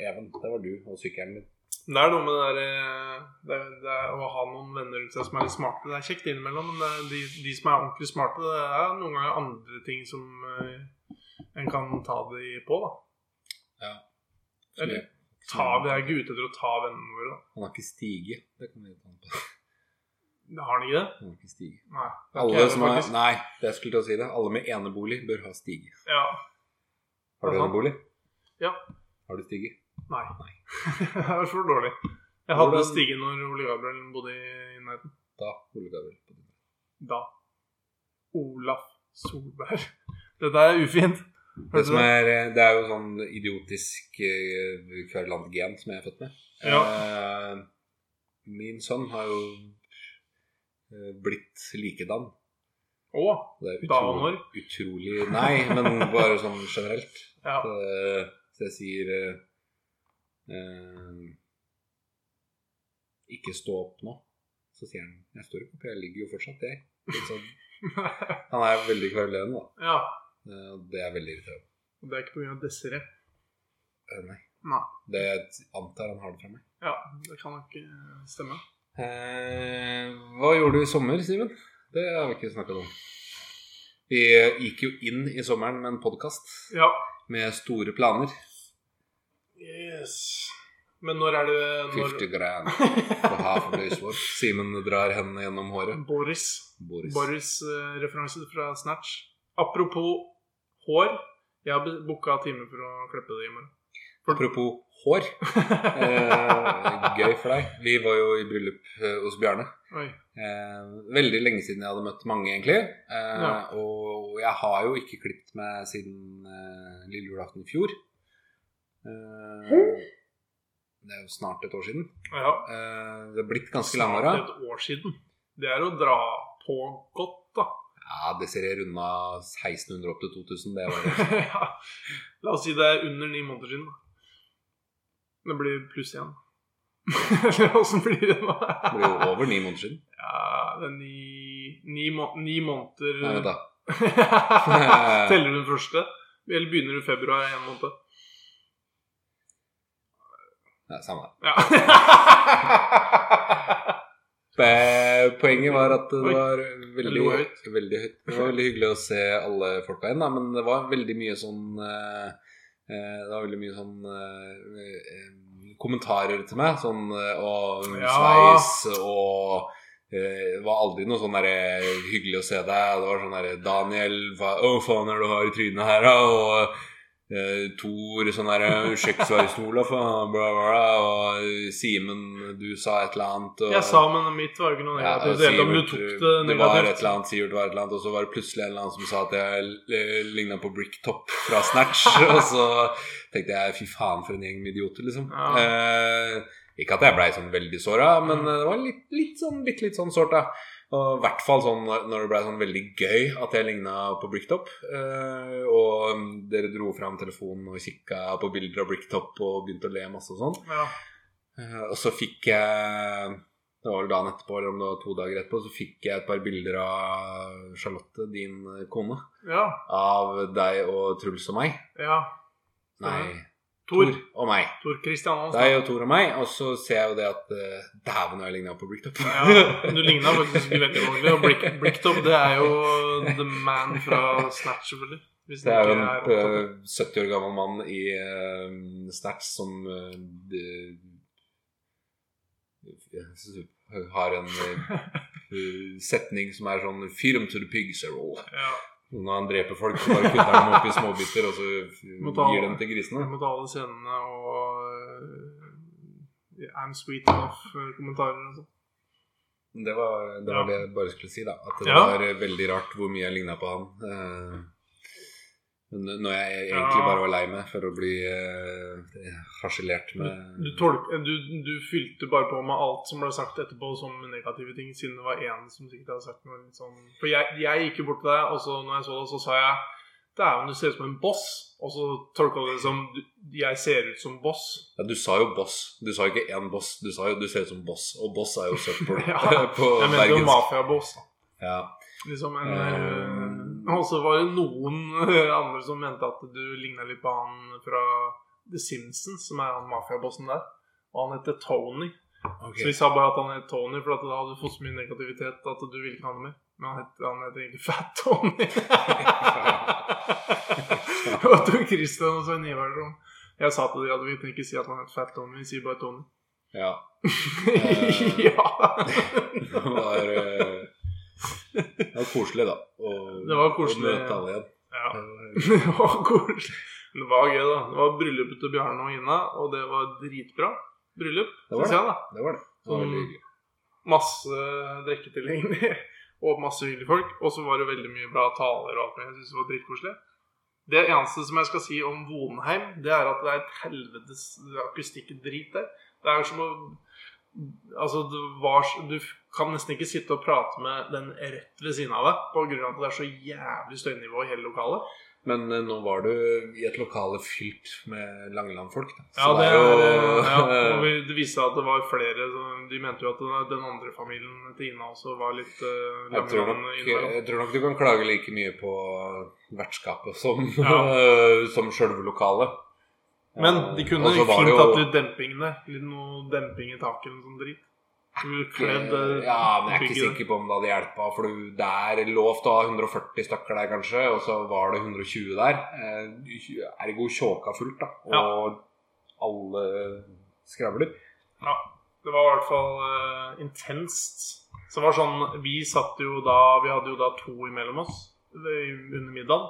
Even, det var du og sykkelen din. er- det er noe med det der eh, det, er- det er, Å ha noen venner rundt seg som er litt smarte. Det er kjekt innimellom, men det er de, de som er ordentlig smarte, det er noen ganger andre ting som eh, en kan ta de på, da. Eller Ta, vi er ikke ute etter å ta vennene våre, da. Han har ikke stige. Det kan vi ta han på. Har han ikke det? Han har ikke stige. Nei. det er ikke Alle Even, som har, faktisk. nei, det jeg skulle til å si det. Alle med enebolig bør ha stige. Ja. Har du Aha. enebolig? Ja. Har du stige? Nei. det er for dårlig. Jeg hadde stige når Ole Gabriel bodde i nærheten. Da Ole Gabriel. på din. Da. Olaf Solberg. Dette er ufint. Det, Hørte du som er, eh, det er jo sånn idiotisk eh, kverulant gen som jeg er født med. Eh, min sønn har jo eh, blitt likedan. Å, Det er Da og utrolig, utrolig Nei, men bare sånn generelt. ja. Eh, så jeg sier eh, eh, Ikke stå opp nå. Så sier han jeg står ikke opp, jeg ligger jo fortsatt, jeg. Litt sånn. Han er veldig kverulerende, da. ja. Eh, og Det er veldig irriterende. Og Det er ikke pga. Desiree. Eh, Nei. Nei. Det jeg antar han har det fra meg. Ja, det kan nok eh, stemme. Eh, hva gjorde du i sommer, Simen? Det har vi ikke snakka om. Vi eh, gikk jo inn i sommeren med en podkast Ja. med store planer. Yes. Men når er det når... 50 grand. For half a day's work. Simen drar hendene gjennom håret. Boris. Boris. Boris-referanse fra Snatch. Apropos hår. Jeg har booka time for å klippe det i morgen. Apropos hår. Eh, gøy for deg. Vi var jo i bryllup eh, hos Bjarne. Oi. Eh, veldig lenge siden jeg hadde møtt mange, egentlig. Eh, Ja. Og jeg har jo ikke klippet meg siden eh, lille julaften i fjor. Eh, det er jo snart et år siden. Ja. Eh, det er blitt ganske Snart langhåra. Et år siden. Det er å dra på godt, da. Ja, det ser jeg runda 1600 opp til 2000. Det var det. ja. La oss si det er under ni måneder siden. da. Det blir pluss igjen. Eller åssen blir det nå? Det blir jo over ni måneder siden. Ja, det er ni, ni, må, ni måneder Nei, vent da. Teller du den første? Eller begynner du i februar en måned? Nei, samme det. Ja. Eh, Poenget var at det Oi. var Det veldig var høyt. veldig høyt. Det var veldig hyggelig å se alle folka igjen, da, men det var veldig mye sånn eh, eh, Det var veldig mye sånn eh, eh, kommentarer til meg, sånn eh, og Ja. sveis og eh, det var aldri noe sånn derre 'hyggelig å se deg'. Det var sånn derre 'Daniel, hva å, faen er det du har i trynet her', da? Og eh, Tor sånn derre 'Sjekk sveisen, Olaf', og bla, bla, bla. Og Simen, du sa et eller annet. Og, Jeg sa, men mitt var jo ikke noe ja, negativt. Sivert, Helt om du tok var det et negativt. eller annet Sivert var et eller annet, og så var det plutselig en eller annen som sa at jeg ligna på Bricktop fra Snatch. og så tenkte jeg fy faen for en gjeng med idioter, liksom. Ja. Mm. Eh, ikke at jeg blei sånn veldig såra, men eh, det var litt, litt sånn bitte litt sånn sårt, da. Og i hvert fall sånn når når det blei sånn veldig gøy at jeg ligna på Bricktop. Eh, og mm, dere dro fram telefonen og kikka på bilder av Bricktop og begynte å le masse og sånn. Ja. Eh, Og så fikk jeg Det var vel dagen etterpå, eller om det var to dager etterpå, så fikk jeg et par bilder av Charlotte, din eh, kone. ja. Av deg og Truls og meg. ja. Nei, Tor. og meg. Tor Christian Hansen. Deg og Tor og meg. Og så ser jeg jo det at eh, Dæven, jeg ligna på Bricktop. Ja, du ligna faktisk veldig ordentlig. Og Blick, Blacktop, det er jo the man fra Snatch, selvfølgelig. Hvis Det er jo ikke en opptatt av det. eh, 70 år gammel mann i uh, Snatch som eh, de- eh, har en eh, setning som er sånn 'Feed 'em to the pigs are all'. Ja, Når han dreper folk, så bare kutter han dem opp i småbiter, og så Må ta- gir dem til jeg grisene. må ta alle scenene og eh, I'm sweet enough-kommentarer og sånn. Det var det, var Ja. det jeg bare skulle si, da. At det Ja. var veldig rart hvor mye jeg ligna på han. Eh, n- når jeg egentlig Ja. bare var lei meg for å bli eh, harselert med Du, tolk, eh, du, du fylte bare på med alt som ble sagt etterpå som negative ting, siden det var én som sikkert hadde sagt noe litt sånn For jeg, jeg gikk jo bort til deg, og så når jeg så det, så sa jeg Dæven, du ser ut som en boss. Og så tolka du det som du- Jeg ser ut som boss. Ja, du sa jo boss. Du sa ikke én boss. Du sa jo du ser ut som boss, og boss er jo søppel Ja, på Jeg mente bergensk. jo mafiaboss. da. Ja. Liksom en, Eh, eh, Og så var det noen eh, andre som mente at du ligna litt på han fra The Simpsons, som er han mafiabossen der. Og han heter Tony. ok. Så vi sa bare at han het Tony, for at da hadde du fått så mye negativitet at du ville ikke ha det mer. Men han heter, han heter egentlig Fat Tony. og Tor Christian og Svein Ivar sånn. Jeg sa til dem at vi kan ikke si at han het Fat Tony, vi sier bare Tony. Ja. ja! Det var, eh, det var koselig, da. å- Det var Å koselig, møte alle igjen. ja. Det var koselig. Men Det var gøy, da. Det var bryllupet til Bjarne og Ina, og det var dritbra bryllup. Det var synes Jeg, da. Det var det. det var Mm. veldig hyggelig. Masse drikketilgjengelig og masse hyggelige folk. Og så var det veldig mye bra taler og alt mulig. Jeg synes det var dritkoselig. Det eneste som jeg skal si om Vonheim, det er at det er et helvetes akustikkdrit der. Det er som å Altså, det var, s- du f- kan nesten ikke sitte og prate med den rett ved siden av deg på grunn av at det er så jævlig støynivå i hele lokalet. Men eh, nå var du i et lokale fylt med Langeland-folk. da. Ja, Så det, er er- eh, ja, og jo vi- det viste seg at det var flere som- De mente jo at den- den andre familien til Ina også var litt uh, jeg tror, nok, innimellom. jeg tror nok du kan klage like mye på vertskapet som, som sjølve lokalet. Men de kunne Og så var fint det jo- hatt litt demping der. Litt noe demping i taket eller noe sånt drit. Skulle kledd eh, Ja, men jeg er ikke bygget. sikker på om det hadde hjelpa. For du- det er lov til å ha 140 stykker der, kanskje, og så var det 120 der. Eh, Ergo tjåka fullt, da. Og alle skravler. Det var i hvert fall eh, intenst. Så det var sånn Vi satt jo da Vi hadde jo da to imellom oss ved- under middagen.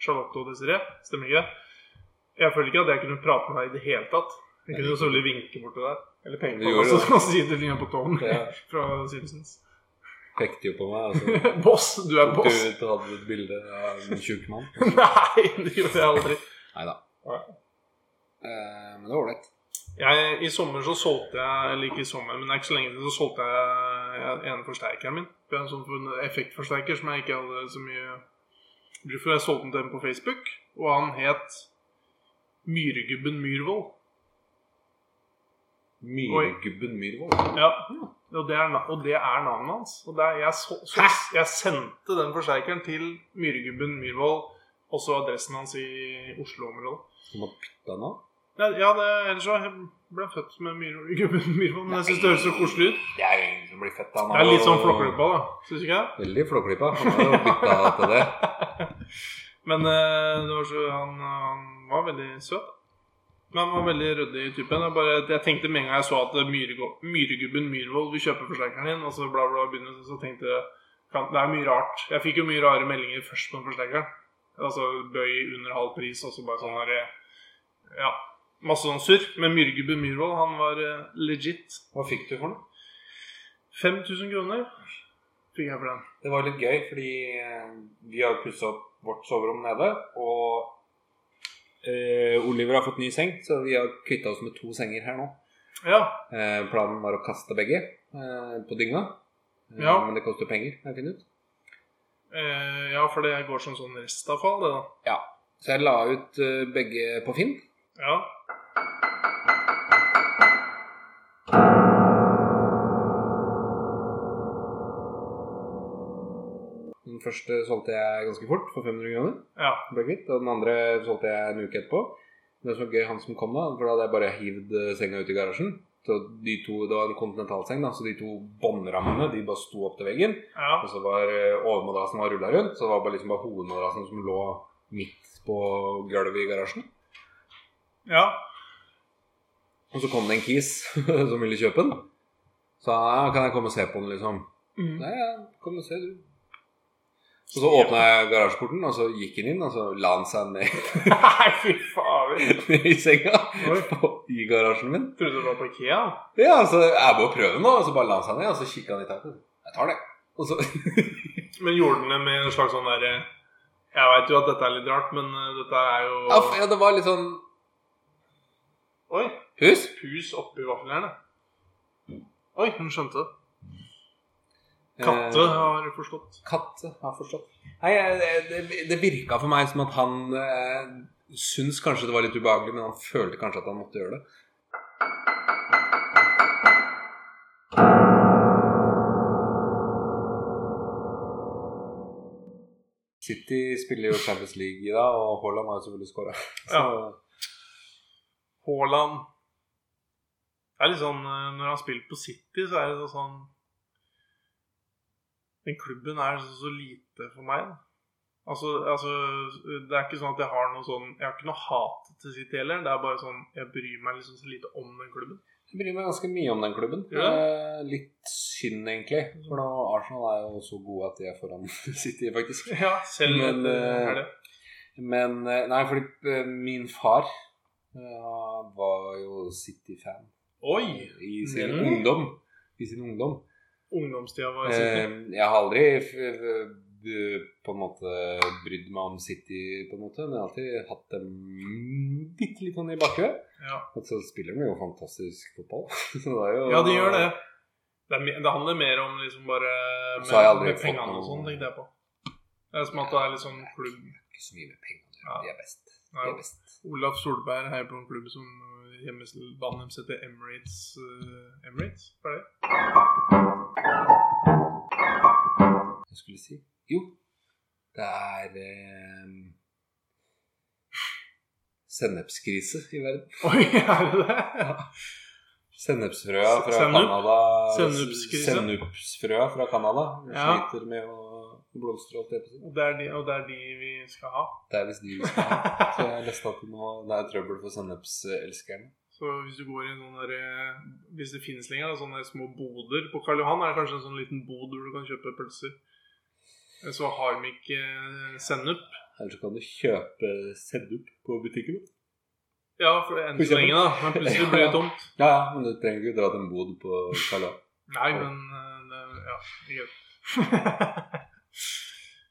Charlotte og Desiree. Stemmer ikke det? Jeg føler ikke at jeg kunne prate med deg i det hele tatt. Jeg kunne jo selvfølgelig vinke borti deg. Eller peke Du på deg gjorde også, og si du ligner på Tom Det fra Simpsons. pekte jo på meg. Altså. Boss! Du er Tok du boss! ut og hadde et bilde av en tjukk mann? Nei, det gjorde jeg aldri. Nei da. Nei. Eh, Men det var ålreit. Jeg, I sommer så solgte jeg Eller ikke i sommer, men det er ikke så lenge siden så solgte jeg ene forsterkeren min. Det er En sånn effektforsterker som jeg ikke hadde så mye bruk for. Jeg solgte den til en på Facebook, og han het Myregubben Myrvold. Myregubben Myhrvold. Ja. Og det, er, na- og det er navnet hans. Og det er, jeg, så, så, jeg sendte den forsterkeren til Myregubben Myrvold, også adressen hans i Oslo-området. Som har bytta nå? Ja, ja det, ellers så ble han født med myr- gubben Myhrvold, men jeg syns det høres så koselig ut. Det er jo ingen som blir født da. Det er litt sånn flokkløpa, da. Syns du ikke det? Veldig flåklippa. Han har jo bytta til det. Men eh, det var så, han, han var veldig søt. da. Men han var veldig ryddig i typen. Jeg, bare, jeg tenkte med en gang jeg så at Myhrego- myregubben Myhrvold vil kjøpe forsterkeren din, og så bla, bla, begynner, så- så tenkte jeg kan, Det er mye rart. Jeg fikk jo mye rare meldinger først på den forsterkeren. Altså bøy under halv pris, og så bare sånn her eh, Ja. Masse sånn surr. Men myregubben Myhrvold, han var eh, legit. Hva fikk du for noe? 5000 kroner fikk jeg for den. Det var litt gøy, fordi eh, vi har pussa opp vårt soverom nede. Og eh, Oliver har fått ny seng, Så vi har kvitta oss med to senger her nå. Ja. Eh, planen var å kaste begge eh, på dynga. Eh, Ja. Men det koster penger, har jeg funnet ut. Eh, ja, for det går som sånn restavfall, det, da. Så jeg la ut eh, begge på Finn. Ja. Den første solgte jeg ganske fort for 500 kroner. ja. ble kvitt, og den andre solgte jeg en uke etterpå. Det som var gøy, han som kom da, for da hadde jeg bare hivd eh, senga ut i garasjen. Så de to, Det var en kontinentalseng, da, så de to båndrammene de bare sto opp til veggen. ja. Og så var eh, overmadrassen var rulla rundt, så det var bare liksom bare hovedmadrassen som lå midt på gulvet i garasjen. ja. Og så kom det en kis som ville kjøpe den. Så ja, kan jeg komme og se på den, liksom. Mm. Nei, ja, kom og se, du. Og så åpna jeg garasjeporten, og så gikk han inn, og så la han seg ned Nei, fy faen. i senga Oi. på- i garasjen min. Trodde du det var på Ikea? Ja, så jeg må prøve nå, og så bare la han seg ned, og så kikket han i taket. Jeg tar det. Og så, Men gjorde den det med en slags sånn derre Jeg veit jo at dette er litt rart, men eh, dette er jo ja, f- ja, det var litt sånn Oi! Hus? Pus oppi vaffeljernet. Oi, hun skjønte det. Katte Eh, har forstått. katte, har forstått. Nei, jeg- det, det virka for meg som at han eh, syntes kanskje det var litt ubehagelig, men han følte kanskje at han måtte gjøre det. City spiller jo Champions League i dag, og Haaland har jo selvfølgelig skåra. Ja. Haaland Det er litt sånn eh, Når han spiller på City, så er det sånn Den klubben er så, så lite for meg. Da. Altså, altså, det er ikke sånn at jeg har noe sånn Jeg har ikke noe hat til City heller. Det er bare sånn Jeg bryr meg liksom så lite om den klubben. Jeg bryr meg ganske mye om den klubben. Ja. Eh, litt synd, egentlig. For nå, Arsenal er jo så gode at de er foran City, faktisk. Ja, selv Men, om det er det. Men eh, Nei, fordi eh, min far eh, var jo City-fan Oi! i sin Nemlig. ungdom. I sin ungdom. Ungdomstida var City. Eh, jeg har aldri f f- b- på en måte brydd meg om City, på en måte, men jeg har alltid hatt dem bitte litt sånn i bakhuet. Ja. Og så spiller de jo fantastisk fotball. så det er jo ja, de gjør det. Det, er, me- det handler mer om liksom bare med, Så har jeg aldri med fått pengene noe- og sånn, tenkte jeg på. Det er som at det er litt sånn klubb Ikke så mye med penger. å Ja. gjøre. De er best. De Nei, er best. Olaf Solberg heier på en klubb som eh, hjemmeslandet deres heter Emirates eh, Emirates? Hva er det? jeg skulle si? Jo, det er eh, sennepskrise i verden. Oi, er det det? Sennepsfrøa Se- fra sennup? Canada Sennepskrise? Sennepsfrøa fra Canada Ja. sliter med å blomstre. Alt det. på sin. Og det, er de, og det er de vi skal ha. Det er visst de vi skal ha. Så jeg leste at det nå- det er trøbbel for sennepselskerne. Så hvis du går i noen der, eh, Hvis det finnes lenger, da, sånne små boder på Karl Johan, er det kanskje en sånn liten bod hvor du kan kjøpe pølser. Eh, Så harmik eh, sennep. Eller så kan du kjøpe sennup på butikken. Ja, for enn For så eksempel. lenge, da. Men plutselig blir det tomt. Ja, ja, men du trenger ikke dra til en bod på Kalla. Nei, men eh, det- Ja, det er greit.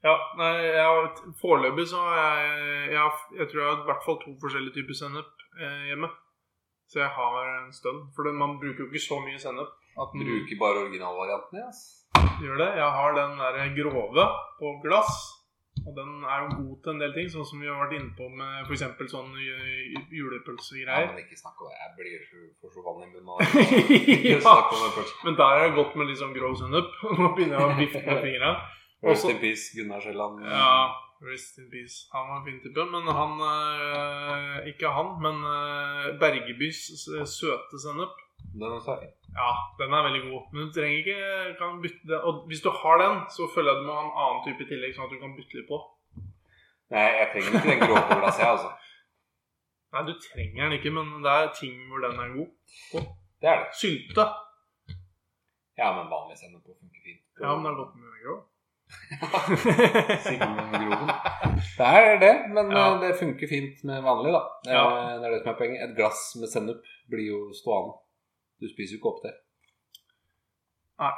ja, nei, jeg har, foreløpig så har jeg jeg, har, jeg tror jeg har i hvert fall to forskjellige typer sennep eh, hjemme. Så jeg har en stund. For det- man bruker jo ikke så mye sennep. At man Bruker bare originalvariantene. Ja. ass. gjør det. Jeg har den der grove på glass. Og den er jo god til en del ting, sånn som vi har vært inne på med f.eks. sånn eh, Ja, julepølsegreier. men ikke snakk om det. Jeg blir så- får så vann i munnen av det. Ikke ja, snakk om det først. men der er det godt med litt sånn grov sennep. Nå begynner jeg å vifte med fingra. Rest Også- in peace, Gunnar Sjælland. Ja, rest in peace. Han var en fin type, men han eh, ikke han, men eh, Bergebys s- søte sennep. Den også er fin. Ja, den er veldig god. Men du trenger ikke kan bytte den. Og hvis du har den, så føler jeg du må ha en annen type i tillegg, sånn at du kan bytte litt på. Nei, jeg trenger ikke den gråkålglasset, jeg, altså. Nei, du trenger den ikke, men det er ting hvor den er god. Det er det. Sylte. Ja, men vanlig sennep funker fint. Ja, men det er godt med vinegro. Sigmund Groven. Det er det, men Ja. eh, det funker fint med vanlig, da. Eh, Ja. Det er det som er poenget. Et glass med sennep blir jo stående. Du spiser jo ikke opp det. Nei.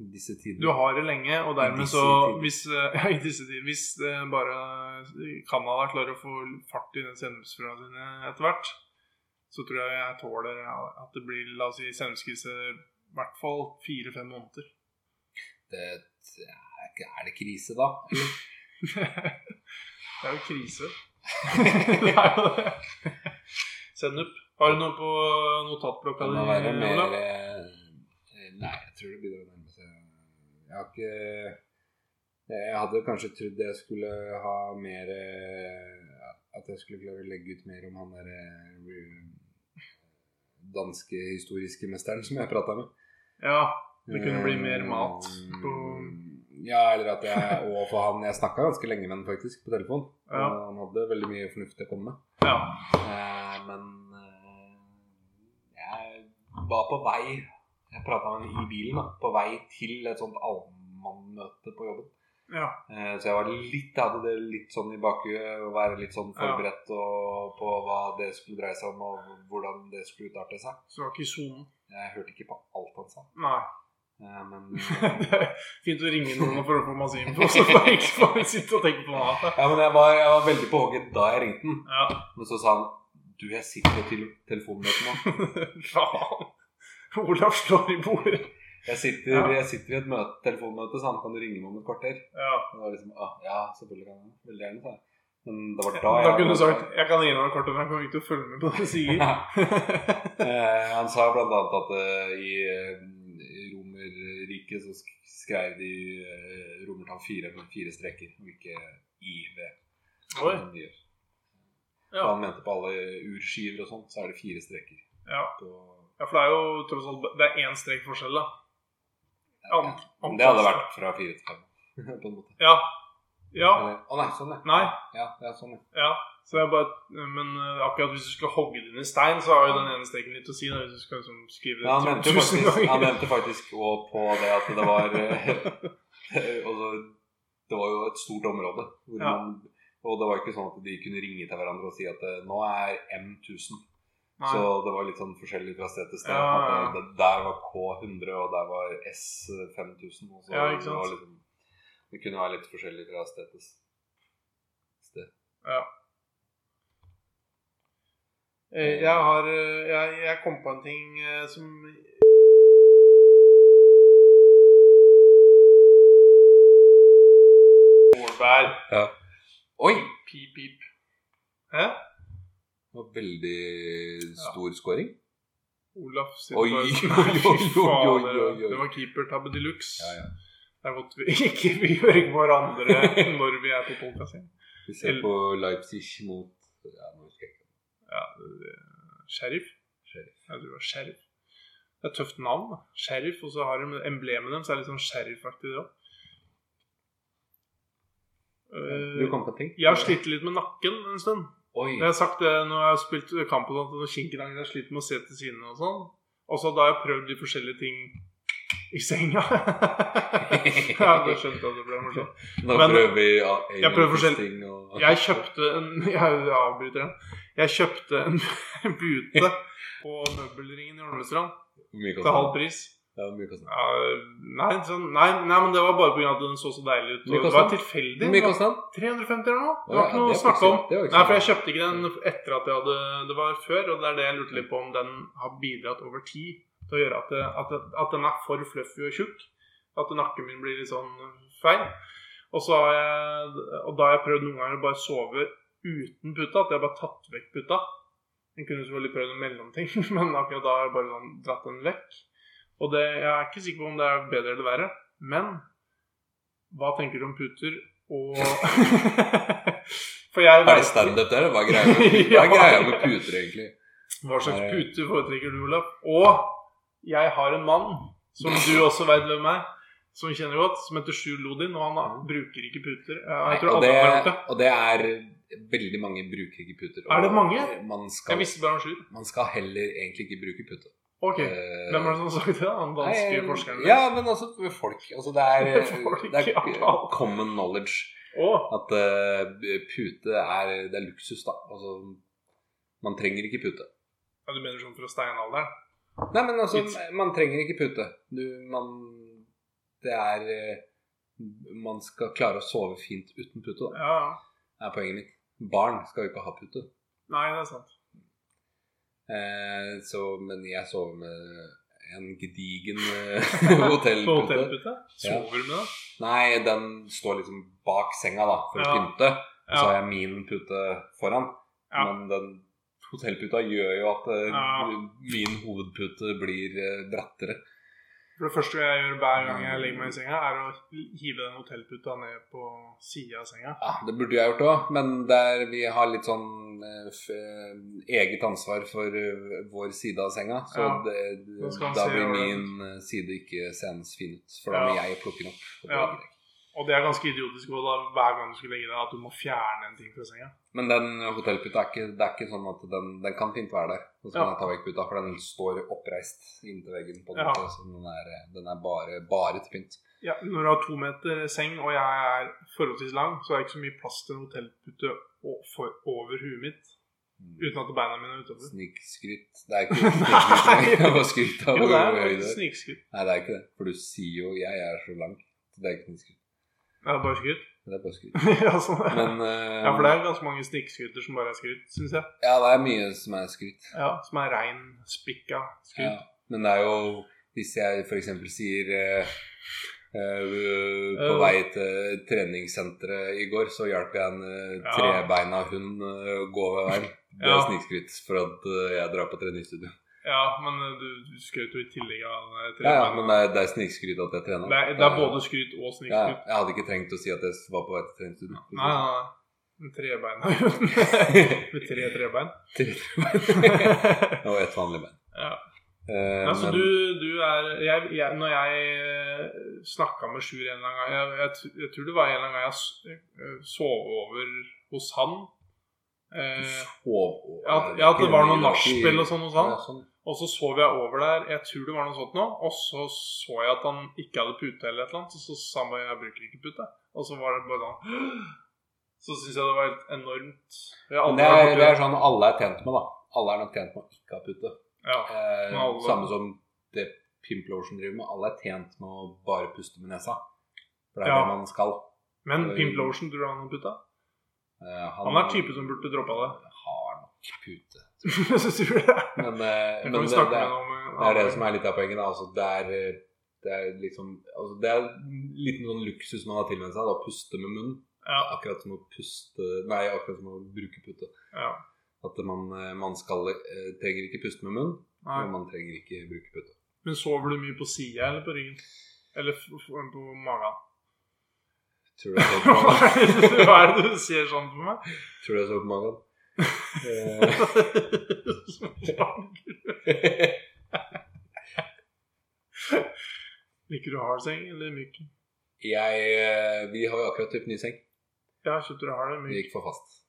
I Disse Du tider. har det lenge, og dermed så I disse tider. hvis, eh, ja, I disse tider. Hvis eh, bare Canada klarer å få fart i den sennepsfrøa sine etter hvert, så tror jeg jeg tåler ja, at det blir la oss si, sennepskrise i hvert fall fire-fem måneder. Det er ikke- er det krise, da? det er jo krise. det er jo det. Sennep. Har du noe på notatblokka Kan di? det være mer Olav? eh, Nei, jeg tror det begynner å nærme seg Jeg har ikke Jeg hadde kanskje trodd jeg skulle ha mer eh, At jeg skulle klare å legge ut mer om han derre danske historiske mesteren som jeg prata med. Ja. Det kunne bli mer mat Eh, på- Ja, eller at jeg Og for han Jeg snakka ganske lenge med han faktisk på telefon. Ja. Og han hadde veldig mye fornuftig å komme med. ja. Eh, men eh, jeg var på vei Jeg prata med henne i bilen, da. På vei til et sånt allmannmøte på jobben. ja. Eh, så jeg var litt, jeg hadde det litt sånn i bakhuet å være litt sånn forberedt og, på hva det skulle dreie seg om, og hvordan det skulle utarte seg. Så du var ikke i sonen? Jeg hørte ikke på alt han sa. Nei. Eh, men Det er Fint å ringe noen og prøve å få masse info, så får jeg ikke bare sitte og tenke på noe annet. Ja, men jeg var, jeg var veldig på hogget da jeg ringte den. Ja. Men så sa han Du, jeg sitter på tele- telefonmøte nå. Faen. Olav slår i bordet. Jeg sitter, Ja. jeg sitter i et møte, telefonmøte, så han kan du ringe meg om et kvarter. Ja. Det var liksom, ah, ja, selvfølgelig kan jeg det. Veldig gjerne, sa jeg. Men det var da jeg Da kunne du sagt 'Jeg kan gi deg noe kort, men jeg kommer ikke til å følge med på det du sier'. Eh, Han sa blant annet at eh, i, eh, i Romerriket så sk- skrev de eh, romertall fire med fire streker, og ikke i ved. Oi. som de gjør. Ja. Så Han mente på alle urskiver og sånt, så er det fire streker. Ja. På, ja, for det er jo tross alt Det er én strek forskjell, da. Ant- Men det hadde vært fra fire til fem, på en måte. Ja. Ja. Eller- Å nei, sånn ja. Nei. Ja, det er sånn ja. Ja, så jeg bare, men eh, akkurat hvis du skal hogge den i stein, så har jo den ene streken litt å si. Da, hvis du skal liksom skrive Ja, han det nevnte jo faktisk, han nevnte faktisk også på det at det var eh, altså, Det var jo et stort område. Hvor Ja. man, og det var ikke sånn at de kunne ringe til hverandre og si at eh, nå er M 1000. Nei. Så det var litt sånn forskjellig fra sted til sted. Ja, ja, ja. At det, der var K100, og der var S5000. Og så Ja, ikke Det, sant. var liksom, det kunne være litt forskjellig fra sted til sted. Eh, Jeg har eh, jeg, jeg kom på en ting eh, som Målbær. Oi! Pip, pip. Hæ? Det var veldig stor scoring. Olaf sitter Oi, bare- oi, oi, oi, Fy faen, oi, oi, oi. Det var keepertabbe de luxe. Ja, ja. Det er godt vi ikke vi hører ikke på hverandre når vi er på podkast. Vi ser på Leipzig mot ja, nå husker jeg ikke. Ja, eh, sheriff. Jeg tror det var sheriff. Det er et tøft navn. da. Sheriff, og så har de emblemet dem, så er det litt sånn sheriff-aktig det òg. Du kom på ting? Eh, jeg har slitt litt med nakken en stund. Oi. Jeg har sagt det når jeg har spilt kamp og sånt, og kinkidang, jeg har slitt med å se til sidene og sånn. Og så da har jeg prøvd de forskjellige ting i senga. ja, da skjønte jeg at det ble morsomt. Nå Men- prøver vi ja, Jeg prøver forskjell- ting og Jeg kjøpte en Jeg avbryter den. Jeg kjøpte en pute på møbelringen i Holmestrand Hvor mye til koster halv det? pris. Ja, hvor mye koster det? Ja, nei, sånn, nei, nei, men det var bare pga. at den så så deilig ut. Mye Og det var kostet? tilfeldig. Hvor mye koster den? 350 eller noe. Å, Det var ja, ikke noe det å er snakke om. faktisk- det er jo ikke Nei, for så- jeg kjøpte ikke den etter at jeg hadde Det var før, og det er det jeg lurte litt på om den har bidratt over tid til å gjøre at, det, at, det, at den er for fluffy og tjukk. At nakken min blir litt sånn feil. Og, så har jeg, og da har jeg prøvd noen ganger å bare sove uten puta. At jeg bare tatt vekk puta. Jeg kunne selvfølgelig prøvd en mellomting, men akkurat da har jeg bare sånn dratt den vekk. Og det, jeg er ikke sikker på om det er bedre eller verre, men hva tenker du om puter og For jeg Er det vet- standup der? Hva er greia med- hva er greia med puter, egentlig? Hva slags pute foretrekker du, Olav? Og jeg har en mann, som du også vet hvem er, som vi kjenner godt, som heter Sjur Lodin, og han har- bruker ikke puter. Jeg tror og, alle har gjort det, det. og det er veldig mange bruker ikke puter. og Er det mange? Man Jeg skal, visste bare om Sjur. man skal heller egentlig ikke bruke pute. Ok, Eh, Hvem var det som sa det? Han danske nei, forskeren? Ja, men også folk. Altså, det er, Folk, det er eh, ja. common knowledge Å, at eh, pute er, det er luksus, da. Altså, man trenger ikke pute. ja, du mener sånn fra steinalderen? Nei, men altså, It's- man trenger ikke pute. Du, man Det er eh, Man skal klare å sove fint uten pute, da. Ja, ja. Det er poenget mitt. Barn skal jo ikke ha pute. Nei, det er sant. Eh, så, men jeg sover med en gedigen eh, På hotellpute. hotellpute? Ja. Sover du med det? Nei, den står liksom bak senga da, for å Ja. pynte. Og Ja. så har jeg min pute foran. Ja. Men den hotellputa gjør jo at eh, Ja. min hovedpute blir eh, brattere. For det første jeg gjør hver gang Mm. jeg legger meg i senga, er å hive den hotellputa ned på sida av senga. Ja, det burde jeg gjort òg, men der vi har litt sånn eh, f eh, eget ansvar for eh, vår side av senga, så Ja. det, Da skal han da se blir over den. min eh, side ikke seende fin ut. For da må Ja. jeg plukke den opp. og det Ja. gidder jeg ikke. Og det er ganske idiotisk også, da, hver gang du skal legge deg, at du må fjerne en ting fra senga. Men den hotellputa er ikke, det er ikke sånn at den, den kan fint være der. Og så kan Ja. jeg ta vekk puta, for den står oppreist inntil veggen. på en Ja. måte, så den er, eh, den er bare, bare til pynt. Ja, når du har to meter seng, og jeg er forholdsvis lang, så er det ikke så mye plass til en hotellpute o- for- over huet mitt. Uten at beina mine er utover. Snikskryt. Det er ikke snikskryt, jeg bare skryter av hvor Jo, det høy er det er. snikskryt. Nei, det er ikke det. For du sier jo 'jeg er så lang'. Så Det er ikke snikskryt. Det er bare skryt. Det er bare skryt. ja, sånn. er det. Men eh, ja, for det er ganske mange snikskryter som bare er skryt, syns jeg. ja, det er mye som er skryt. Ja, Som er rein, spikka Ja. skryt. Men det er jo hvis jeg f.eks. sier eh, eh, på Eh. vei til treningssenteret i går, så hjalp jeg en eh, Ja. trebeina hund eh, å gå over veien. Det er Ja. snikskryt for at eh, jeg drar på treningsstudio. Ja, men eh, du, du skrøt jo i tillegg av eh, Ja, ja, beina. men det er, det er snikskryt at jeg trener. det, er, det er både skryt ja, og ja. snikskryt. Jeg hadde ikke trengt å si at jeg var på vei til treningsstudio. Nei, nei, nei. Med trebeina Med tre trebein. Og ett vanlig bein. Ja. Eh, Nei, så men- du, du er jeg, jeg, Når jeg snakka med Sjur en eller annen gang jeg, jeg, tr- jeg tror det var en eller annen gang jeg s- eh, sov over hos han. Eh, Sov- ja, at, ja, at det var noe Ikke- nachspiel og sånn hos han. Ja, sånn. Og så sov jeg over der, jeg tror det var noe sånt nå. Og så så jeg at han ikke hadde pute eller et eller annet, og så sa han bare 'jeg bruker ikke pute'. Og så var det bare sånn Så syns jeg det var helt enormt. Jeg har Men aldri det, er, vært borti det er sånn alle er tjent med, da. Alle er nok tjent med å ikke ha pute. Ja. Eh, alle- samme som det Pimplotion driver med. Alle er tjent med å bare puste med nesa. For det er Ja. det man skal. Men Pimp Lotion, tror du han har putta? Eh, Han er type som burde droppa det. Har nok pute. Så tror jeg det. Men, eh, Det men kan vi det, snakke det, med ham om. det er det som er litt av poenget. Da. Altså, det er eh, det er liksom altså, Det er en liten sånn luksus man har tilvennet seg. Da. Å puste med munnen. Ja. Akkurat som å puste Nei, akkurat som å bruke pute. Ja. At man, eh, man skal, eh, trenger ikke puste med munnen, og Nei. man trenger ikke bruke pute. Men sover du mye på sida eller på ryggen? Eller f- f- på magen? Tror du jeg så på Hva magen? er det du- hva er det du ser sånn på meg? Tror du jeg så på magen? Eh, Liker du hard seng eller myk? jeg eh, Vi har jo akkurat kjøpt ny seng. Ja, kjøpte du hard eller Det myk? gikk for fast.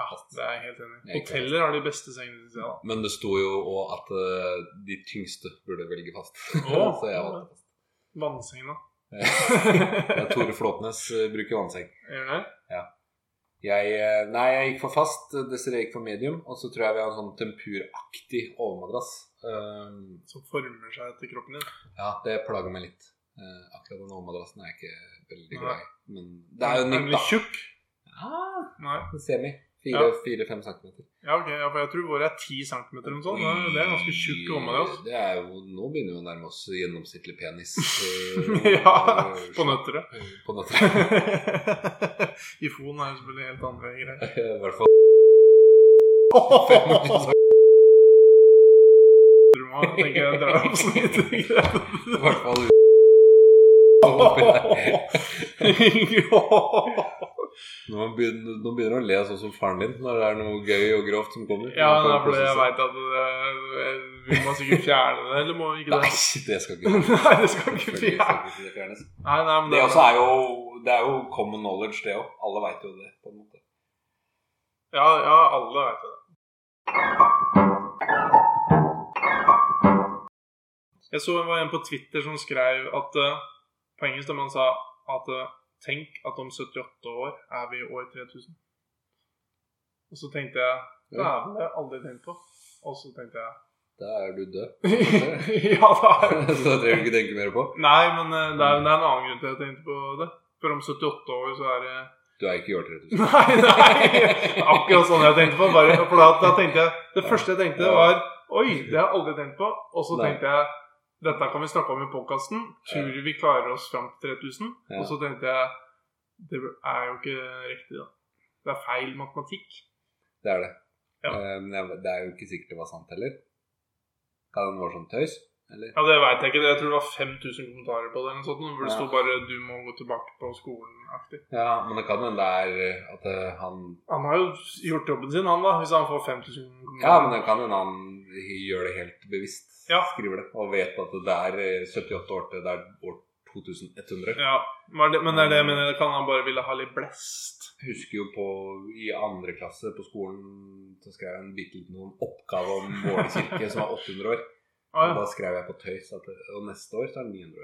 Ja, det er jeg helt enig i. Jeg er ikke Hoteller har de beste sengene, syns jeg. da. Men det sto jo òg at eh, de tyngste burde velge fast. Å. så jeg valgte fast. Vannseng, da. Ja, Tore Flåtnes eh, bruker vannseng. Gjør det? Jeg, eh, nei, jeg gikk for fast. eh, Desiree gikk for medium. Og så tror jeg vi har en sånn tempuraktig overmadrass. Eh, Som former seg etter kroppen din. Ja, det plager meg litt. Eh, akkurat den overmadrassen er jeg ikke veldig Nei. glad i. Men det er jo Er den nytt, litt da. tjukk? Ah, Nei. en semi. Ja. Fire-fem centimeter. Ja, ok, ja, for jeg tror vår er 10 cm eller noe sånt. Sånn, Ja, Det er ganske tjukk altså. overmadrass. Det er jo, nå begynner vi å nærme oss gjennomsnittlig penis. eh, Ja, På nøtteret. På nøtter. Ifon er jo selvfølgelig helt andre greier. I hvert fall Du må tenke deg å dra opp sånn litt. i hvert fall Nå begynner, nå begynner du å le sånn som faren din når det er noe gøy og grovt som kommer. Ja, Nå det kan er du fordi jeg kose seg. veit at eh, vi må sikkert fjerne det, eller må vi ikke det? Nei, det skal ikke Nei, det skal ikke Selvfølgelig fjernes. skal ikke det fjernes. Nei, nei, men sånn Det også er jo Det er jo common knowledge, det òg. Alle veit jo det. på en måte Ja, ja alle veit det. Jeg så det var en på Twitter som skrev at eh, på engelsk da man sa at eh, Tenk at om 78 år er vi i år 3000. Og så tenkte jeg Det Ja. er vel det jeg aldri tenkt på. Og så tenkte jeg Da er du død. Ja, da er det Så da trenger du ikke tenke mer på. Nei, men eh, det er, det er en annen grunn til at jeg tenkte på det. For om 78 år så er det Du er ikke i år 3000. Nei, nei! Akkurat sånn jeg tenkte på. Bare, for da, da tenkte jeg Det første jeg tenkte, var Oi, det har jeg aldri tenkt på. Og så Nei. tenkte jeg Dette kan vi snakke om i podkasten. Tror vi klarer oss fram til 3000? Ja. Og så tenkte jeg Det er jo ikke riktig, da. Det er feil matematikk. Det er det. Ja. Eh, Men jeg- det er jo ikke sikkert det var sant heller. Kan den være sånn tøys? Eller? Ja, det veit jeg ikke. Jeg tror det var 5000 kommentarer på det. eller noe sånt, Hvor det Ja. sto bare 'du må gå tilbake på skolen'-aktig. Ja, men det kan hende det er eh, at eh, han Han har jo gjort jobben sin, han, da. Hvis han får 5000 kommentarer. Ja, men det kan hende han gjør det helt bevisst. Ja. Skriver det. Og vet at det er eh, 78 år til det er år 2100. Ja, men det, men det er det jeg mener. Kan han bare ville ha litt blest? Jeg husker jo på, i andre klasse på skolen så skrev jeg en bitte liten noen oppgave om Våler kirke som var 800 år. Å Og ja. da skrev jeg på tøys at det- og neste år så er den 900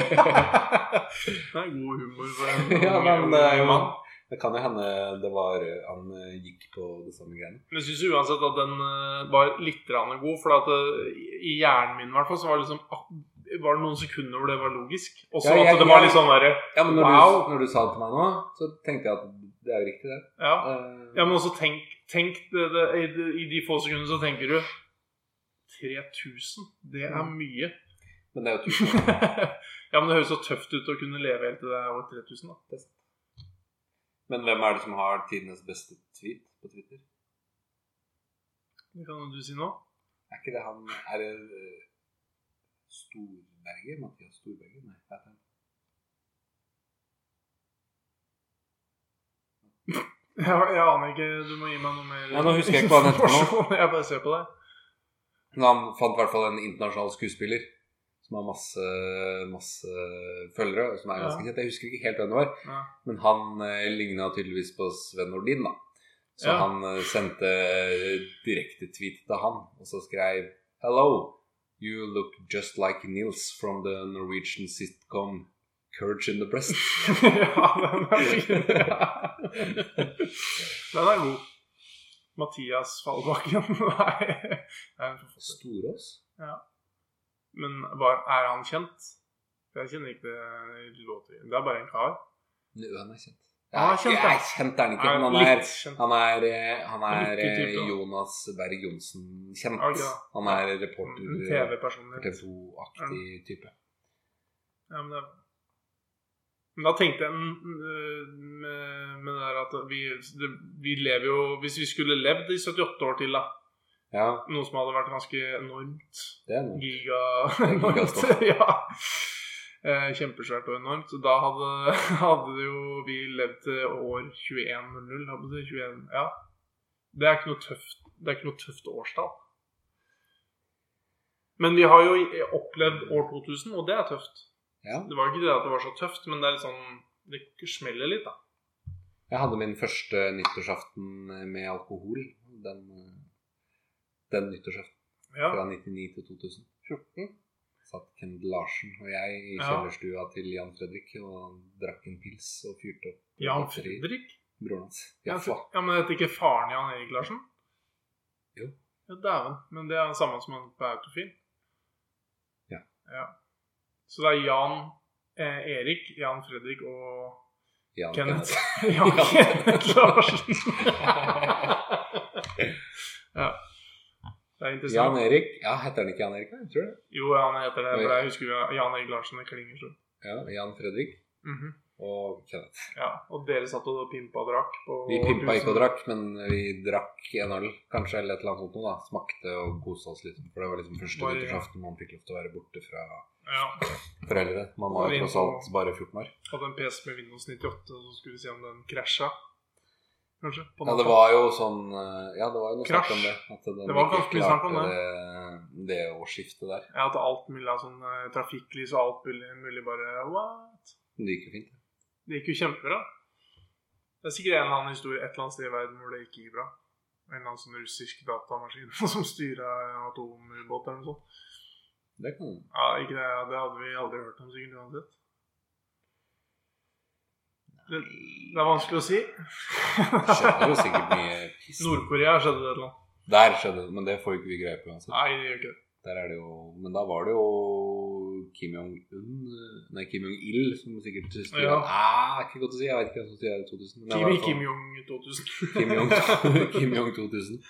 år. det er god humor for en ja, ung- men eh, det er jo ung mann. Det kan jo hende det var eh, han eh, gikk på det samme greiene. Men jeg syns uansett at den eh, var litt grann god, for at eh, i- i hjernen min i hvert fall så var det liksom ak- var det noen sekunder hvor det var logisk. Og så Ja, jeg- at det var jeg- litt sånn derre Ja, men når, Wow. du, når du sa det til meg nå, så tenkte jeg at det er jo riktig, det. ja. Eh, ja, men også tenk, tenk det, det, i, de- I de få sekundene så tenker du 3000, det er Mm. mye. Men det er jo tusen ja, men det høres så tøft ut å kunne leve helt til det er over 3000, da. Men hvem er det som har tidenes beste tweet på Twitter? Det kan du si nå. Er ikke det han Er det eh, Storberget? Mathias Storberget? Nei, hva heter han? Jeg, jeg aner ikke. Du må gi meg noe mer Ja, nå husker jeg ikke hva han heter nå. informasjon. Jeg bare ser på deg. Men han fant i hvert fall en internasjonal skuespiller som har masse, masse følgere, og som er ganske kjent. Jeg husker ikke helt hvem det var, Ja. men han eh, ligna tydeligvis på Sven Nordin, da. Så Ja. han eh, sendte direktetweet til han, og så skrev Hello, you look just like Nils from the Norwegian sitcom Courage in the Breast. ja, den er fin. Den er god. Mathias Fallbakken. Nei. Nei, men for- Storås? Men hva, er han kjent? Jeg kjenner ikke det låter. Det er bare en kar. Nå, han er kjent. Han er Nei, kjent, ja. kjent er han ikke, men han litt er kjent. Han er, eh, han er Lykke til, eh, da. Jonas Berg Johnsen kjent. Ok, da. Han er En reporter, TV-personlighet. TV 2-aktig type. Ja, men det er men da tenkte jeg mm, øh, med, med det der at vi, det, vi lever jo Hvis vi skulle levd i 78 år til, da Ja, Noe som hadde vært ganske enormt. det er noe. Giga Gigastort. enormt. ja. Eh, Kjempesvært og enormt. Så da hadde, hadde det jo vi levd til år 2100. hadde det 21, ja. Det er ikke noe tøft Det er ikke noe tøft årstall. Men vi har jo i- opplevd år 2000, og det er tøft. Ja. Det var ikke det at det var så tøft, men det er litt sånn Det smeller litt, da. Jeg hadde min første nyttårsaften eh, med alkohol. Den, eh, den nyttårsaften Ja. fra 99 til 2014 satt Kend Larsen og jeg i Ja. kjellerstua til Jan Fredrik og drakk en pils og fyrte opp. Jan batteri. Fredrik? Broren hans. Ja, Ja, faen. for- ja, Men heter ikke faren Jan Erik Larsen? Jo. Ja, Dæven. Men det er den samme som han på Autofil? Ja. Så det er Jan eh, Erik, Jan Fredrik og Jan Kenneth. Kenneth. Jan Kenneth Larsen. ja. Det er Jan interessant. Erik. Ja, heter han ikke Jan Erik? Jeg tror det. Jo, han heter det. For jeg husker jo Jan Erik Larsen. Det klinger sånn. Ja, Jan Fredrik. Mhm. og Kenneth. Ja, og dere satt og pimpa og drakk på Vi pimpa ikke og tusen- drakk, men vi drakk en øl, kanskje, eller et eller annet sånt noe, da. Smakte og kosa oss litt. For det var liksom første Bare- nyttårsaften man fikk lov til å være borte fra Ja, foreldre. Man var jo tross alt bare 14 år. Hadde en PC med Windows 98, og så skulle vi se om den krasja. Kanskje? på Ja, det natta. var jo sånn eh, Ja, det var jo noe snakk Krasj. om det. At den Det var ikke ganske mye snakk om klarte det, det årsskiftet der. Jeg hadde alt mulig av sånn eh, trafikklys og alt mulig, mulig bare What? Men det gikk jo fint. Det gikk jo kjempebra. Det er sikkert en eller annen historie et eller annet sted i verden hvor det ikke gikk bra. En eller annen sånn russisk datamaskin som styra atomubåt eller noe sånt. Det kan Ja, ikke det, det hadde vi aldri hørt om sikkert uansett. Det, det er vanskelig å si. Det skjedde jo sikkert mye piss. Nord-Korea skjedde det et eller annet. Der skjedde det, men det får jo ikke vi greie på uansett. Nei, det gjør ikke det. Der er det jo, men da var det jo Kim Jong-un eh, Nei, Kim Jong-il som sikkert styrer Ja. Nei, ikke godt å si. Jeg vet ikke hvem som styrer i 2000. men det var i Kim, hvert fall- Kim Jong 2000. Kim Jong, Kim Jong 2000.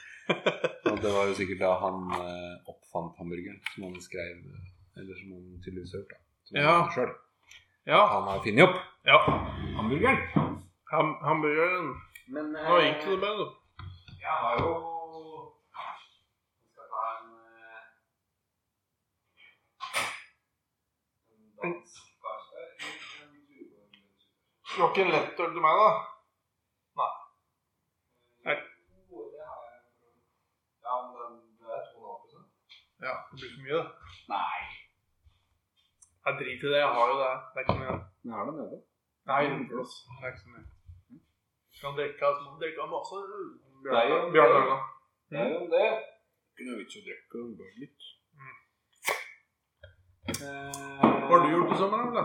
Og det var jo sikkert da han eh, oppfant hamburgeren, som han skrev eh, Eller som han tydeligvis hørte. da, Som Ja. han selv. Ja. Han har funnet opp ja. hamburgeren. Ham, hamburgeren. Men eh, Nå gikk det med, da. jeg har jo Skal ta en eh, en dansk karsberg, en tuborg. Det var ikke en lettøl til meg, da. Jo, det har jeg. Ja, men den det er 2,5 Ja, det blir for mye, det. Nei. Jeg driter i det. Jeg har jo det. Det er ikke mye. Den er der nede. Nei, blås. Det er ikke så mye. Kan drikke, så må du drikke masse. Det er jo- Bjørn Døgna. Det er jo det. Ikke noe vits å drikke bare litt. Hva har du gjort i sommer, da? eller?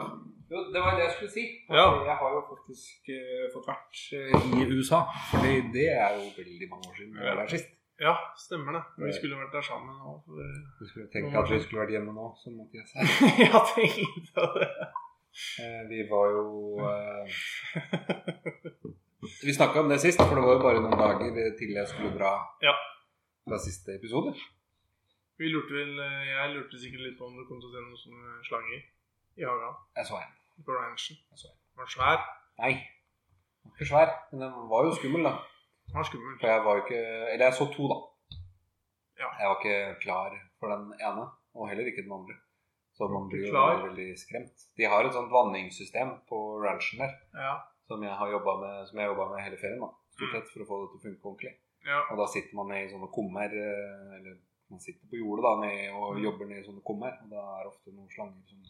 Jo, det var det jeg skulle si. Ja. Jeg har jo faktisk eh, fått vært eh, i USA. Fordi det er jo veldig mange år siden jeg var der sist. Ja, stemmer det. Vi skulle vært der sammen. Og... Du skulle tenke at vi skulle vært hjemme nå, som Mathias er. ja, tenkte det. Eh, Vi var jo eh, Vi snakka om det sist, for det var jo bare noen dager til jeg skulle dra Ja. fra siste episode. Vi lurte vel, eh, jeg lurte sikkert litt på om du kom til å se noen sånne slanger i hagen Jeg så en. på ranchen. Jeg så en. Den var svær. Nei. Den var Ikke svær, men den var jo skummel, da. Den var skummel. For jeg var jo ikke Eller jeg så to, da. Ja. Jeg var ikke klar for den ene, og heller ikke den andre. Så man blir jo klar? veldig, veldig skremt. De har et sånt vanningssystem på ranchen der Ja. som jeg har jobbet med, som jeg har jobbet med hele ferien, da. Stort sett for å få det til å funke ordentlig. Ja. Og da sitter man i sånne kummer, eh, eller man sitter på jordet da, ned, og Mm. jobber ned i sånne kummer. Og da er det ofte noen slanger som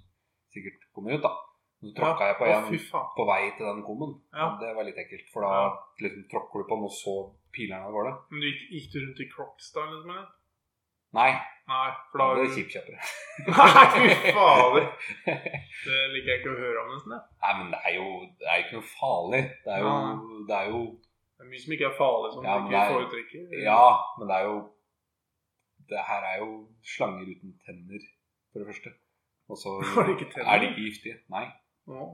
sikkert kommer ut, da. Så tråkka jeg på Å, en fy faen. på vei til den kummen. Ja. Det var litt ekkelt, for da liksom tråkker du på den, og så piler den av gårde. Men du gikk, gikk du rundt i crocs da, liksom? eller? Nei, Nei, for da da ble det kjipkjøpere. Nei, fy fader. Det liker jeg ikke å høre om, nesten. jeg. Nei, men det er jo det er jo ikke noe farlig. Det er jo, det er jo Det er mye som ikke er farlig, som Ja, du men ikke det er- foretrekker. Ja, men det er jo Det her er jo slanger uten tenner, for det første. Og så Var det ikke tenner? er de ikke giftige. Nei. Ja.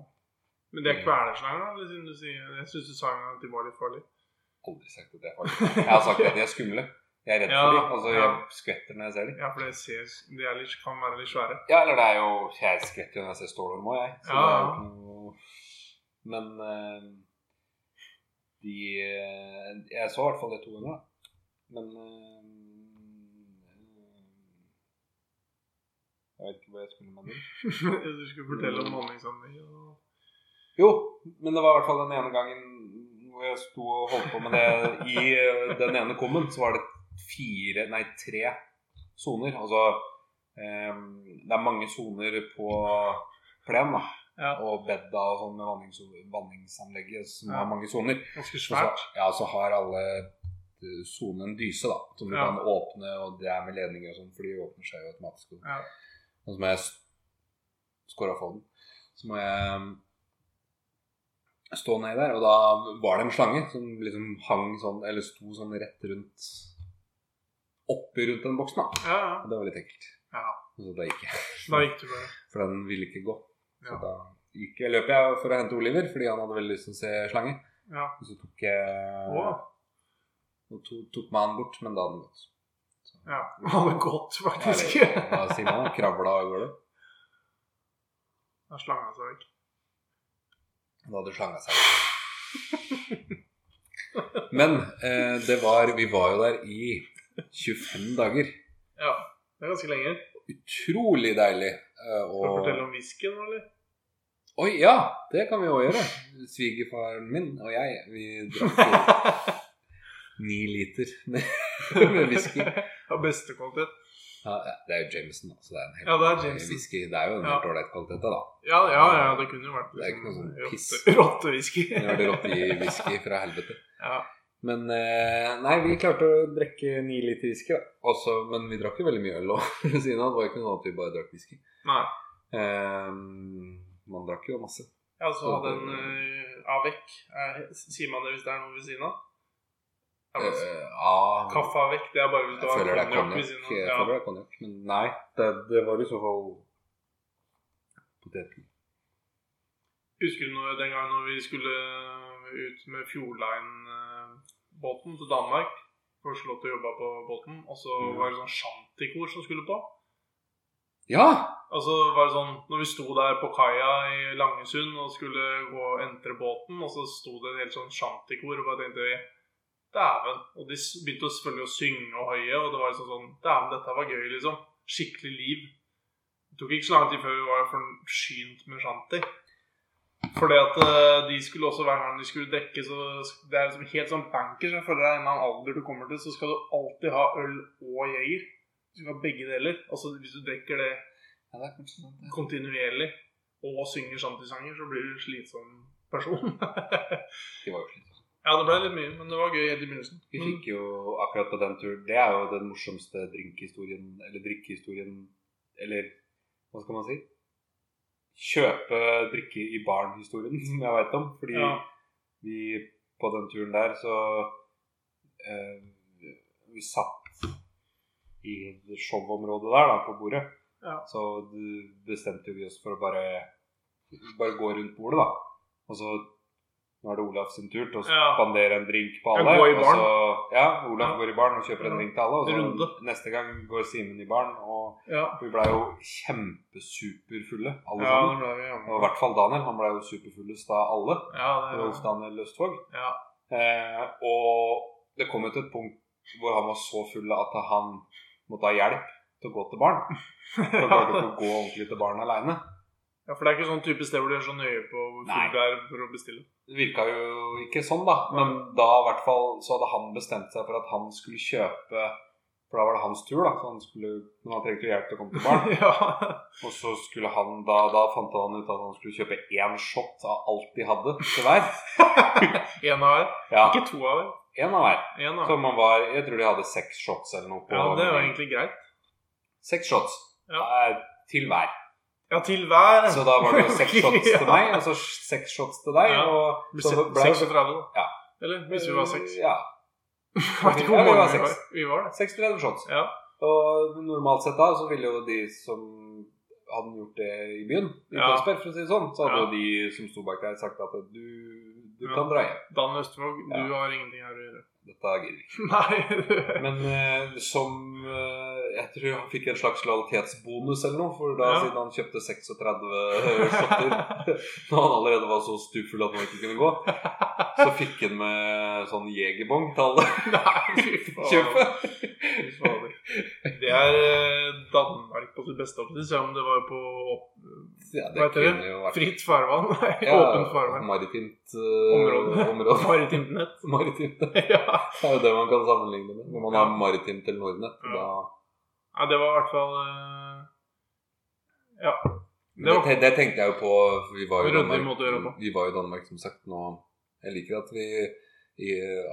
Men det er Mm. kvelerslanger, da? Eller siden du sier Jeg syns du sa en gang at de var litt farlige. Aldri sagt at det er farlig. Jeg har sagt at de er skumle. Jeg er redd for Ja, dem. Altså, ja. jeg skvetter når jeg ser dem. Ja, for det ser, de er litt, kan være litt svære. Ja, eller det er jo Jeg skvetter jo når jeg ser stålorm òg, jeg. Så Ja, det er ja. jo ikke noe Men eh, de eh, Jeg så i hvert fall det to ganger, da. Men eh, Jeg vet ikke hva jeg skulle med det. du skulle fortelle Mm. om honningsanlegget og Jo, men det var i hvert fall den ene gangen hvor jeg sto og holdt på med det i eh, den ene kummen, så var det fire, nei tre soner. Altså eh, Det er mange soner på plenen, da. Ja. Og bedda og sånn med vannings, vanningsanlegget som Ja. har mange soner. Ganske Og så- svært. Ja, så har alle eh, sonen en dyse, da, som du Ja. kan åpne, og det er med ledninger og sånn, for de åpner seg jo automatisk. Og, Ja. og så må jeg s- skåre av den. Så må jeg um, stå nedi der, og da var det en slange som liksom hang sånn, eller sto sånn rett rundt oppi rundt den boksen, da. Ja, ja. Og det var litt ekkelt. Ja. Så da gikk jeg, Da gikk du bare for den ville ikke gå. Så Ja. da gikk jeg, løp jeg for å hente Oliver, fordi han hadde veldig lyst til å se slange. Ja. Og så tok jeg Å. Og to, tok meg han bort, men da hadde han gått. ja. Han er godt, faktisk. Eller, Hva sier man? Kravla av gårde? Da slanga seg vekk. Da hadde det slanga seg. Men eh, det var Vi var jo der i 25 dager. Ja, det er ganske lenge. Utrolig deilig. eh, Skal jeg Og fortelle om whiskyen, eller? Oi, ja! Det kan vi òg gjøre. Svigerfaren min og jeg, vi drakk jo ni liter med whisky. Av beste kvalitet. Ja, det er jo Jameson, da, så det er en helt Ja, det er vanlig Jameson. whisky. Det er jo en Ja. helt ålreit kvalitet, da. Ja, ja, ja, det kunne jo vært Det er ikke noe sånn piss. rotte- rottewhisky. Det var det rått i whisky fra helvete. ja. Men eh, nei, vi klarte å drikke ni liter whisky, da. Også- men vi drakk jo veldig mye øl òg, ved siden av. Det var ikke noe annet at vi bare drakk whisky. Nei. Eh, man drakk jo masse. Ja, så hadde en uh, avec. Eh, sier man det hvis det er noe ved siden av? Ja, men, Eh, ah, Kaffe avec, det er bare hvis Jeg du har føler det er konjakk ved konjakk. siden Jeg av. føler det er konjakk, men nei. Det, det var i så fall potet. Ja. Husker du når, den gangen når vi skulle eh, ut med Fjordline-båten til Danmark? Får slå til å jobbe på båten, og så var det sånn shantikor som skulle på. Ja! Og så var det sånn, når vi sto der på kaia i Langesund og skulle gå og entre båten, og så sto det en helt sånn shantikor, og bare tenkte vi Dæven. Og de s- begynte å- selvfølgelig å synge og høye, og det var liksom sånn Dæven, dette var gøy, liksom. Skikkelig liv. Det tok ikke så lang tid før vi var forsynt med shanti. Fordi at eh, de skulle også hver gang de skulle drikke, så sk- Det er liksom helt sånn bankers. Jeg føler det er en eller annen alder du kommer til, så skal du alltid ha øl og jeger. Du skal ha begge deler. Altså hvis du drikker det Ja, det er kanskje sant, det. kontinuerlig og synger shantysanger, så blir du en slitsom De person. var jo slitsomme. ja, det ble litt mye, men det var gøy helt i begynnelsen. Vi Men, fikk jo akkurat på den turen Det er jo den morsomste drinkhistorien Eller drikkehistorien Eller hva skal man si? Kjøpe drikke i barn-historien som jeg veit om. Fordi ja, vi på den turen der så eh, Vi satt i det showområdet der, da, på bordet. Ja. Så d- bestemte vi oss for å bare Bare gå rundt bordet, da. Og så Nå er det Olaf sin tur til å Ja. spandere en drink på Ja, alle. gå i og baren. så, ja, Olaf Ja. går i baren og kjøper en Ja. drink til alle. Og så Runde. neste gang går Simen i baren, og ja. vi blei jo kjempesuperfulle alle Ja, det sammen. ble vi ja. Og i hvert fall Daniel. Han blei jo superfullest av alle. Ja, Rolf det, Daniel Løstvåg. ja. Eh, og det kom jo til et punkt hvor han var så full at han måtte ha hjelp til å gå til barn. For han klarte ikke å gå ordentlig til barn aleine. ja, for det er ikke sånn type sted hvor du er så nøye på hvor Nei. full du er for å bestille. Det virka jo ikke sånn, da. Men da i hvert fall så hadde han bestemt seg for at han skulle kjøpe For da var det hans tur, da. Så han skulle, men han trengte jo hjelp til å komme til barn. ja. Og så skulle han da, da fant han ut at han skulle kjøpe én shot av alt de hadde til hver. En av hver. Ja, Ikke to av hver. én av hver. En av Så hver. man var Jeg tror de hadde seks shots eller noe. på Ja, det var egentlig greit. Seks shots Ja. eh, til hver. Ja, til hver. Så da var det jo seks shots til Ja. meg, og så seks shots til deg. Ja. Og så ble 36, da. Ja. Eller hvis vi var seks. Ja. Jeg vet ikke Ja, hvor vi var mange vi var. seks. Vi var det. 36 shots. Ja. Og normalt sett da så ville jo de som hadde gjort det i byen, i Ja. Tønsberg, for å si det sånn, så hadde Ja. jo de som sto bak der, sagt at du, du Ja. kan dra hjem. Dan Østvåg, du Ja. har ingenting her å gjøre. Dette gidder vi ikke. Nei. Men eh, som eh, Jeg tror han fikk en slags lojalitetsbonus eller noe, for da Ja. siden han kjøpte 36 shotter da han allerede var så stupfull at han ikke kunne gå, så fikk han med sånn jegerbong til alle Nei, fy faen. kjøpet. Fy fader. Det er eh, Danmark på sitt beste, opptil, selv om det var på Ja, Hva heter det? kunne jo vært- fritt farvann. Nei, Ja, Åpent farvann. Maritimt eh, Område. område. Maritimt nett. Maritimt. Ja. Det er jo det man kan sammenligne med. Når man Ja. har maritimt eller nordnett, Ja. da Nei, det var i hvert fall eh, Ja. Det det, var det, tenkte jeg jo på. for Vi var jo, Ryddig Danmark, måte å gjøre det på. vi var jo i Danmark, som sagt, nå Jeg liker at vi, vi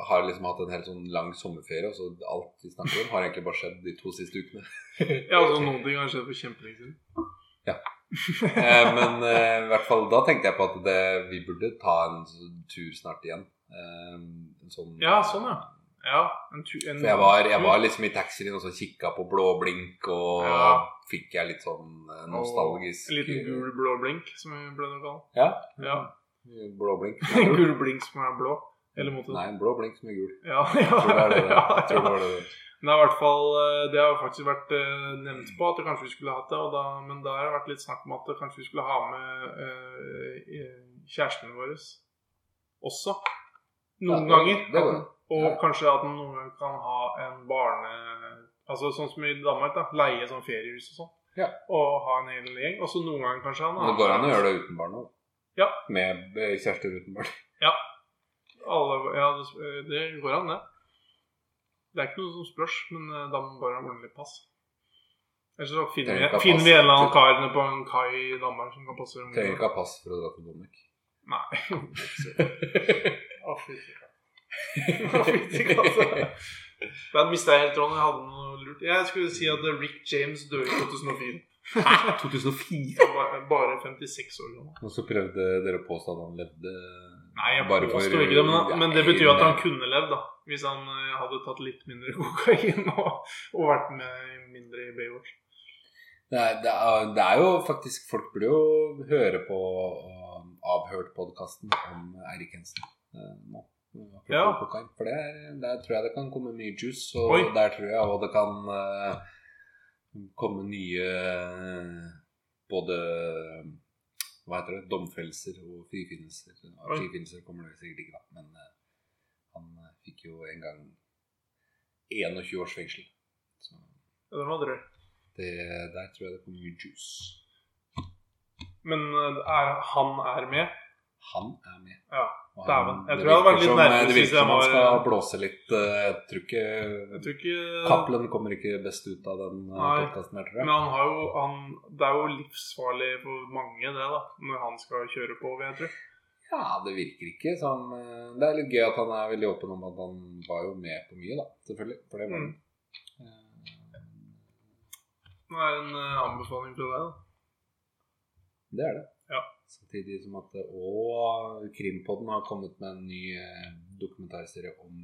har liksom hatt en helt sånn lang sommerferie, og så alt vi snakker om, har egentlig bare skjedd de to siste ukene. ja, altså, noen ting har skjedd for kjempelenge siden. Eh, Men eh, i hvert fall da tenkte jeg på at det, vi burde ta en s- tur snart igjen. Eh, En sånn Ja, sånn, ja. Ja, en tu, en, For jeg var, Mm. jeg var liksom i taxien og så kikka på blåblink, og Ja. fikk jeg litt sånn eh, nostalgisk eh, En liten gul blå blink, som vi ble å kalle Ja. det. Ja. Blåblink. En gul blink som er blå. Eller motsatt. Nei, blåblink som er gul. Ja, Jeg tror det er det. det. ja, Jeg tror det ja. var det. det. Men det, er i hvert fall, eh, det har jo faktisk vært eh, nevnt på at kanskje vi skulle hatt det, og da, men da har det vært litt snakk om at kanskje vi skulle ha med eh, eh, kjærestene våre også. Ja, Noen det- ganger. det går. Og Ja. kanskje at man noen ganger kan ha en barne... Altså sånn som i Danmark, da. Leie sånn feriehus og sånn. Ja. Og ha en hel gjeng. Og så noen ganger kanskje ha en Men det går an å gjøre det uten barn òg. Ja. Med eh, kjærester uten barn. Alle, ja, det, eh, det går an, det. Det er ikke noe som spørs, men eh, da må man bare ha ordentlig pass. Ellers så finner Trenger ikke vi, ha finner pass. vi en eller annen kar nede på en kai i Danmark som kan passe ungene. Trenger ikke ha pass for å dra til Danmark. Nei. Å, fytti katta. Å, fytti katta. Da mista jeg helt tråden. Jeg hadde noe lurt. Jeg skulle si at Rick James døde i 2004. 2004? Han var bare 56 år gammel. Og så prøvde dere å påstå at han levde Nei, jeg Bare eh, for- påstår ikke det, men, men det betyr jo at han kunne levd, da. Hvis han eh, hadde tatt litt mindre kokain og, og vært med mindre i Baywatch. det er, det, er, det er jo faktisk Folk burde jo høre på um, Avhørt-podkasten om Eirik Hensen eh, nå. Apropos Ja. kokain. For det er, der tror jeg det kan komme mye juice, og Oi. der tror jeg også det kan eh, komme nye eh, både hva heter det, domfellelser og frifinnelser. Ja, Oi. Frifinnelser kommer det sikkert ikke, da, men eh, han eh, fikk jo en gang 21 års fengsel. Så Ja, den var drøy. det, der tror jeg det kommer mye juice. Men eh, er, han er med. Han er med. Ja, Og dæven. han- Jeg det tror jeg hadde vært virker som- litt eh, nervøs Det hvis virker som jeg han var- skal blåse litt. eh, Jeg tror Jeg ikke tror ikke Cappelen kommer ikke best ut av den Nei. podkasten her, tror jeg. Men han har jo han, Det er jo livsfarlig for mange, det, da. Når han skal kjøre på, vil jeg tro. Ja, det virker ikke som eh, Det er litt gøy at han er veldig åpen om at han var jo med på mye, da. Selvfølgelig. For det var Mm. han. Eh, Det er en eh, anbefaling fra deg, da. Det er det. Ja. Samtidig som at eh, Og Krimpodden har kommet med en ny eh, dokumentarserie om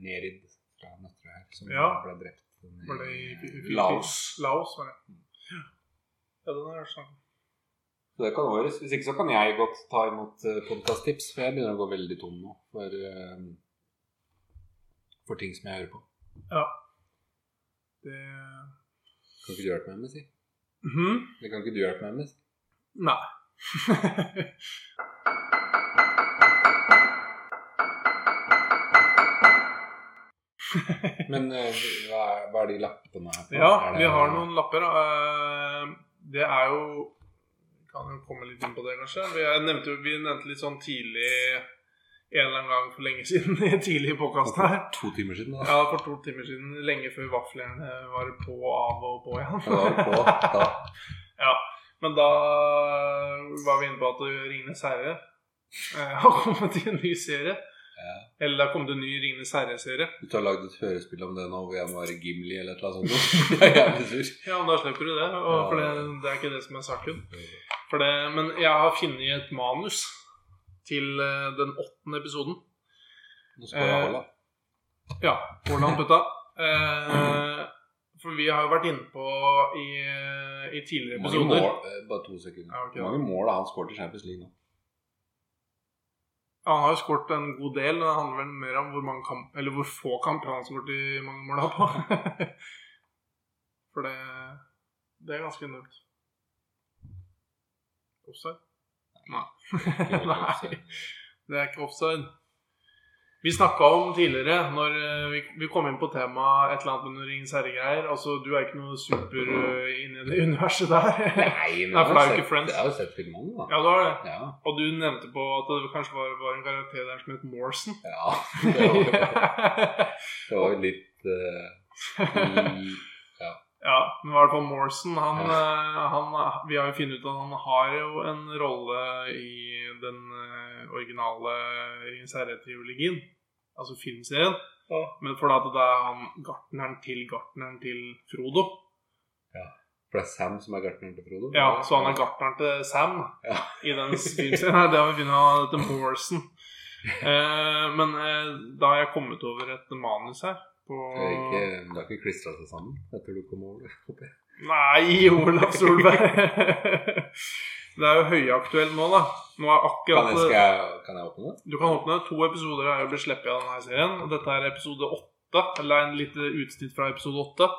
Nerid fra Nøtterøy her, som Ja. ble drept i Var det i- i- i- Laos. Laos, var det. Ja, den har jeg hørt snakk om. Så det kan gjøres. Hvis ikke så kan jeg godt ta imot podkast-tips, for jeg begynner å gå veldig tom nå for, eh, for ting som jeg hører på. Det Kan ikke du hjelpe meg med, si? Mhm. Det kan ikke du hjelpe meg med? Si? Nei. Mhm. Men eh, hva, er, hva er de lappene her for? Ja, Er det- vi har noen lapper. da. Eh, Det er jo Kan jo komme litt inn på det, kanskje. Vi er- nevnte, jo- vi nevnte litt sånn tidlig en eller annen gang for lenge siden. Tidlig i podkasten her. To timer siden, da. Ja, for to timer siden. Lenge før vaflene var på, av og på Da var det på, igjen. da. Ja, men da var vi inne på at Ringenes herre eh, har kommet i en ny serie. Eller det har kommet en ny Ringenes herre-serie. Hvis du har lagd et hørespill om det nå hvor jeg må være Gimli eller et eller annet sånt, da er jeg jævlig sur. Ja, men da slipper du det. Og for det, det er ikke det som er saken. For det, men jeg har funnet et manus til eh, den åttende episoden. Nå skal jeg Eh, holde. Ja, hvordan putta. Eh, for vi har jo vært inne på i, eh, i tidligere Mange episoder mål, eh, bare to sekunder. Ja, ok, da. Mange mål har han skåret i Champions League nå? Ja, Han har jo skåret en god del. men Det handler vel mer om hvor, mange kamp, eller hvor få kamper han har skåret i mange mål da på. For det, det er ganske enormt. Offside? Nei. Nei. Det er ikke offside. Vi snakka om tidligere, når eh, vi, vi kom inn på temaet et eller annet med Ringens herre-greier Altså, du er ikke noe super eh, inne i det universet der. Nei, men Nei, jeg for det er har jo jo ikke Friends. sett, jeg har jo sett filmene, da. Ja, du har det. Ja. Og du nevnte på at det kanskje var, var en karakter der som het Morrison. ja. Det var jo- det var jo litt eh, i- Ja, men i hvert fall Morrison han, eh, han, Vi har jo funnet ut at han har jo en rolle i den eh, originale Ringens herre-triologien. Altså filmserien. Men for at det er han gartneren til gartneren til Frodo. For det er Sam som er gartneren til Frodo? Ja, Så han er gartneren til Sam Ja. i den filmserien. Nei, det har vi funnet av dette Morrison. Eh, men eh, da har jeg kommet over et manus her. På Det er ikke, det har ikke klistra seg sammen etter du kom over det? håper jeg. Nei, Olav Solberg. det er jo høyaktuelt nå, da. Nå er Kan jeg, skal akkurat jeg, kan jeg åpne det? Du kan åpne. To episoder er jo blitt sluppet av denne serien. og Dette er episode åtte. Eller en lite utsnitt fra episode åtte.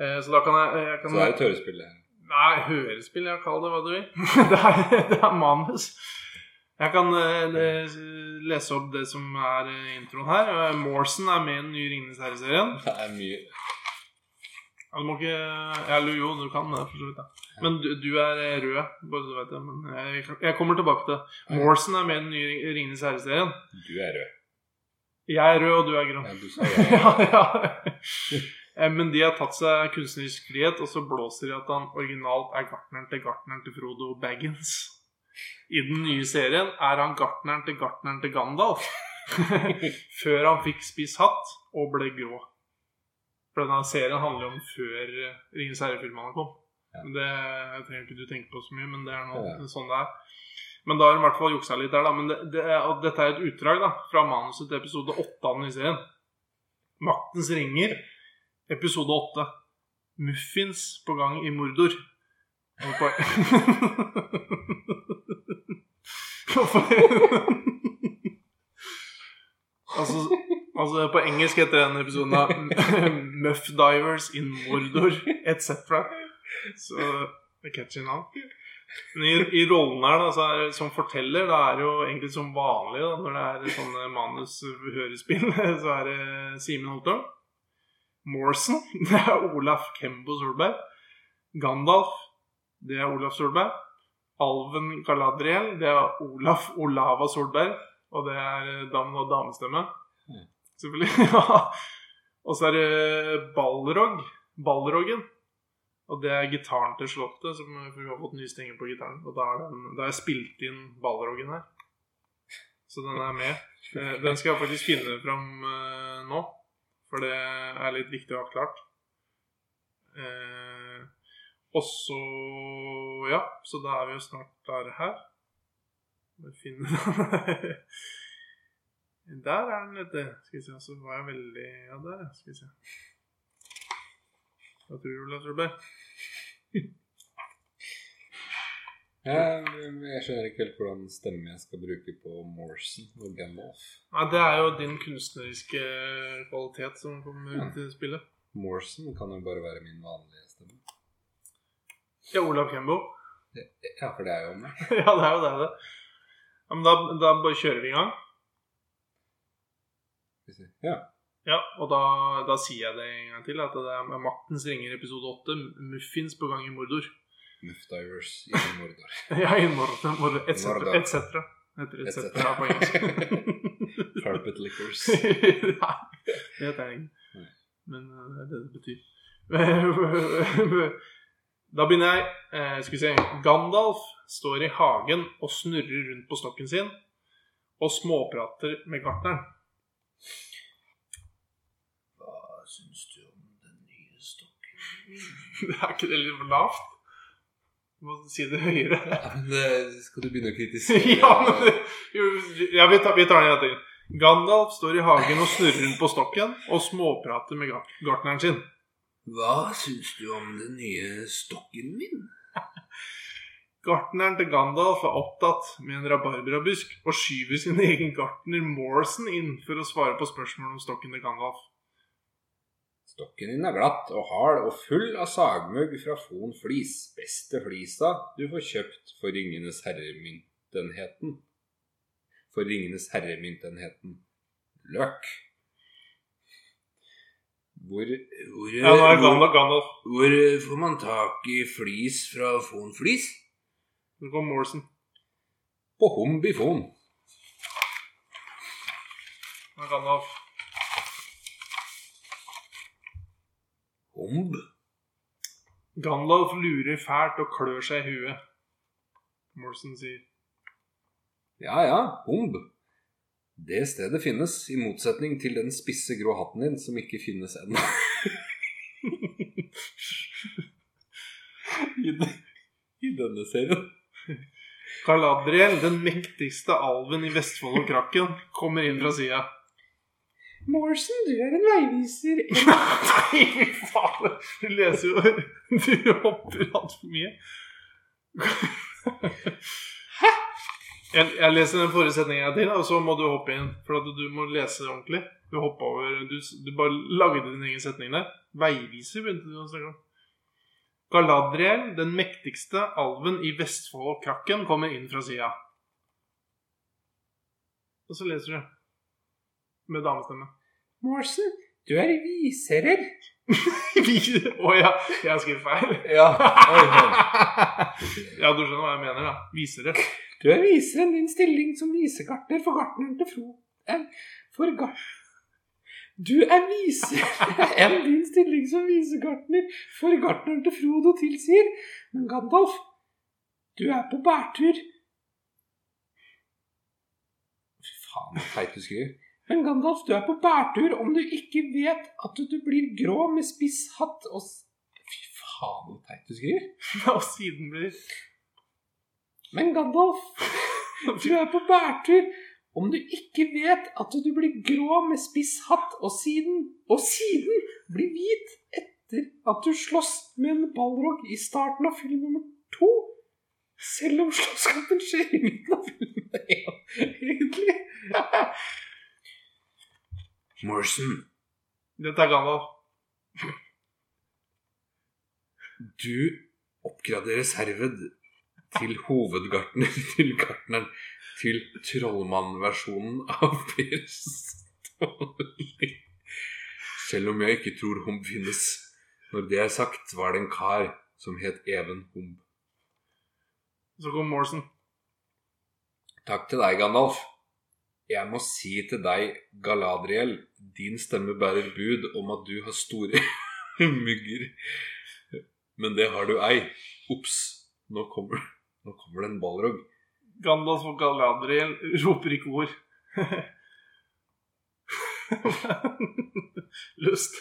Eh, Så da kan jeg, Så jeg kan det er jo tørespill. det her. Nei, hørespill, ja. Kall det hva du vil. det, er, det er manus. Jeg kan eh, le- lese opp det som er eh, introen her. Eh, Morrison er med i den nye Ringenes herre-serien. Det er mye Ja, Du må ikke Eller jo, du kan det, for så vidt. Ja. Men du, du er eh, rød, bare så du vet det. Men jeg, jeg kommer tilbake til det. Morrison er med i den nye Ring- Ringenes herre-serien. Du er rød. Jeg er rød, og du er grønn. Ja, du sa ja. ja, ja. Eh, Men de har tatt seg kunstnerisk frihet, og så blåser de at han originalt er gartneren til gartneren til Frodo Baggins. I den nye serien er han gartneren til gartneren til Gandalf. før han fikk spiss hatt og ble grå. For denne serien handler jo om før eh, Ringenes herre-filmene kom. Men Det jeg trenger ikke du tenke på så mye, men det er nå Ja. sånn det er. Men da har de i hvert fall juksa litt der, da. Men det, det er, og dette er et utdrag da, fra manuset til episode åtte av den nye serien. Maktens ringer, episode 8. Muffins på gang i Mordor. Og på- altså, altså, på engelsk heter den episoden da Muff Divers in Mordor etc. Så det er catchy navn. Men i, i rollen her da, så er, det- som forteller, da er det jo egentlig som vanlig da, når det er sånne manus-hørespill, så er det Simen Holtøl. Morrison, det er Olaf Kembo Solberg. Gandalf, det er Olaf Solberg. Alven Galadriel, det er Olaf Olava Solberg. Og det er eh, dam og damestemme. Mm. Selvfølgelig. ja. Og så er det Balrog. Balrogen. Og det er gitaren til Slottet, som eh, for vi har fått nye stenger på gitaren. Og da er den, da har jeg spilt inn Balrogen her. Så den er med. Eh, Den skal jeg faktisk finne fram eh, nå, for det er litt viktig å ha klart. Eh, og så Ja, så da er vi jo snart klare her. Må jeg finne den Der er den, vet du. Skal vi se, så var jeg veldig Ja, der, ja. Skal vi se. Hva tror du, Olav Solberg? Ja, men jeg skjønner ikke helt hvordan stemme jeg skal bruke på Morrison og Gandalf. Nei, det er jo din kunstneriske eh, kvalitet som kommer Ja. til spillet. Morrison kan jo bare være min vanlige stemme. Ja, Olav Kembo. Ja, for det er jo meg. ja, det er jo det. det. Ja, men da, da bare kjører vi i gang. Skal vi si. Ja. Ja, og da, da sier jeg det en gang til. At det er Maktens ringer episode 8. Muffins på gang i Mordor. Muffdivers i Mordor. Ja, i Mordor, Mordor etc. Mordor. etc. Heter det Et et cetera. cetera på engelsk. Carpet lickers. Nei, det heter det ikke. Nei. Men eh, det er det det betyr. da begynner jeg. Eh, skal vi se. Gandalf står i hagen og snurrer rundt på stokken sin og småprater med gartneren. Hva syns du om den nye stokken? er ikke det litt for lavt? Du må si det høyere. Ja, men det skal du begynne å kritisere? ja, men det, jo, ja, vi, tar, vi tar den i dette. Gandalf står i hagen og snurrer rundt på stokken og småprater med gart- gartneren sin. Hva syns du om den nye stokken min? Gartneren til Gandalf er opptatt med en rabarbrabusk og skyver sin egen gartner Morrison inn for å svare på spørsmål om stokken til Gandalf. Stokken din er glatt og hard og full av sagmugg fra Fon flis. Beste flisa du får kjøpt for Ringenes herremyntenheten. For Ringenes herremyntenheten løk. Hvor, Eh, hvor, Ja, nå er Gandalf Gandalf. hvor får man tak i flis fra Fon flis? Nå kom Morrison. På Hombi Fon. Nå er Gandalf. Homb? Gandalf lurer fælt og klør seg i huet. Morrison sier Ja ja, Homb. Det stedet finnes, i motsetning til den spisse grå hatten din som ikke finnes ennå. I, den- I denne serien. Galadriel, den mektigste alven i Vestfold og Krakken, kommer inn fra sida. Morrison, du er en veiviser. Nei, fy faen! Du leser jo Du hopper altfor mye. Jeg, jeg leser den forrige setningen jeg til, og så må du hoppe inn. For at du må lese ordentlig. Du hoppa over du, s- du bare lagde din egen setning der. Veiviser begynte du å snakke om. Galadriel, den mektigste alven i Vestfold og Krakken, kommer inn fra sida. Og så leser du. Med damestemme. Morsen, du er viserer. Å ja, jeg har skrevet feil. Ja. Oi, oi. Ja, du skjønner hva jeg mener, da. Viser det. Du er viseren din stilling som visegartner for gartneren til Fro... eh, For gar... Du er visere enn din stilling som visegartner for gartneren til Frodo tilsier. Men Gandalf, du er på bærtur. Fy faen, så teit du skriver. Men Gandalf, du er på bærtur om du ikke vet at du blir grå med spiss hatt og s- Fy faen, så teit du skriver. Og siden blir Men Gandalf, du er på bærtur. Om du ikke vet at du blir grå med spiss hatt, og siden, og siden blir hvit etter at du slåss med en ballrog i starten av film nummer to Selv om slåsskampen skjer i midten av filmen én, egentlig. Morrison, Dette er Gandalf. du oppgraderes herved til hovedgartner til gartneren til trollmannversjonen av Per Ståle. Selv om jeg ikke tror Humb finnes. Når det er sagt, var det en kar som het Even Humb. Så kom Morrison. Takk til deg, Gandalf. Jeg må si til deg, Galadriel, din stemme bærer bud om at du har store mygger. Men det har du ei. Ops, nå kommer, nå kommer det en ballrog. Gandalf og Galadriel roper ikke ord. Lyst.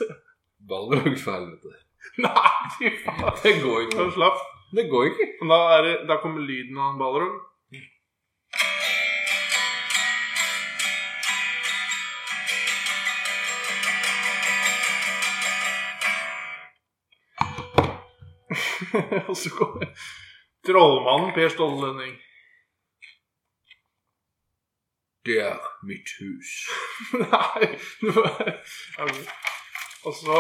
Ballrog for helvete. Nei, fy faen. Det går Så ikke. slapp. Det går ikke. Men Da, er det, da kommer lyden av en ballrom. Og så kommer trollmannen Per Ståle Lønning. Det er mitt hus. Nei det var- altså, Og så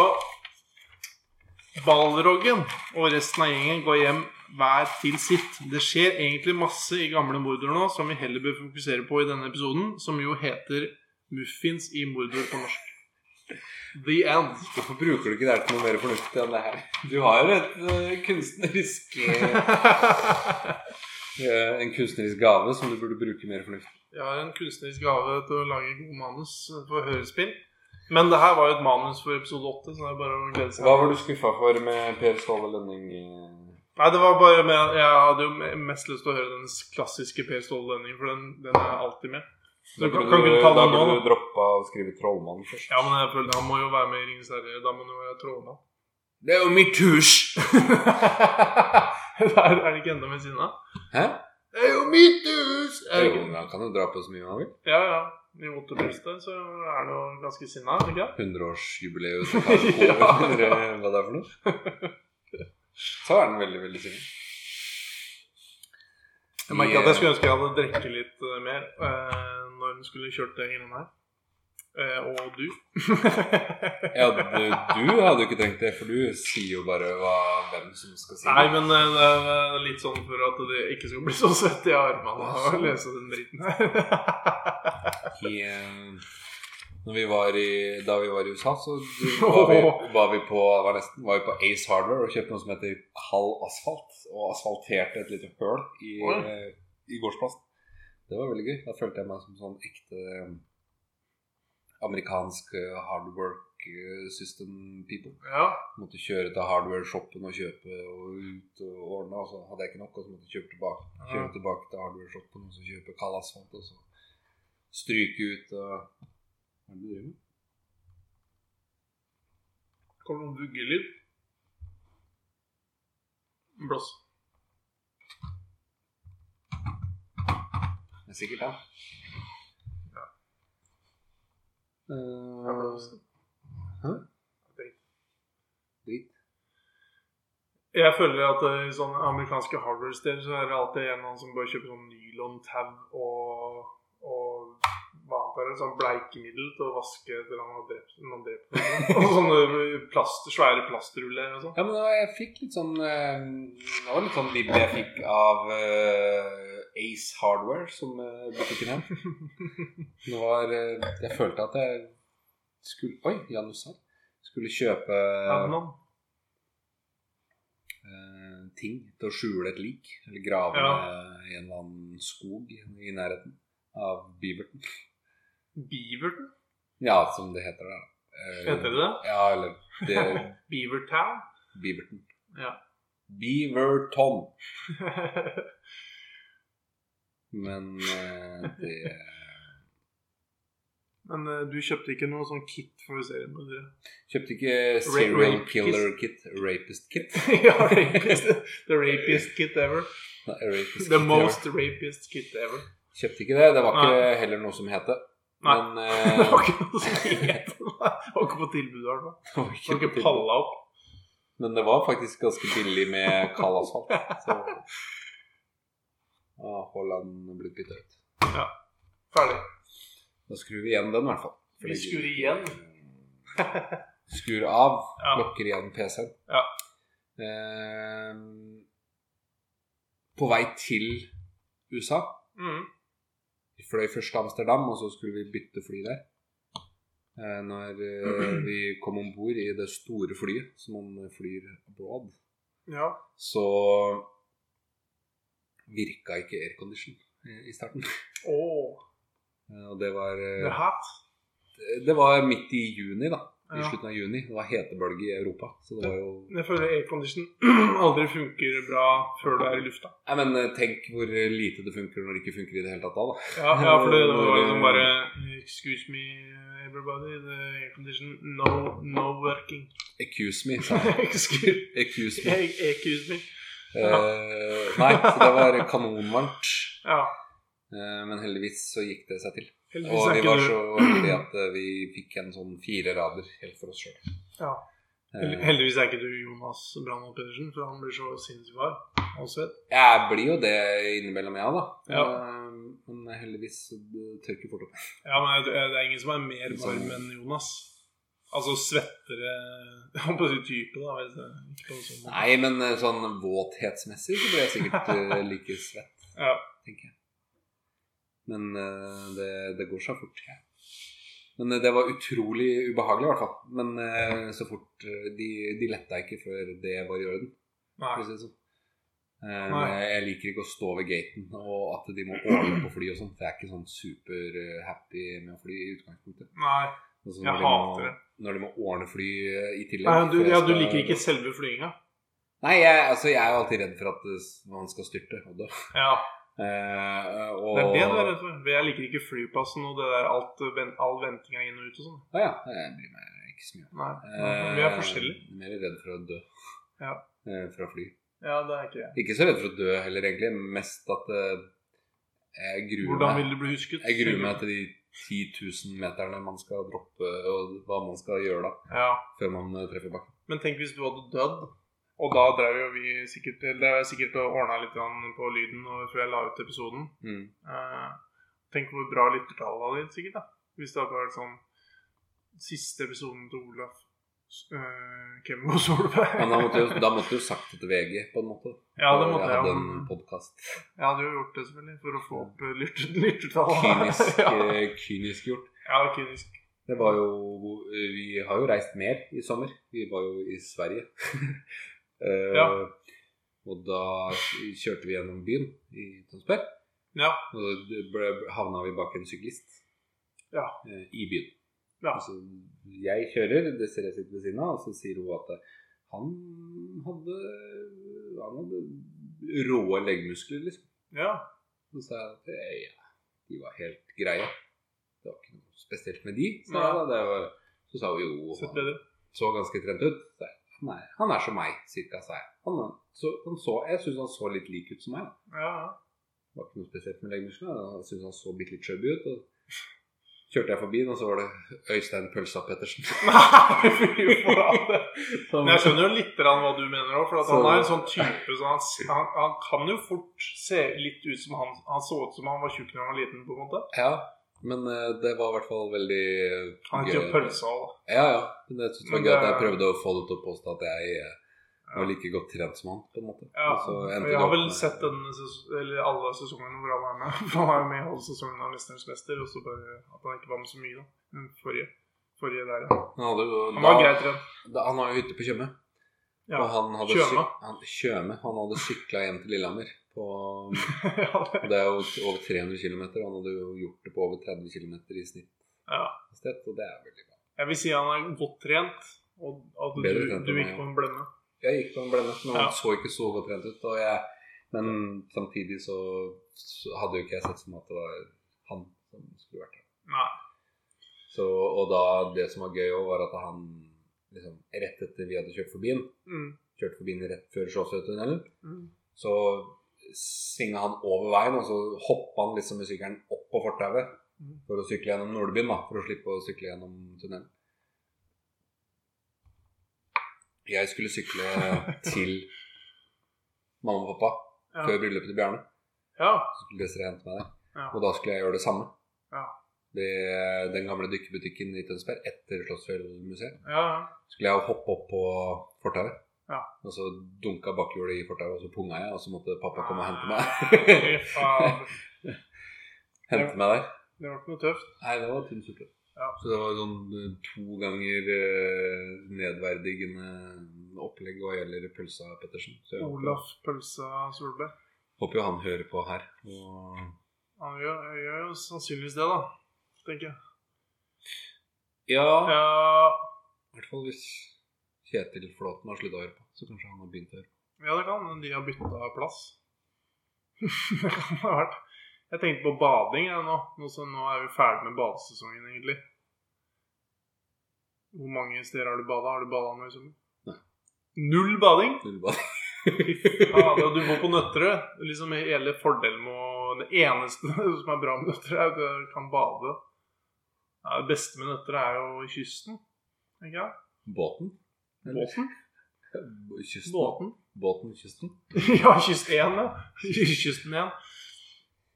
Balroggen og resten av gjengen går hjem hver til sitt. Det skjer egentlig masse i Gamle Mordor nå som vi heller bør fokusere på i denne episoden, som jo heter Muffins i Mordor på norsk. The End. Hvorfor bruker du ikke det her til noe mer fornuftig enn det her? Du har jo et eh, kunstnerisk eh, eh, En kunstnerisk gave som du burde bruke mer fornuftig. Jeg har en kunstnerisk gave til å lage gode manus for hørespill. Men det her var jo et manus for episode åtte, så det er bare å glede seg. Hva var du skuffa for med Per Ståle Lønning? i- Nei, det var bare med, at Jeg hadde jo mest lyst til å høre den klassiske Per Ståle Lønning, for den, den er alltid med. Så Da kan, burde kan ikke du ta da den nå? burde da? du droppa å skrive 'Trollmann' først. Ja, men jeg føler han må jo være med i Ringenes herre. Da må han jo være trollmann. Det er jo mitt hus! Der er det ikke enda ved siden av. Hæ? Det er jo mitt hus! Er det Jo, ikke? men han kan jo dra på så mye han vil. Ja, ja. I Otterbøstet så er det jo ganske sinna, er det ikke? 100-årsjubileet til Karl Kove, eller eh, hva det er for noe. Så er den veldig, veldig singel. Jeg merker at jeg skulle ønske jeg hadde drukket litt eh, mer eh, når hun skulle kjørt det innom her. Eh, og du. Ja, du, du hadde jo ikke trengt det, for du sier jo bare hva, hvem som skal si Nei, det. men eh, det er litt sånn for at det ikke skal bli så svett i armene av å lese den dritten her. I, eh, når vi var i, da vi var i USA, så du- var vi, var vi, på, var nesten, var vi på Ace Hardware og kjøpte noe som heter kald asfalt. Og asfalterte et lite høl i, Oi. eh, i gårdsplassen. Det var veldig gøy. Da følte jeg meg som sånn ekte eh, amerikansk eh, hard work eh, system people. ja. Måtte kjøre til hardware-shoppen og kjøpe og ut og ordne. Og så hadde jeg ikke nok, og så måtte jeg kjøpe tilbake, kjøre Ja. tilbake til hardware-shoppen og så kjøpe kald asfalt og så stryke ut og Hva er det du driver med? Kommer det noen vuggelyd? Blås. Det er sikkert han. Eh, Ja, blås. Drit. Jeg føler at eh, i sånne amerikanske hardware-steder så er det alltid en eller annen som bare kjøper sånn nylontau og, og hva annet er det, sånn bleikemiddel til å vaske etter han har drept noen drept noen. Og sånne eh, plast, svære plastruller og sånn. Ja, men da, jeg fikk litt sånn eh, Det var litt sånn vibb jeg fikk av eh, Ace Hardware, som eh, butikken het. Det var eh, Jeg følte at jeg skulle Oi, Janusar. Skulle kjøpe Adnan. eh, ting til å skjule et lik. Eller grave Ja. ned i en eller annen skog i nærheten av Beaverton. Beaverton? Ja, som det heter der. da. Eh, Heter det det? Ja, eller det, Beavertown? Beaverton. Ja. Beaverton. Men eh, det Men eh, du kjøpte ikke noe sånn kit for serien? med dere? Kjøpte ikke serial rapist. killer kit, rapist kit. ja, rapist. The rapiest kit ever. Nei, rapist The kit, most rapiest kit ever. ja. Kjøpte ikke det. Det var ikke heller noe som het det. Nei. Men Det eh, var ikke noe som het det. Det var ikke på tilbud, i hvert fall. det var Det var ikke til- palla opp. Men det var faktisk ganske billig med kald asfalt. Så ja, Haaland ble bytta ut. Ferdig. Da skrur vi igjen den, i hvert fall. Vi skrur igjen. skrur av, Ja. lukker igjen PC-en. Ja. Eh, på vei til USA. Mm. Vi fløy først til Amsterdam, og så skulle vi bytte fly der. Eh, når eh, vi kom om bord i det store flyet, som man flyr abroad, Ja. så virka ikke aircondition eh, i starten. Åh, Eh, og det var eh, the hat. Det var midt i juni, da. I Ja. slutten av juni. Det var hetebølge i Europa. Så det var jo Jeg føler aircondition aldri funker bra før du er i lufta. Nei, men eh, tenk hvor lite det funker når det ikke funker i det hele tatt da, da. Ja, ja for det var jo sånn bare Excuse me, everybody. The aircondition no, no working. Accuse me. sa jeg. excuse, Accuse me. excuse me. Eh, nei, så det var kanonvarmt. Ja. Eh, men heldigvis så gikk det seg til. Heldigvis Og er vi ikke var du- så heldige at eh, vi fikk en sånn fire rader helt for oss Eh, sjøl. Ja. Hel- Heldigvis er ikke du Jonas Brandholt Pedersen, for han blir så sinnssykt varm og svett. Jeg blir jo det innimellom, jeg, da. Ja. Eh, men heldigvis så det tørker fort opp. Ja, men jeg- det er ingen som er mer varm enn Jonas. Altså svettere Han på sin type, da. Hvis det, ikke på en sånn måte. Nei, men eh, sånn våthetsmessig så blir jeg sikkert eh, like svett, Ja. tenker jeg. Men eh, det, det går seg fort. Ja. Men eh, det var utrolig ubehagelig, i hvert fall. Men eh, så fort eh, de, de letta ikke før det var i orden. Nei. for å si det sånn. Eh, Nei. men jeg liker ikke å stå ved gaten og at de må ordne på fly og sånt. Jeg er ikke sånn super-happy med å fly i utgangspunktet. Nei. Altså, Jeg når de må- hater det. Når de må ordne fly eh, i tillegg. Nei du, for jeg ja, du skal- liker ikke selve flyginga? Nei, jeg, altså, jeg er jo alltid redd for at eh, man skal styrte. Og dø. Ja. Eh, og, Det er det du er redd for. For Jeg liker ikke flyplassen og det der alt, ven- all ventinga inn og ut og sånn. Å ja, jeg bryr meg ikke så mye om. Nei, Eh, Vi er forskjellige. jeg er Mer redd for å dø Ja. eh, fra fly. Ja, det er ikke jeg. Ikke så redd for å dø heller, egentlig. Mest at eh, jeg gruer Hvordan meg vil du bli husket? Jeg gruer meg til de 10 000 meterne man skal droppe, og hva man skal gjøre da, Ja. før man eh, treffer bakken. Men tenk hvis du hadde dødd. Og da drev jo vi sikkert eller Det er sikkert ordna litt grann på lyden og før jeg la ut episoden. Mm. Eh, tenk hvor bra lyttertall det hadde gitt, sikkert. da Hvis det hadde vært sånn Siste episoden til Olaf uh, Kemmo Solberg. Men da måtte, jo, da måtte jo sagt det til VG, på en måte. Ja, det måtte jeg. jeg. hadde men- en podkast. Jeg hadde jo gjort det selvfølgelig for å få opp eh, lytter- lyttertallet. Kynisk, ja. eh, kynisk gjort. ja, kynisk. Det var jo Vi har jo reist mer i sommer. Vi var jo i Sverige. Eh, Ja. Og da kjørte vi gjennom byen i Tønsberg. Ja. Og da ble, havna vi bak en syklist Ja. eh, i byen. Ja. Altså, jeg kjører, Desiree sitter ved siden av, og så sier hun at eh, han hadde, han hadde råe leggmuskler, liksom. Ja. Så sa jeg at eh, ja, de var helt greie. Det var ikke noe spesielt med de. Sa Nei. jeg, da. det var, så sa hun jo Sett han bedre. så ganske trent ut. Så jeg, Nei, han er som meg, cirka, sa jeg. Han, så, han så, jeg syns han så litt lik ut som meg. da. Ja, ja. Det var ikke noe spesielt med leggmusklene. Jeg syntes han så bitte litt chubby ut. Og kjørte jeg forbi, og så var det Øystein Pølsa Pettersen. Nei, fy flate. Som- Men jeg skjønner jo litt grann hva du mener òg, for at han Så- er en sånn type som han, han, han kan jo fort se litt ut som han Han så ut som han var tjukk da han var liten, på en måte. Ja, men eh, det var i hvert fall veldig eh, Han heter jo Pølsa og Ja, ja. Men jeg synes det var Men gøy at det- jeg prøvde å få det til å påstå at jeg eh, var like godt trent som han, på en måte. Ja, Og så endte og jeg det har opp vel med- sett denne ses- eller alle sesongene hvor han er med. For han er jo med i halve sesongen av 'Mesterens mester', og så bare at han ikke var med så mye, da. Den forrige, forrige der, ja. Han, hadde, jo- Han var da- greit trent. da, han var jo ute på Tjøme. Ja. Og han hadde Tjøme. syk- Han, Tjøme. Han hadde sykla hjem til Lillehammer. På, ja, det- og det er jo t- over 300 km, og han hadde jo gjort det på over 30 km i snitt. ja. i sted, Og det er veldig bra. Jeg vil si han er godt trent, og at Bedre du, trent du enn gikk meg, på en blemme. Jeg gikk på en blemme, men han Ja. så ikke så godt trent ut. Og jeg, men samtidig så, så hadde jo ikke jeg sett som at det var han som skulle vært der. Nei. Så, og da, det som var gøy òg, var at han liksom, rett etter vi hadde kjørt forbi han, Mm. kjørte forbi den rett før Slåssøytunnelen. Mm. Så svinga han over veien, og så hoppa han liksom med sykkelen opp på fortauet Mm. for å sykle gjennom Nordbyen, da, for å slippe å sykle gjennom tunnelen. Jeg skulle sykle til mamma og pappa Ja. før bryllupet til Bjarne. ja. Så skulle Desiree hente meg der. Ja. Og da skulle jeg gjøre det samme. Ja. Ved den gamle dykkebutikken i Tønsberg etter Slottsfjellmuseet ja. ja. skulle jeg hoppe opp på fortauet. Ja. Og så dunka bakhjulet i fortauet, og så punga jeg, og så måtte pappa komme og hente meg. Nei, fy faen. hente meg der. Det var ikke noe tøft. Nei, det var tynn suppe. Ah. Ja. Så det var sånn eh, to ganger eh, nedverdigende opplegg hva gjelder pølsa Pettersen. Så jeg håper, Olaf Pølsa Solberg. håper jo han hører på her. Og Han gjør, gjør jo sannsynligvis det, da. Tenker jeg. ja, Ja, i hvert fall hvis Kjetil Flåten har slutta å høre på, så kanskje han har begynt å høre på. ja det kan hende de har bytta plass. det kan det ha vært. Jeg tenkte på bading jeg, nå. Nå, så nå er vi ferdig med badesesongen, egentlig. Hvor mange steder har du bada? Har du bada nå i sommer? Nei. Null bading? Det er bare- Ja, det, du bor på Nøtterøy. Det er Liksom hele fordelen med å Det eneste som er bra med Nøtterøy, er at du kan bade. Ja, det beste med Nøtterøy er jo kysten. Tenker jeg. Båten? Båten. Kysten. Båten. Båten, kysten. ja, kyst 1, ja. Kysten 1.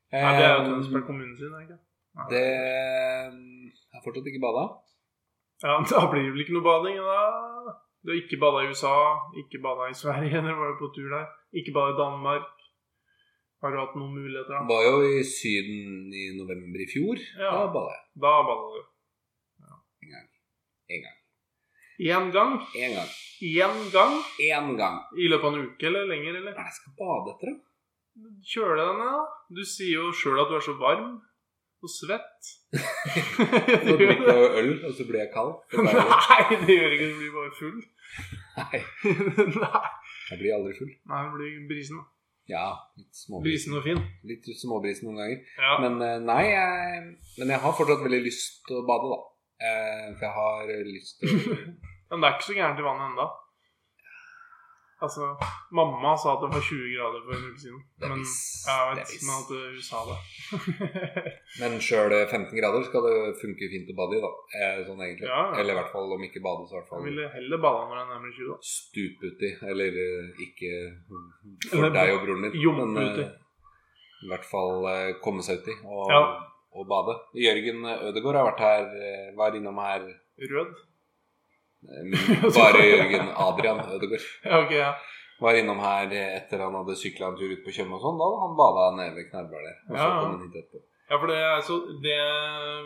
Nei, det er jo Tønsberg kommune sin, er det ikke? Ehm, Nei. Det Jeg har fortsatt ikke bada. Ja, men Da blir det vel ikke noe bading? da? Du har ikke bada i USA, ikke bada i Sverige, dere var jo på tur der. Ikke bada i Danmark. Har du hatt noen muligheter? da? Var jo i Syden i november i fjor. Ja. Da bada jeg. Da bada du. Én gang. Én gang? Én gang. Én gang? Én gang. I løpet av en uke eller lenger, eller? Hva er det jeg skal bade etter, da? Kjøle deg ned, da. Du sier jo sjøl at du er så varm og svett. Du Så gjør drikker jeg jo øl, og så blir jeg kald. Så det er jo- Nei, det gjør ikke du blir bare full. Nei, Nei, jeg blir aldri full. Nei, det blir brisen. da. Ja, litt småbris. Brisen og fin. Litt småbris noen ganger. Ja. Men eh, nei, jeg, men jeg har fortsatt veldig lyst til å bade, da. Eh, For jeg har lyst til å Men det er ikke så gærent i vannet enda Altså, mamma sa at det var 20 grader for en uke siden. er Men piss. ja, jeg Det vet er piss. men at eh, hun sa det. Men sjøl 15 grader skal det funke fint å bade i, da. Eh, Sånn egentlig. Ja, ja. Eller i hvert fall om ikke bade, så i hvert Jeg fall ville heller bada når det er nærmere 20, da. stup uti. Eller eh, ikke for Eller deg og broren din, jumpe uti. eh, i hvert fall eh, komme seg uti og, Ja. og bade. Jørgen Ødegaard har vært her, eh, var innom her Rød? eh, Bare Jørgen Adrian Ødegaard Ja, ok, ja. var innom her eh, etter han hadde sykla en tur ut på Tjøme og sånn. Da hadde han bada nede ved Knarrbær der. Og så Ja. kom han hit etterpå. Ja, for det er så det,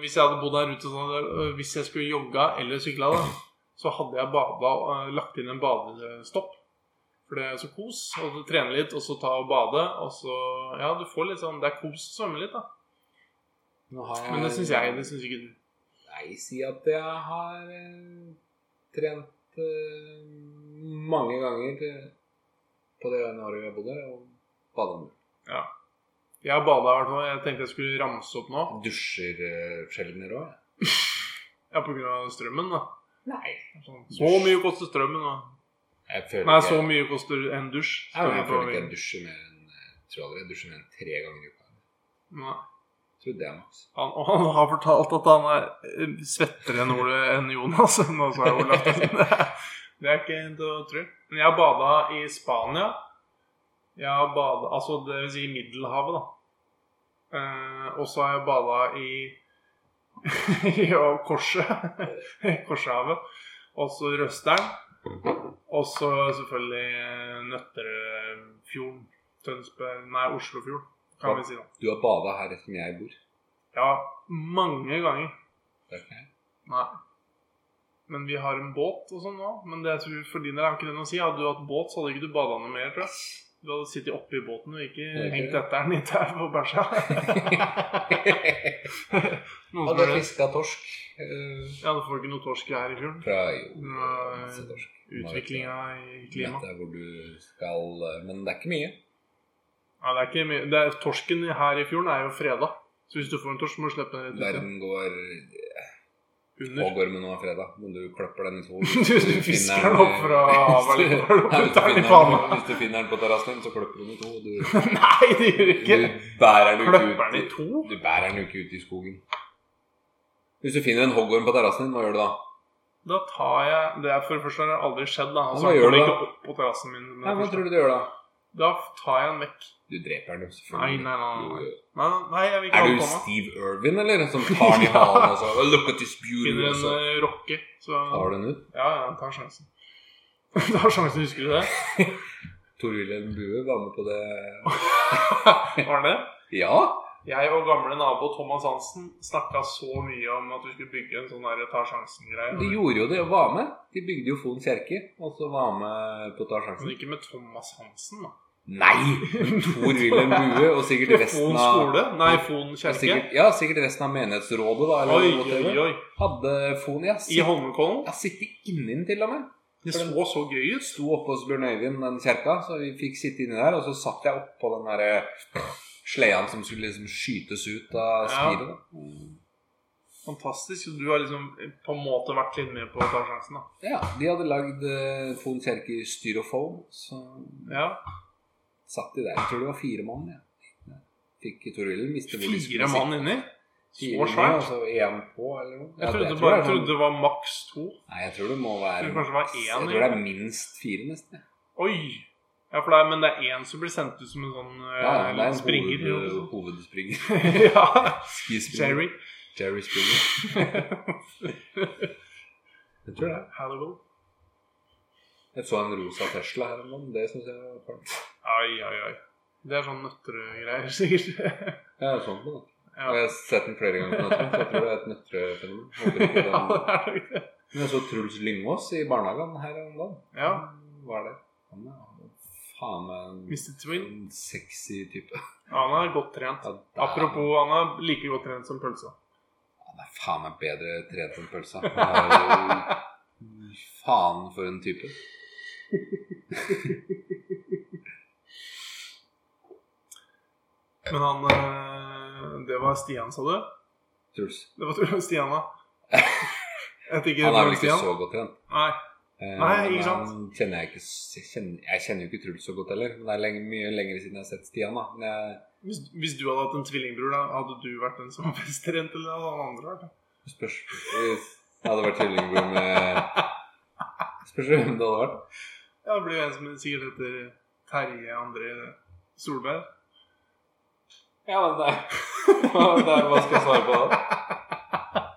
Hvis jeg hadde bodd her ute sånn, øh, Hvis jeg skulle jogga eller sykla, da, så hadde jeg bada, øh, lagt inn en badestopp. For det er så kos. Og så trene litt, og så ta og bade. Og så Ja, du får litt sånn Det er kos å svømme litt, da. Nå har Men det syns jeg. Det syns ikke du. Nei, si at jeg har eh, trent eh, mange ganger eh, på det ene året vi har bodd her, og bada mye. Jeg har bada i hvert fall. Jeg tenkte jeg skulle ramse opp nå. Dusjer eh, sjeldnere òg. Ja, på grunn av strømmen, da. Nei. Sånn, så mye koster strømmen, da. Jeg føler Nei, ikke så mye koster en dusj. Nei, men jeg Skal vi føler ikke ta- jeg dusjer mer enn jeg tror aldri jeg dusjer mer enn tre ganger i uka. Nei. Jeg tror det er maks. Han, og han har fortalt at han er eh, svettere enn, Ole, enn Jonas. Nå sa jeg Olaf. Det er ikke til å tro. Men jeg har bada i Spania. Jeg har bada Altså, det vil si i Middelhavet, da. Eh, og så har jeg bada i i- og Korset. Korshavet. Og så Røsteren. Og så selvfølgelig eh, Nøtterfjorden. Tønsberg Nei, Oslofjorden, kan vi si da. Du har bada her rett som jeg bor. Ja, mange ganger. Det er ikke jeg. Nei. Men vi har en båt og sånn nå. Men det jeg tror for din del har ikke det noe å si. Hadde du hatt båt, så hadde ikke du bada noe mer, tror jeg. Du hadde sittet oppi båten og ikke er ikke hengt det. etter den i tau og bæsja. Noen som Hadde gjør det. fiska torsk. eh, Ja, du får ikke noe torsk her i fjorden. Fra jo, Nei. så torsk. Utviklinga i klimaet. Dette er hvor du skal eh, Men det er ikke mye. Ja, det er ikke mye. Det er, torsken her i fjorden er jo freda. Så hvis du får en torsk, må du slippe den rett ut Verden går igjen. under. pågården nå fredag, men du klipper den i to. Du fisker den opp fra havet eh, Hvis eller du- hvor du Nei, hvis du putter den i finner panna. den- Hvis du finner den på terrassen din, så klipper du den i to. Du, Nei, det gjør du ikke. du bærer den ikke Kløpper den i ut to? Du bærer den jo ikke ut i skogen. Hvis du finner en hoggorm på terrassen din, hva gjør du da? Da tar jeg Det er for det første har det aldri skjedd. Da. Ja, Altså, hva han gjør kommer du da? ikke opp på terrassen min. med Nei, det hva første. tror du du gjør da? Da tar jeg den vekk. Du dreper den jo, Nei, selvfølgelig. nei, nei. nei. Du- nei, nei jeg vil Mm. ikke Er ha du den på meg. Steve Irwin, eller? Som tar den i halen og så "Oh, Look at this beauty. Finner Og en så eh, rocke, så altså? tar du den ut. Ja, ja, tar sjansen. tar sjansen, husker du det? Tor Wilhelm Bue var med på det. Var det det? Ja! Jeg og gamle nabo Thomas Hansen snakka så mye om at vi skulle bygge en sånn der ta sjansen-greie. De gjorde jo det og var med. De bygde jo Fon kirke, og så var med på å ta Men sjansen. ikke med Thomas Hansen, da. Nei! Tor Wilhelm Bue og sikkert resten Fon av skole? Nei, Fon kirke. sikkert, Ja, sikkert resten av menighetsrådet, da. Eller Oi, noe til oi, det. oi. Hadde Fon, ja. I Holmenkollen? Jeg sitter inni den til og med. Det så så gøy ut. Sto oppe hos Bjørn Øyvind, den kjerka, så vi fikk sitte inni der. Og så satt jeg oppå den der sleden som skulle liksom skytes ut av spiret. da. Fantastisk. Du har liksom på en måte vært litt med på å ta sjansen, da. Ja, de hadde lagd eh, Fon kirke i styrofoam, så Ja. satt de der. Jeg tror det var fire mann. Ja. Fikk Tor Wilhelm visste hvor de skulle Fire mann inni? liksom Fire Så mann, svært. altså én på, eller noe. Ja, Jeg trodde, jeg tror bare, det er jeg trodde sånn- det var maks to. Nei, jeg tror det må være Jeg tror kanskje det var én, Jeg tror det er minst fire, nesten. ja. Oi! Ja, for det er, men det er én som blir sendt ut som en sånn eh, Ja, det er en sånn. springer. hoved, hovedspringer. ja. Skispringer. Jerry. Jerry Springer. Jeg tror det. Hannibal. Jeg så en rosa Tesla her om dagen. Det syns jeg var fælt. Ai, ai, ai. Det er sånn Nøtterøy-greier, sikkert. Jeg så den på den. Ja. Og jeg har sett den flere ganger på nettet, så jeg tror det er et nøtterfenomen. Håper ikke den- ja, det er nok det. Men jeg så Truls Lyngås i barnehagen her om dagen. Ja. Var det. Han er faen meg en, Mr. Twin. en Mm, sexy type. Ja, han er godt trent. Ja, der- Apropos, han er like godt trent som pølsa. Han er faen meg bedre trent enn pølsa. Han er jo- Faen for en type. Men han eh, Det var Stian, sa du? Truls. Det var tror jeg, Stian, da. Jeg tenker Han er vel det var ikke Stian. så godt trent. Nei. Eh, Nei, men ikke sant? Han kjenner jeg, ikke, s- jeg, kjenner, jeg kjenner jo ikke Truls så godt heller. Men det er lenge, mye lenger siden jeg har sett Stian. da men jeg, Hvis, hvis du hadde hatt en tvillingbror, da, hadde du vært den som var best trent, eller hadde han andre vært det? Spørs Hvis jeg hadde vært tvillingbror med Spørs hvem det hadde vært. Ja, det blir jo en som sikkert heter Terje André Solberg. Ja, men det er Hva skal jeg svare på da?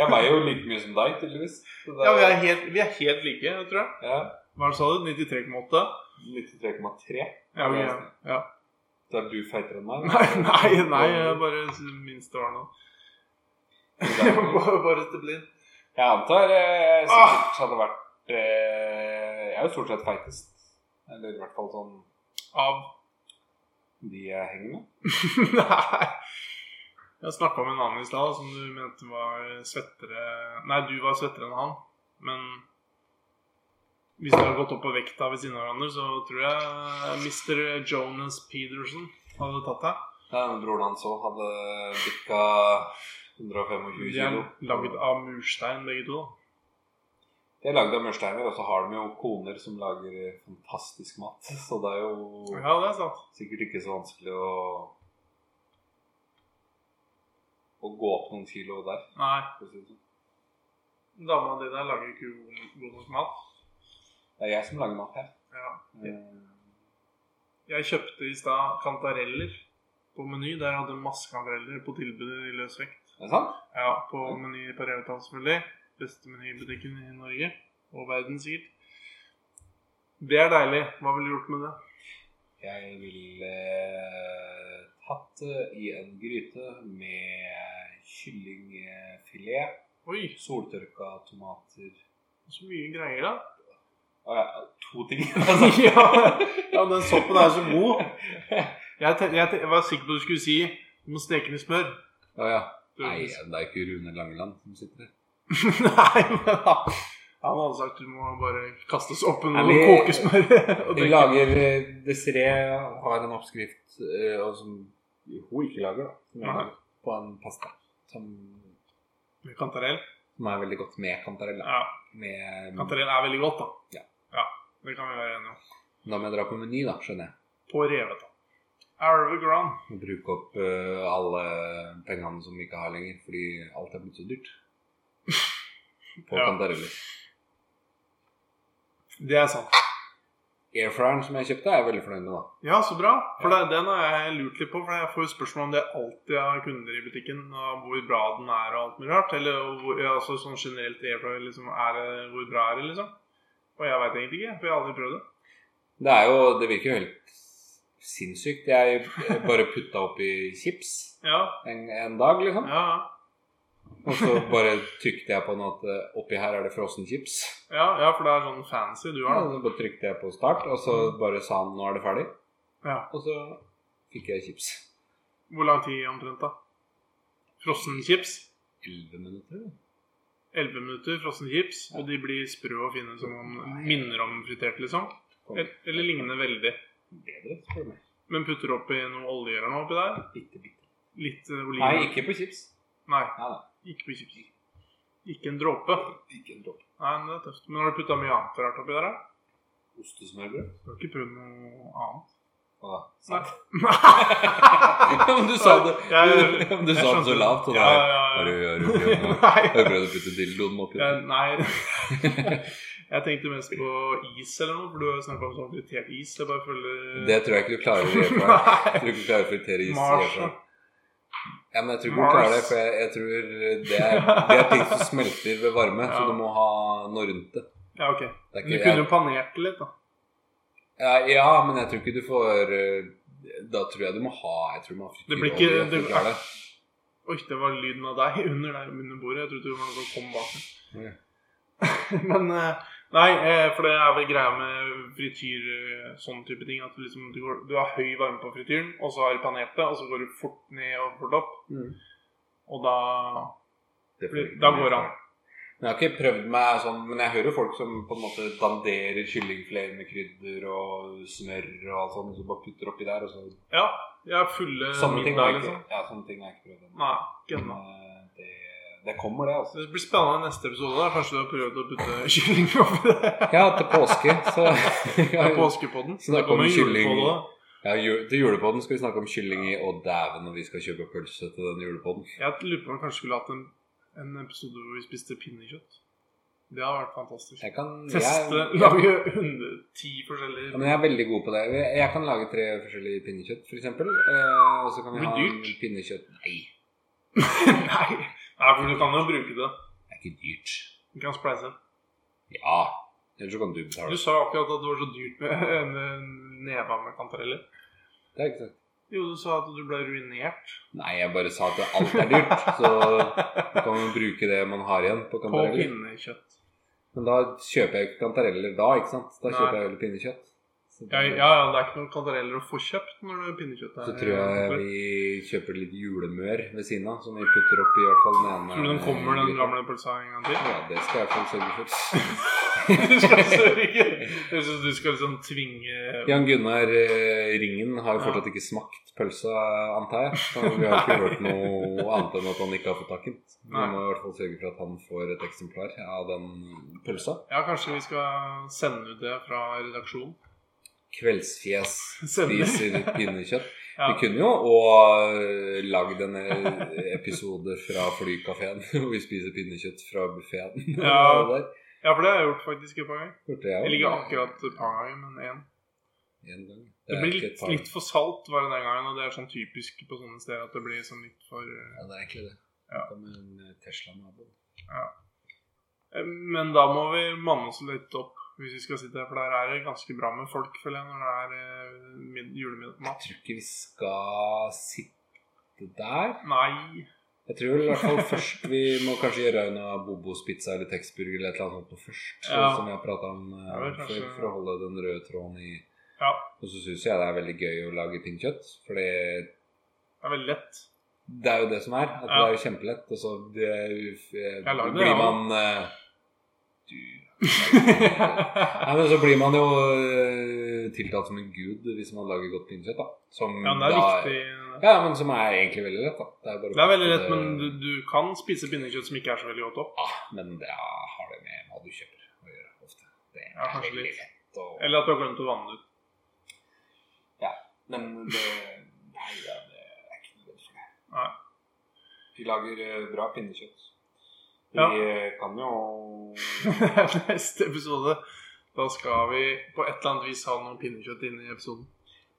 Jeg veier jo like mye som deg, tydeligvis. Så det Ja, vi er helt, vi er helt like, jeg tror jeg. ja, Hva sa du? 93,8? 93,3. Ja, ok, ja. ja. Så er du feitere enn meg? Nei, nei, nei, jeg bare minst det var nå. bare bare til blind. Jeg antar jeg sikkert hadde vært eh, Jeg er jo stort sett feitest. Eller i hvert fall sånn Av de jeg henger med. Nei. Jeg snakka med en annen i stad som du mente var svettere Nei, du var svettere enn han. Men hvis dere har gått opp på vekta ved siden av hverandre, så tror jeg Mr. Jonas Pedersen hadde tatt deg. Nei, men Broren hans òg hadde bikka 125 De er kilo. lagd av murstein, begge to. da. De er lagd av mørsteiner, og så har de jo koner som lager eh, fantastisk mat. Så det er jo Ja, det er sant. sikkert ikke så vanskelig å å gå opp noen kilo der. Nei, for å si det sånn. dama di der lager ikke god god nok mat. Det er jeg som lager mat her. Ja. Eh, Jeg kjøpte i stad kantareller på Meny. Der hadde de masse kantareller på tilbudet i løs vekt. Er det sant? Ja, på Meny på Revetal selvfølgelig. Beste menybutikken i Norge. Og verden, sikkert. Det er deilig. Hva ville du gjort med det? Jeg ville eh, tatt det i en gryte med kyllingfilet, Oi, soltørka tomater så mye greier, da. Å ja, to ting. Altså. Ja, den soppen er så god. Jeg, te- jeg, te- jeg var sikker på at du skulle si du må steke med smør. Å ja. Du- Nei, det er ikke Rune Langeland som sitter der. Nei, men da Han hadde sagt du må bare kaste soppen Nei, og vi- koke smør. og Vi drikke. lager eh, dessert og har en oppskrift eh, og som hun ikke lager, da. Som jeg Nei. lager på en pasta som, Med Kantarell. som er veldig godt med kantarell. da. Ja, Med, kantarell er veldig godt, da. Ja. Ja, Det kan vi være enige om. da må jeg dra på Meny, da, skjønner jeg. På revet, da. Arve Grand. Og bruke opp eh, alle pengene som vi ikke har lenger, fordi alt er blitt så dyrt. På Ja. kantareller. Det er sant. Airfryeren som jeg kjøpte, er jeg veldig fornøyd med, da. Ja, så bra. For det, den har jeg lurt litt på. For jeg får jo spørsmål om det alltid av kunder i butikken. Og hvor bra den er og alt mulig rart. Eller hvor, ja, altså, sånn generelt airfryer, liksom, er det, hvor bra er det, liksom? Og jeg veit egentlig ikke, for jeg har aldri prøvd det. Det er jo Det virker jo helt sinnssykt. Jeg bare putta oppi chips Ja, en, en dag, liksom. ja, ja. Og så bare trykte jeg på den at eh, oppi her er det frossen chips. ja, ja for det er sånn fancy du Ja, har. og da. så bare trykte jeg på start, og så bare sa han 'nå er det ferdig'. Ja. Og så fikk jeg chips. Hvor lang tid omtrent, da? Frossenchips. 11 minutter? 11 minutter frossenchips, og de blir sprø og fine som om minner om fritert, liksom. Kom, Eller, eller ligner veldig. bedre, spør du meg. Men putter oppi noe olje eller noe oppi der. Bitte, bitte. Litt eh, oliven. Nei, ikke på chips. Nei. Nei, nei. Ikke på chips. Ikke en dråpe. Ikke en dråpe. Nei, men det er tøft. Men har du putta mye annet rart oppi der? da? Ostesmørbrød? Du har ikke prøvd noe annet? Hva da? Nei. Men du sa det Jeg- du, du sa det jeg så skjønte. lavt, og da Ja, har ja, du ja. har du prøvd å- har Nei. du prøvd å putte dildoen oppi Jeg- Nei. Jeg tenkte mest på is eller noe, for du har snakka om sånn fritert is. Jeg bare føler Det tror jeg ikke du klarer å gjøre. Frank. Jeg Nei. tror ikke du klarer å fritere is. Mars, i Frank. Ja, men jeg tror ikke du Mars. klarer det, for jeg, jeg tror det er, det er ting som smelter ved varme, så Ja. du må ha noe rundt det. Ja, ok. det er Du ikke, kunne jo panert det litt, da. ja, ja, men jeg tror ikke du får eh, Da tror jeg du må ha Jeg tror du må ha Det blir frityrolje ikke- for å det- klare det. Oi, det var lyden av deg under deg under bordet. Jeg trodde det var noe som kom bak. meg. Men eh, Nei, eh, for det er vel greia med frityr, eh, sånn type ting. At du, liksom, du, går, du har høy varme på frityren, og så har du panert det, og så går du fort ned og fort opp. Mm. Og da Det får ikke Mm, Da bli går han. for- Men Jeg har ikke prøvd meg sånn, men jeg hører folk som på en måte danderer kyllingfilet med krydder og smør og alt sånt, og så bare putter oppi der, og så Ja, jeg er fulle Sånne ting har middag, jeg ikke, liksom. ja, sånne ting har jeg ikke prøvd ennå. Nei, ikke Men, ennå. eh, det, det kommer, det, altså. Det blir spennende i neste episode. da. Kanskje du har prøvd å putte kylling oppi det. Ja, til påske, så Det er påskepodden. Snakk Det kommer om kylling. julepodden også. Ja, ju- Til julepodden skal vi snakke om kylling i Å dæven når vi skal kjøpe pølse til den julepodden. Jeg lurer på om vi kanskje skulle hatt en, en episode hvor vi spiste pinnekjøtt. Det hadde vært fantastisk. Jeg kan Teste, jeg, lage 110 forskjellige Ja, men jeg er veldig god på det. Jeg jeg kan lage tre forskjellige pinnekjøtt, f.eks. eksempel Eh, og så kan vi Blir ha en dyrt. pinnekjøtt Nei, Nei. Nei, for du kan jo bruke det. det er ikke dyrt. Du kan spleise. Ja. Ellers så kan du Du betale. sa jo akkurat at det var så dyrt med en en neve med kantareller. Det er ikke sant. Jo, du sa at du ble ruinert. Nei, jeg bare sa at alt er dyrt, så da kan man bruke det man har igjen på På kantareller. pinnekjøtt. Men da kjøper jeg ikke kantareller da, ikke sant? Da kjøper Nei. jeg heller pinnekjøtt. Så Ja, da- ja, ja, det er ikke noen kantareller å få kjøpt når det er pinnekjøtt. er- Så tror jeg vi kjøper litt julemør ved siden av, som vi putter oppi i hvert fall den ene. Tror du den kommer, den gamle pølsa, en gang til? Ja, det skal jeg i hvert fall sørge for. Du skal sørge. Jeg synes du skal liksom tvinge Jan Gunnar eh, Ringen har jo fortsatt ikke smakt pølsa, antar jeg. Så vi har ikke hørt noe annet enn at han ikke har fått tak i den. Vi Nei. må i hvert fall sørge for at han får et eksemplar av den pølsa. Ja, kanskje vi skal sende ut det fra redaksjonen. Kveldsfjes Stemmer. spiser pinnekjøtt. Ja. Vi kunne jo og lagd en episode fra flykafeen hvor vi spiser pinnekjøtt fra buffeen. Ja. Ja, for det har jeg gjort faktisk et par ganger. Hørte jeg Eller også. ikke akkurat et par ganger, men én. En gang. Det er blir ikke et litt, par. litt for salt var det den gangen, og det er sånn typisk på sånne steder at det blir sånn litt for eh, Ja, det er egentlig det. Ja. Kom en Tesla-nabo. eh, Men da må vi manne oss litt opp. Hvis vi skal sitte her, for der er det ganske bra med folk, føler jeg, når det er eh, mid- Jeg julemiddag. tror ikke vi skal sitte der. Nei. Jeg tror vel i hvert fall først vi må kanskje gjøre unna Bobos pizza eller Texburger eller et eller annet sånt først. sånn Ja. Som vi har prata om eh, Ja, vel, kanskje- før, for å holde den røde tråden i Ja, Og så syns jeg det er veldig gøy å lage pinnkjøtt. For det, det er veldig lett. det er jo det som er. At Ja. Det er jo kjempelett. Og så det, eh, Jeg lager det, blir ja. man eh, Du Nei, men så blir man jo eh, tiltalt som en gud hvis man lager godt pinnkjøtt, da. Som Ja, men det er da, viktig. Ja, men som er egentlig veldig lett, da. Det er, bare Det er veldig å lett, kaste det- men du, du kan spise pinnekjøtt som ikke er så veldig godt opp. ah, Men det er- har det med hva du kjøper å gjøre, ofte. Det er Ja, kanskje veldig litt. lett å Eller at du har glemt å vanne det ut. Men det Nei, ja, det er ikke noe redd for det. Nei. Vi lager eh, bra pinnekjøtt. Vi Ja. eh, kan jo Neste episode, da skal vi på et eller annet vis ha noe pinnekjøtt inn i episoden.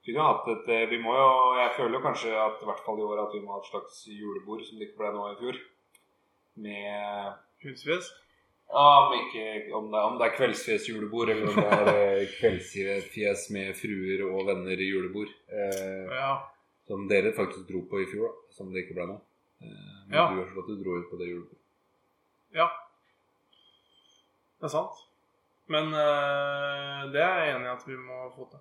Kunne hatt et eh, Vi må jo Jeg føler jo kanskje at i hvert fall i år at vi må ha et slags julebord som det ikke ble nå i fjor. Med Hunsfjes. ja, om, ikke, om, det, om det er kveldsfjes julebord, eller om det er eh, kveldsfjes med fruer og venner i julebord. Eh, Ja. Som dere faktisk dro på i fjor, da. Som det ikke ble noe. Eh, Men Ja. du har slått du dro ut på det julebordet. Ja. Det er sant. Men eh, det er jeg enig i at vi må få til.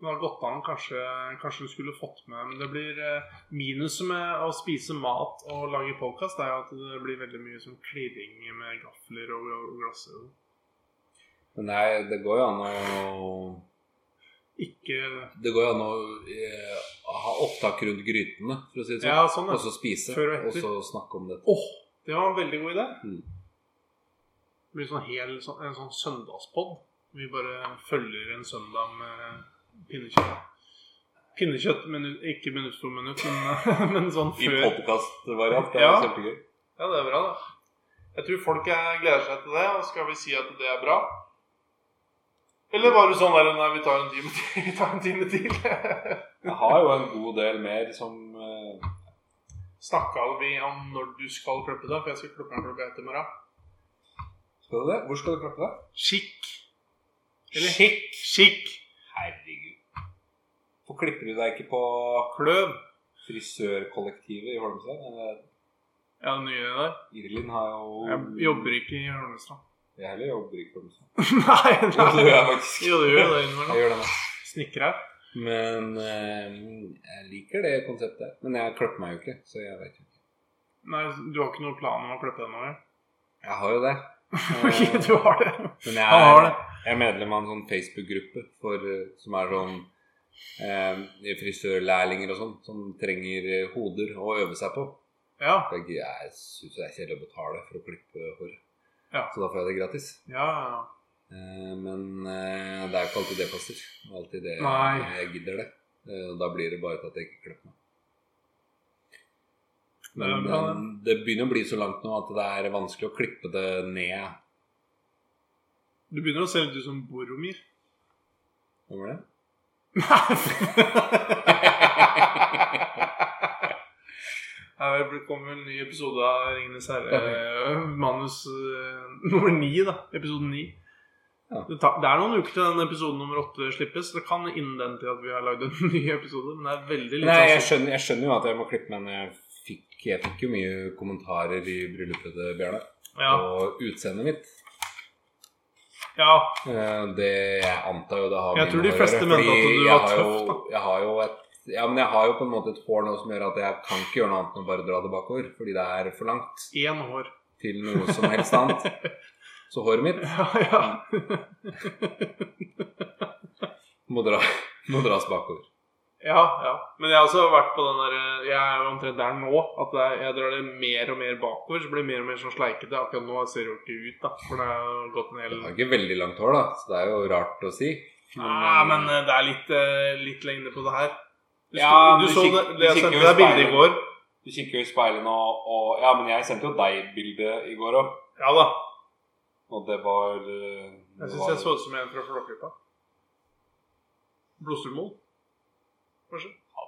Det har gått an, kanskje, kanskje du skulle fått med Men det blir eh, minuset med å spise mat og lage podkast, er jo at det blir veldig mye som klirring med gafler og, og glass. Men nei, det går jo an å Ikke Det går jo an å eh, ha opptak rundt grytene, for å si det sånn. Ja, sånn, Og ja. så spise, Før og og etter. så snakke om det. Åh, det var en veldig god idé. Mm. Det blir sånn hel, sånn, en sånn søndagspod. Vi bare følger en søndag med pinnekjøtt. Pinnekjøtt, minu- ikke minutt for minutt, men, men sånn I før. podkastvariant. Det er Ja. kjempegøy. Ja, det er bra, det. Jeg tror folk er, gleder seg til det, og skal vi si at det er bra? Eller var det sånn der Nei, vi tar en time til. Vi tar en time til. Jeg har jo en god del mer som eh, Snakka vi om når du skal klippe deg? For jeg skal klippe meg klokka ett i morgen. Skal du det? Hvor skal du klappe deg? Skikk. Eller Skikk. Skikk. Herregud. Hvorfor klipper du deg ikke på Kløv. frisørkollektivet i Holmstrand? Eh, Ja, det nye der. Irlin har jo Jeg jobber ikke i Holmestrand. Jeg heller jobber ikke i Holmstrand. nei, Jo, det gjør jeg faktisk. Jo, du gjør det Jeg innimellom. gjør det nå. Snikker her. Men eh, jeg liker det konseptet. Men jeg klipper meg jo ikke, så jeg vet ikke. Nei, du har ikke noen plan om å klippe deg nå? vel? Jeg har jo det. Eh, Ok, du har det. Men jeg Han har er, det. jeg er medlem av en sånn Facebook-gruppe for, eh, som er sånn eh, frisørlærlinger og sånn, som trenger eh, hoder å øve seg på. Ja. For Jeg, jeg syns det er kjedelig å betale for å klippe håret, Ja. så da får jeg det gratis. Ja, ja. Eh, men eh, det er jo ikke alltid det passer. Det er Alltid det Nei. jeg gidder det. Eh, og da blir det bare til at jeg ikke klipper meg. er Men bra, det. eh, det begynner å bli så langt nå at det er vanskelig å klippe det ned. Du begynner å se litt ut som Boromir. Hva var det? Ja, Det kommer en ny episode av Ringenes herre. eh, Manus eh, nummer ni, da. Episode ni. Ja. Det, tar, det er noen uker til den episoden nummer åtte slippes. Det kan innen den til at vi har lagd en ny episode, men det er veldig litt sånn Nei, jeg sannsynlig. skjønner, jeg skjønner jo at jeg må klippe meg, men jeg fikk, jeg fikk jo mye kommentarer i bryllupet til Bjarne Ja. på utseendet mitt. ja. Eh, Det jeg antar jo det har Jeg med tror innhold de å fleste gjøre, mente fordi jeg at du var har tøff, jo- Jeg har jo et ja, men jeg har jo på en måte et hår nå som gjør at jeg kan ikke gjøre noe annet enn å bare dra det bakover. Fordi det er for langt Én hår. til noe som helst annet. Så håret mitt Ja, ja. Mm. må, dra, må dras bakover. Ja, ja. Men jeg har også vært på den der Jeg er jo omtrent der nå. At det er, jeg drar det mer og mer bakover. Så blir det mer og mer sånn sleikete. Akkurat nå ser det jo ikke ut, da. For det har jo gått en hel Jeg har ikke veldig langt hår, da, så det er jo rart å si. Nei, men eh, det er litt, eh, litt lengde på det her. Du, Ja, du, du så kik- det, du det jeg kikker jo sendte i deg bilde i speilet. går. Du kikker jo i speilet nå, og Ja, men jeg sendte jo deg bildet i går òg, Ja da. og det var eh, Jeg syns jeg så ut som en fra Flåklypa. Blodstrupmoen. Kanskje. Han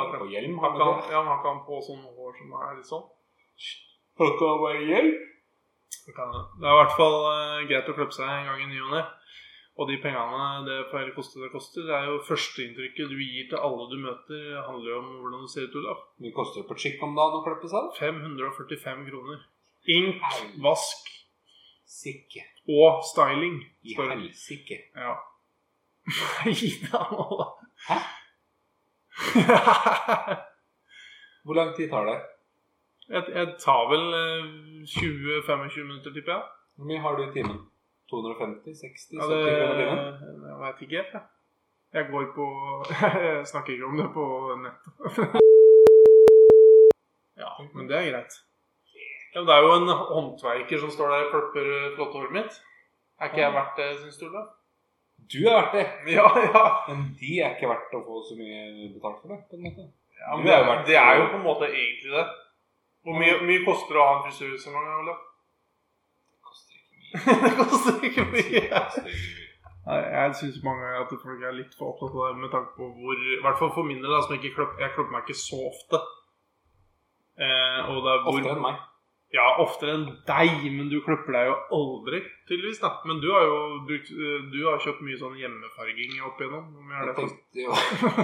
var på hjelm, Har ikke han, ja, men liksom. har ikke han på sånn hår som er litt sånn? Har ikke han bare hjelm? Det kan det. Det er i hvert fall eh, greit å klippe seg en gang i ny og ne. Og de pengene det får koste det koster, det er jo førsteinntrykket du gir til alle du møter, handler jo om hvordan du ser ut, Olav. Mye koster det på chick om dagen å klippe seg? 545 kroner. Ink, vask Sikke. og styling. I Står det. helsike. Ja. Gi deg nå, da. Hæ? Hvor lang tid tar det? jeg, jeg tar vel eh, 20-25 minutter, tipper jeg. Hvor mye har du i timen? 250? 60? 70 Ja, det, kroner i timen? jeg veit ikke helt, jeg. Jeg går på Jeg snakker ikke om det på nettet. ja, men det er greit. Ja, men det er jo en håndverker som står der og klipper eh, flotte håret mitt. Er ikke jeg verdt det, syns du? da? Du er verdt det! Ja, ja. Men de er ikke verdt å få så mye betalt for det, på en måte. ja men det, er, jo- det er jo på en måte egentlig det. Hvor mye, mye koster det å ha en frisørsalong? Olav? Koster ikke mye. det koster ikke Det mye. koster ikke mye. Nei, Jeg syns mange ganger at folk er litt for opptatt av det med tanke på hvor I hvert fall for min del, da, som ikke kløpp, jeg klipper meg ikke så ofte. Eh, og det er hvor, Oftere enn meg. Ja, oftere enn deg, men du klipper deg jo aldri, tydeligvis. da Men du har jo brukt, eh, du har kjøpt mye sånn hjemmefarging opp igjennom. Hvor mye er Jeg det for?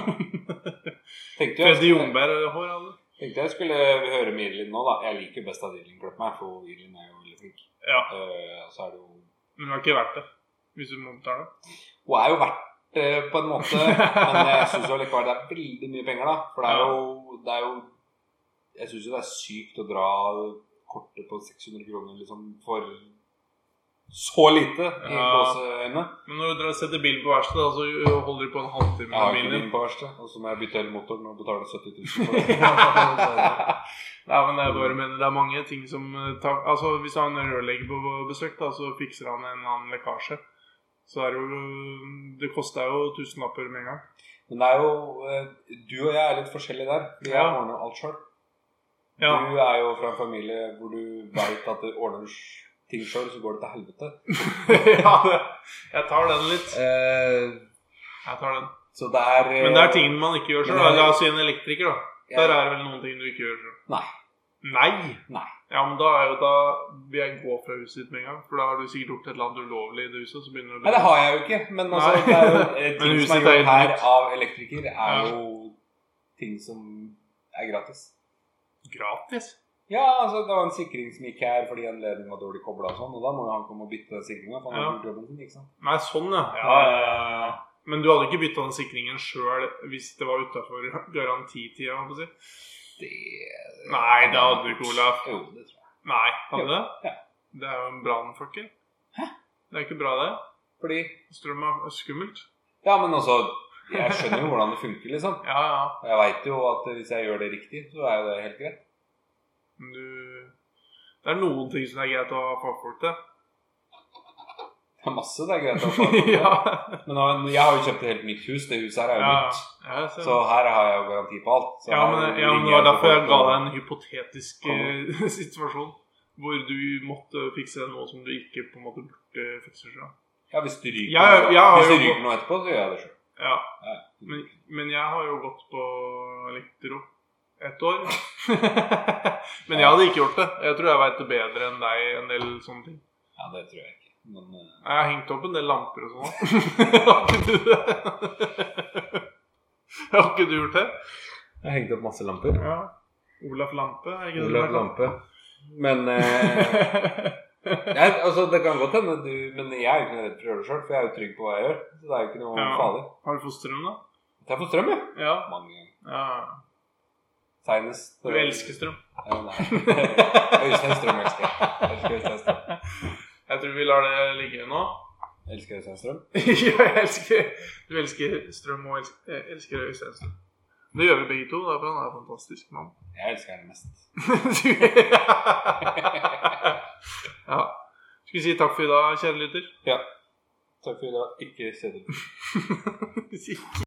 tenkte jo tenkte jeg, Freddy skulle, Jomberg-hår? hadde du? tenkte jeg skulle høre med Irlin nå, da. Jeg liker best at Irlin klipper meg, for Irlin er jo veldig flink. Ja, Eh, og så er det jo men det er ikke verdt det. Hvis du må betale. Hun er jo verdt det på en måte, men jeg syns likevel det er veldig mye penger, da. For det er jo, det er jo Jeg syns jo det er sykt å dra kortet på 600 kroner liksom for så lite i Ja. gåseøyne. Men når dere setter bilen på verkstedet, da, så holder du på en Jeg halvtime har med ikke bilen. bil på verste, og så må jeg bytte hele motoren og betale 70 000 for det. Nei, men jeg bare mener det er mange ting som eh, tar, Altså Hvis du har en rørlegger på besøk, da, så fikser han en eller annen lekkasje. Så er det jo Det kosta jo tusenlapper med en gang. Men det er jo eh, Du og jeg er litt forskjellige der. Vi Ja. ordner jo alt sjøl. Ja. Du er jo fra en familie hvor du veit at du ordner ting sjøl, så går det til helvete. ja, det, jeg tar den litt. Eh, Jeg tar den. så det er eh, Men det er ting man ikke gjør sjøl. Men det er- La oss si en elektriker, da. jeg- Der er det vel noen ting du ikke gjør sjøl. Nei. Nei? Nei. Ja, men da er jo da vil jeg gå fra huset ditt med en gang. For da har du sikkert gjort et eller annet ulovlig i det huset. Så begynner du å Nei, det har jeg jo ikke. Men altså, Nei. det er jo eh, ting som Men huset er er gjort her nytt. av elektriker, er Ja. jo ting som er gratis. Gratis? Ja, altså det var en sikring som gikk her fordi en ledning var dårlig kobla og sånn, og da må jo han komme og bytte den sikringa. For han har Ja. gjort jobben sin, ikke sant. Nei, sånn, ja. Men du hadde ikke bytta den sikringen sjøl hvis det var utafor garantitida? holdt på å Si. Det Nei, det hadde du ikke, Olaf. Jo, det tror jeg. Nei, hadde det? Ja. Det er jo en brannfakkel. Det er ikke bra, det. Fordi Strøm er skummelt. Ja, men altså Jeg skjønner jo hvordan det funker, liksom. Ja, ja. Og jeg veit jo at hvis jeg gjør det riktig, så er jo det helt greit. Men du Det er noen ting som det er greit å ha fagfolk til. Det er masse det er greit å få. ja. Men nå- jeg har jo kjøpt et helt nytt hus. Det huset her er jo ja. nytt. ja jeg ser Så det. her har jeg jo garanti på alt. Så ja, her men, ja, ringer men det var til derfor jeg folk ga og- deg en hypotetisk eh, situasjon. Hvor du måtte fikse noe som du ikke på en måte burde fikse sjøl. Ja, hvis du ryker, Ja, ja, ja, hvis du jo. ryker noe etterpå, så gjør jeg det sjøl. Ja. Ja. Men, men jeg har jo gått på elektro ett år. men jeg hadde ikke gjort det. Jeg tror jeg veit det bedre enn deg en del sånne ting. Ja, det tror jeg ikke. Men eh, Jeg har hengt opp en del lamper og sånn. har ikke du det? har ikke du gjort det? jeg hengte opp masse lamper. Ja. Olaf Lampe, er ikke det Olav du har Lampe. Men eh, kalt? jeg, altså, Det kan godt hende du Men jeg er jo ikke noe redd for å gjøre det sjøl, for jeg er jo trygg på hva jeg gjør. Så det er jo ikke noe Ja. farlig. Har du fosterhund, da? Jeg får strøm, jeg. Ja. Mange ganger. ja. Seinest Du elsker strøm. Ja, nei. Øystein Strøm elsker jeg. Elsker Øystein Strøm. Jeg tror vi lar det ligge nå. Elsker Øystein Strøm. jeg elsker Du elsker strøm og els jeg elsker Øystein Strøm. Det gjør vi begge to, da, for han er en fantastisk mann. Jeg elsker henne mest. ja. Skal vi si takk for i dag, kjære lytter? Takk for i dag. Ikke kjedelig. Si-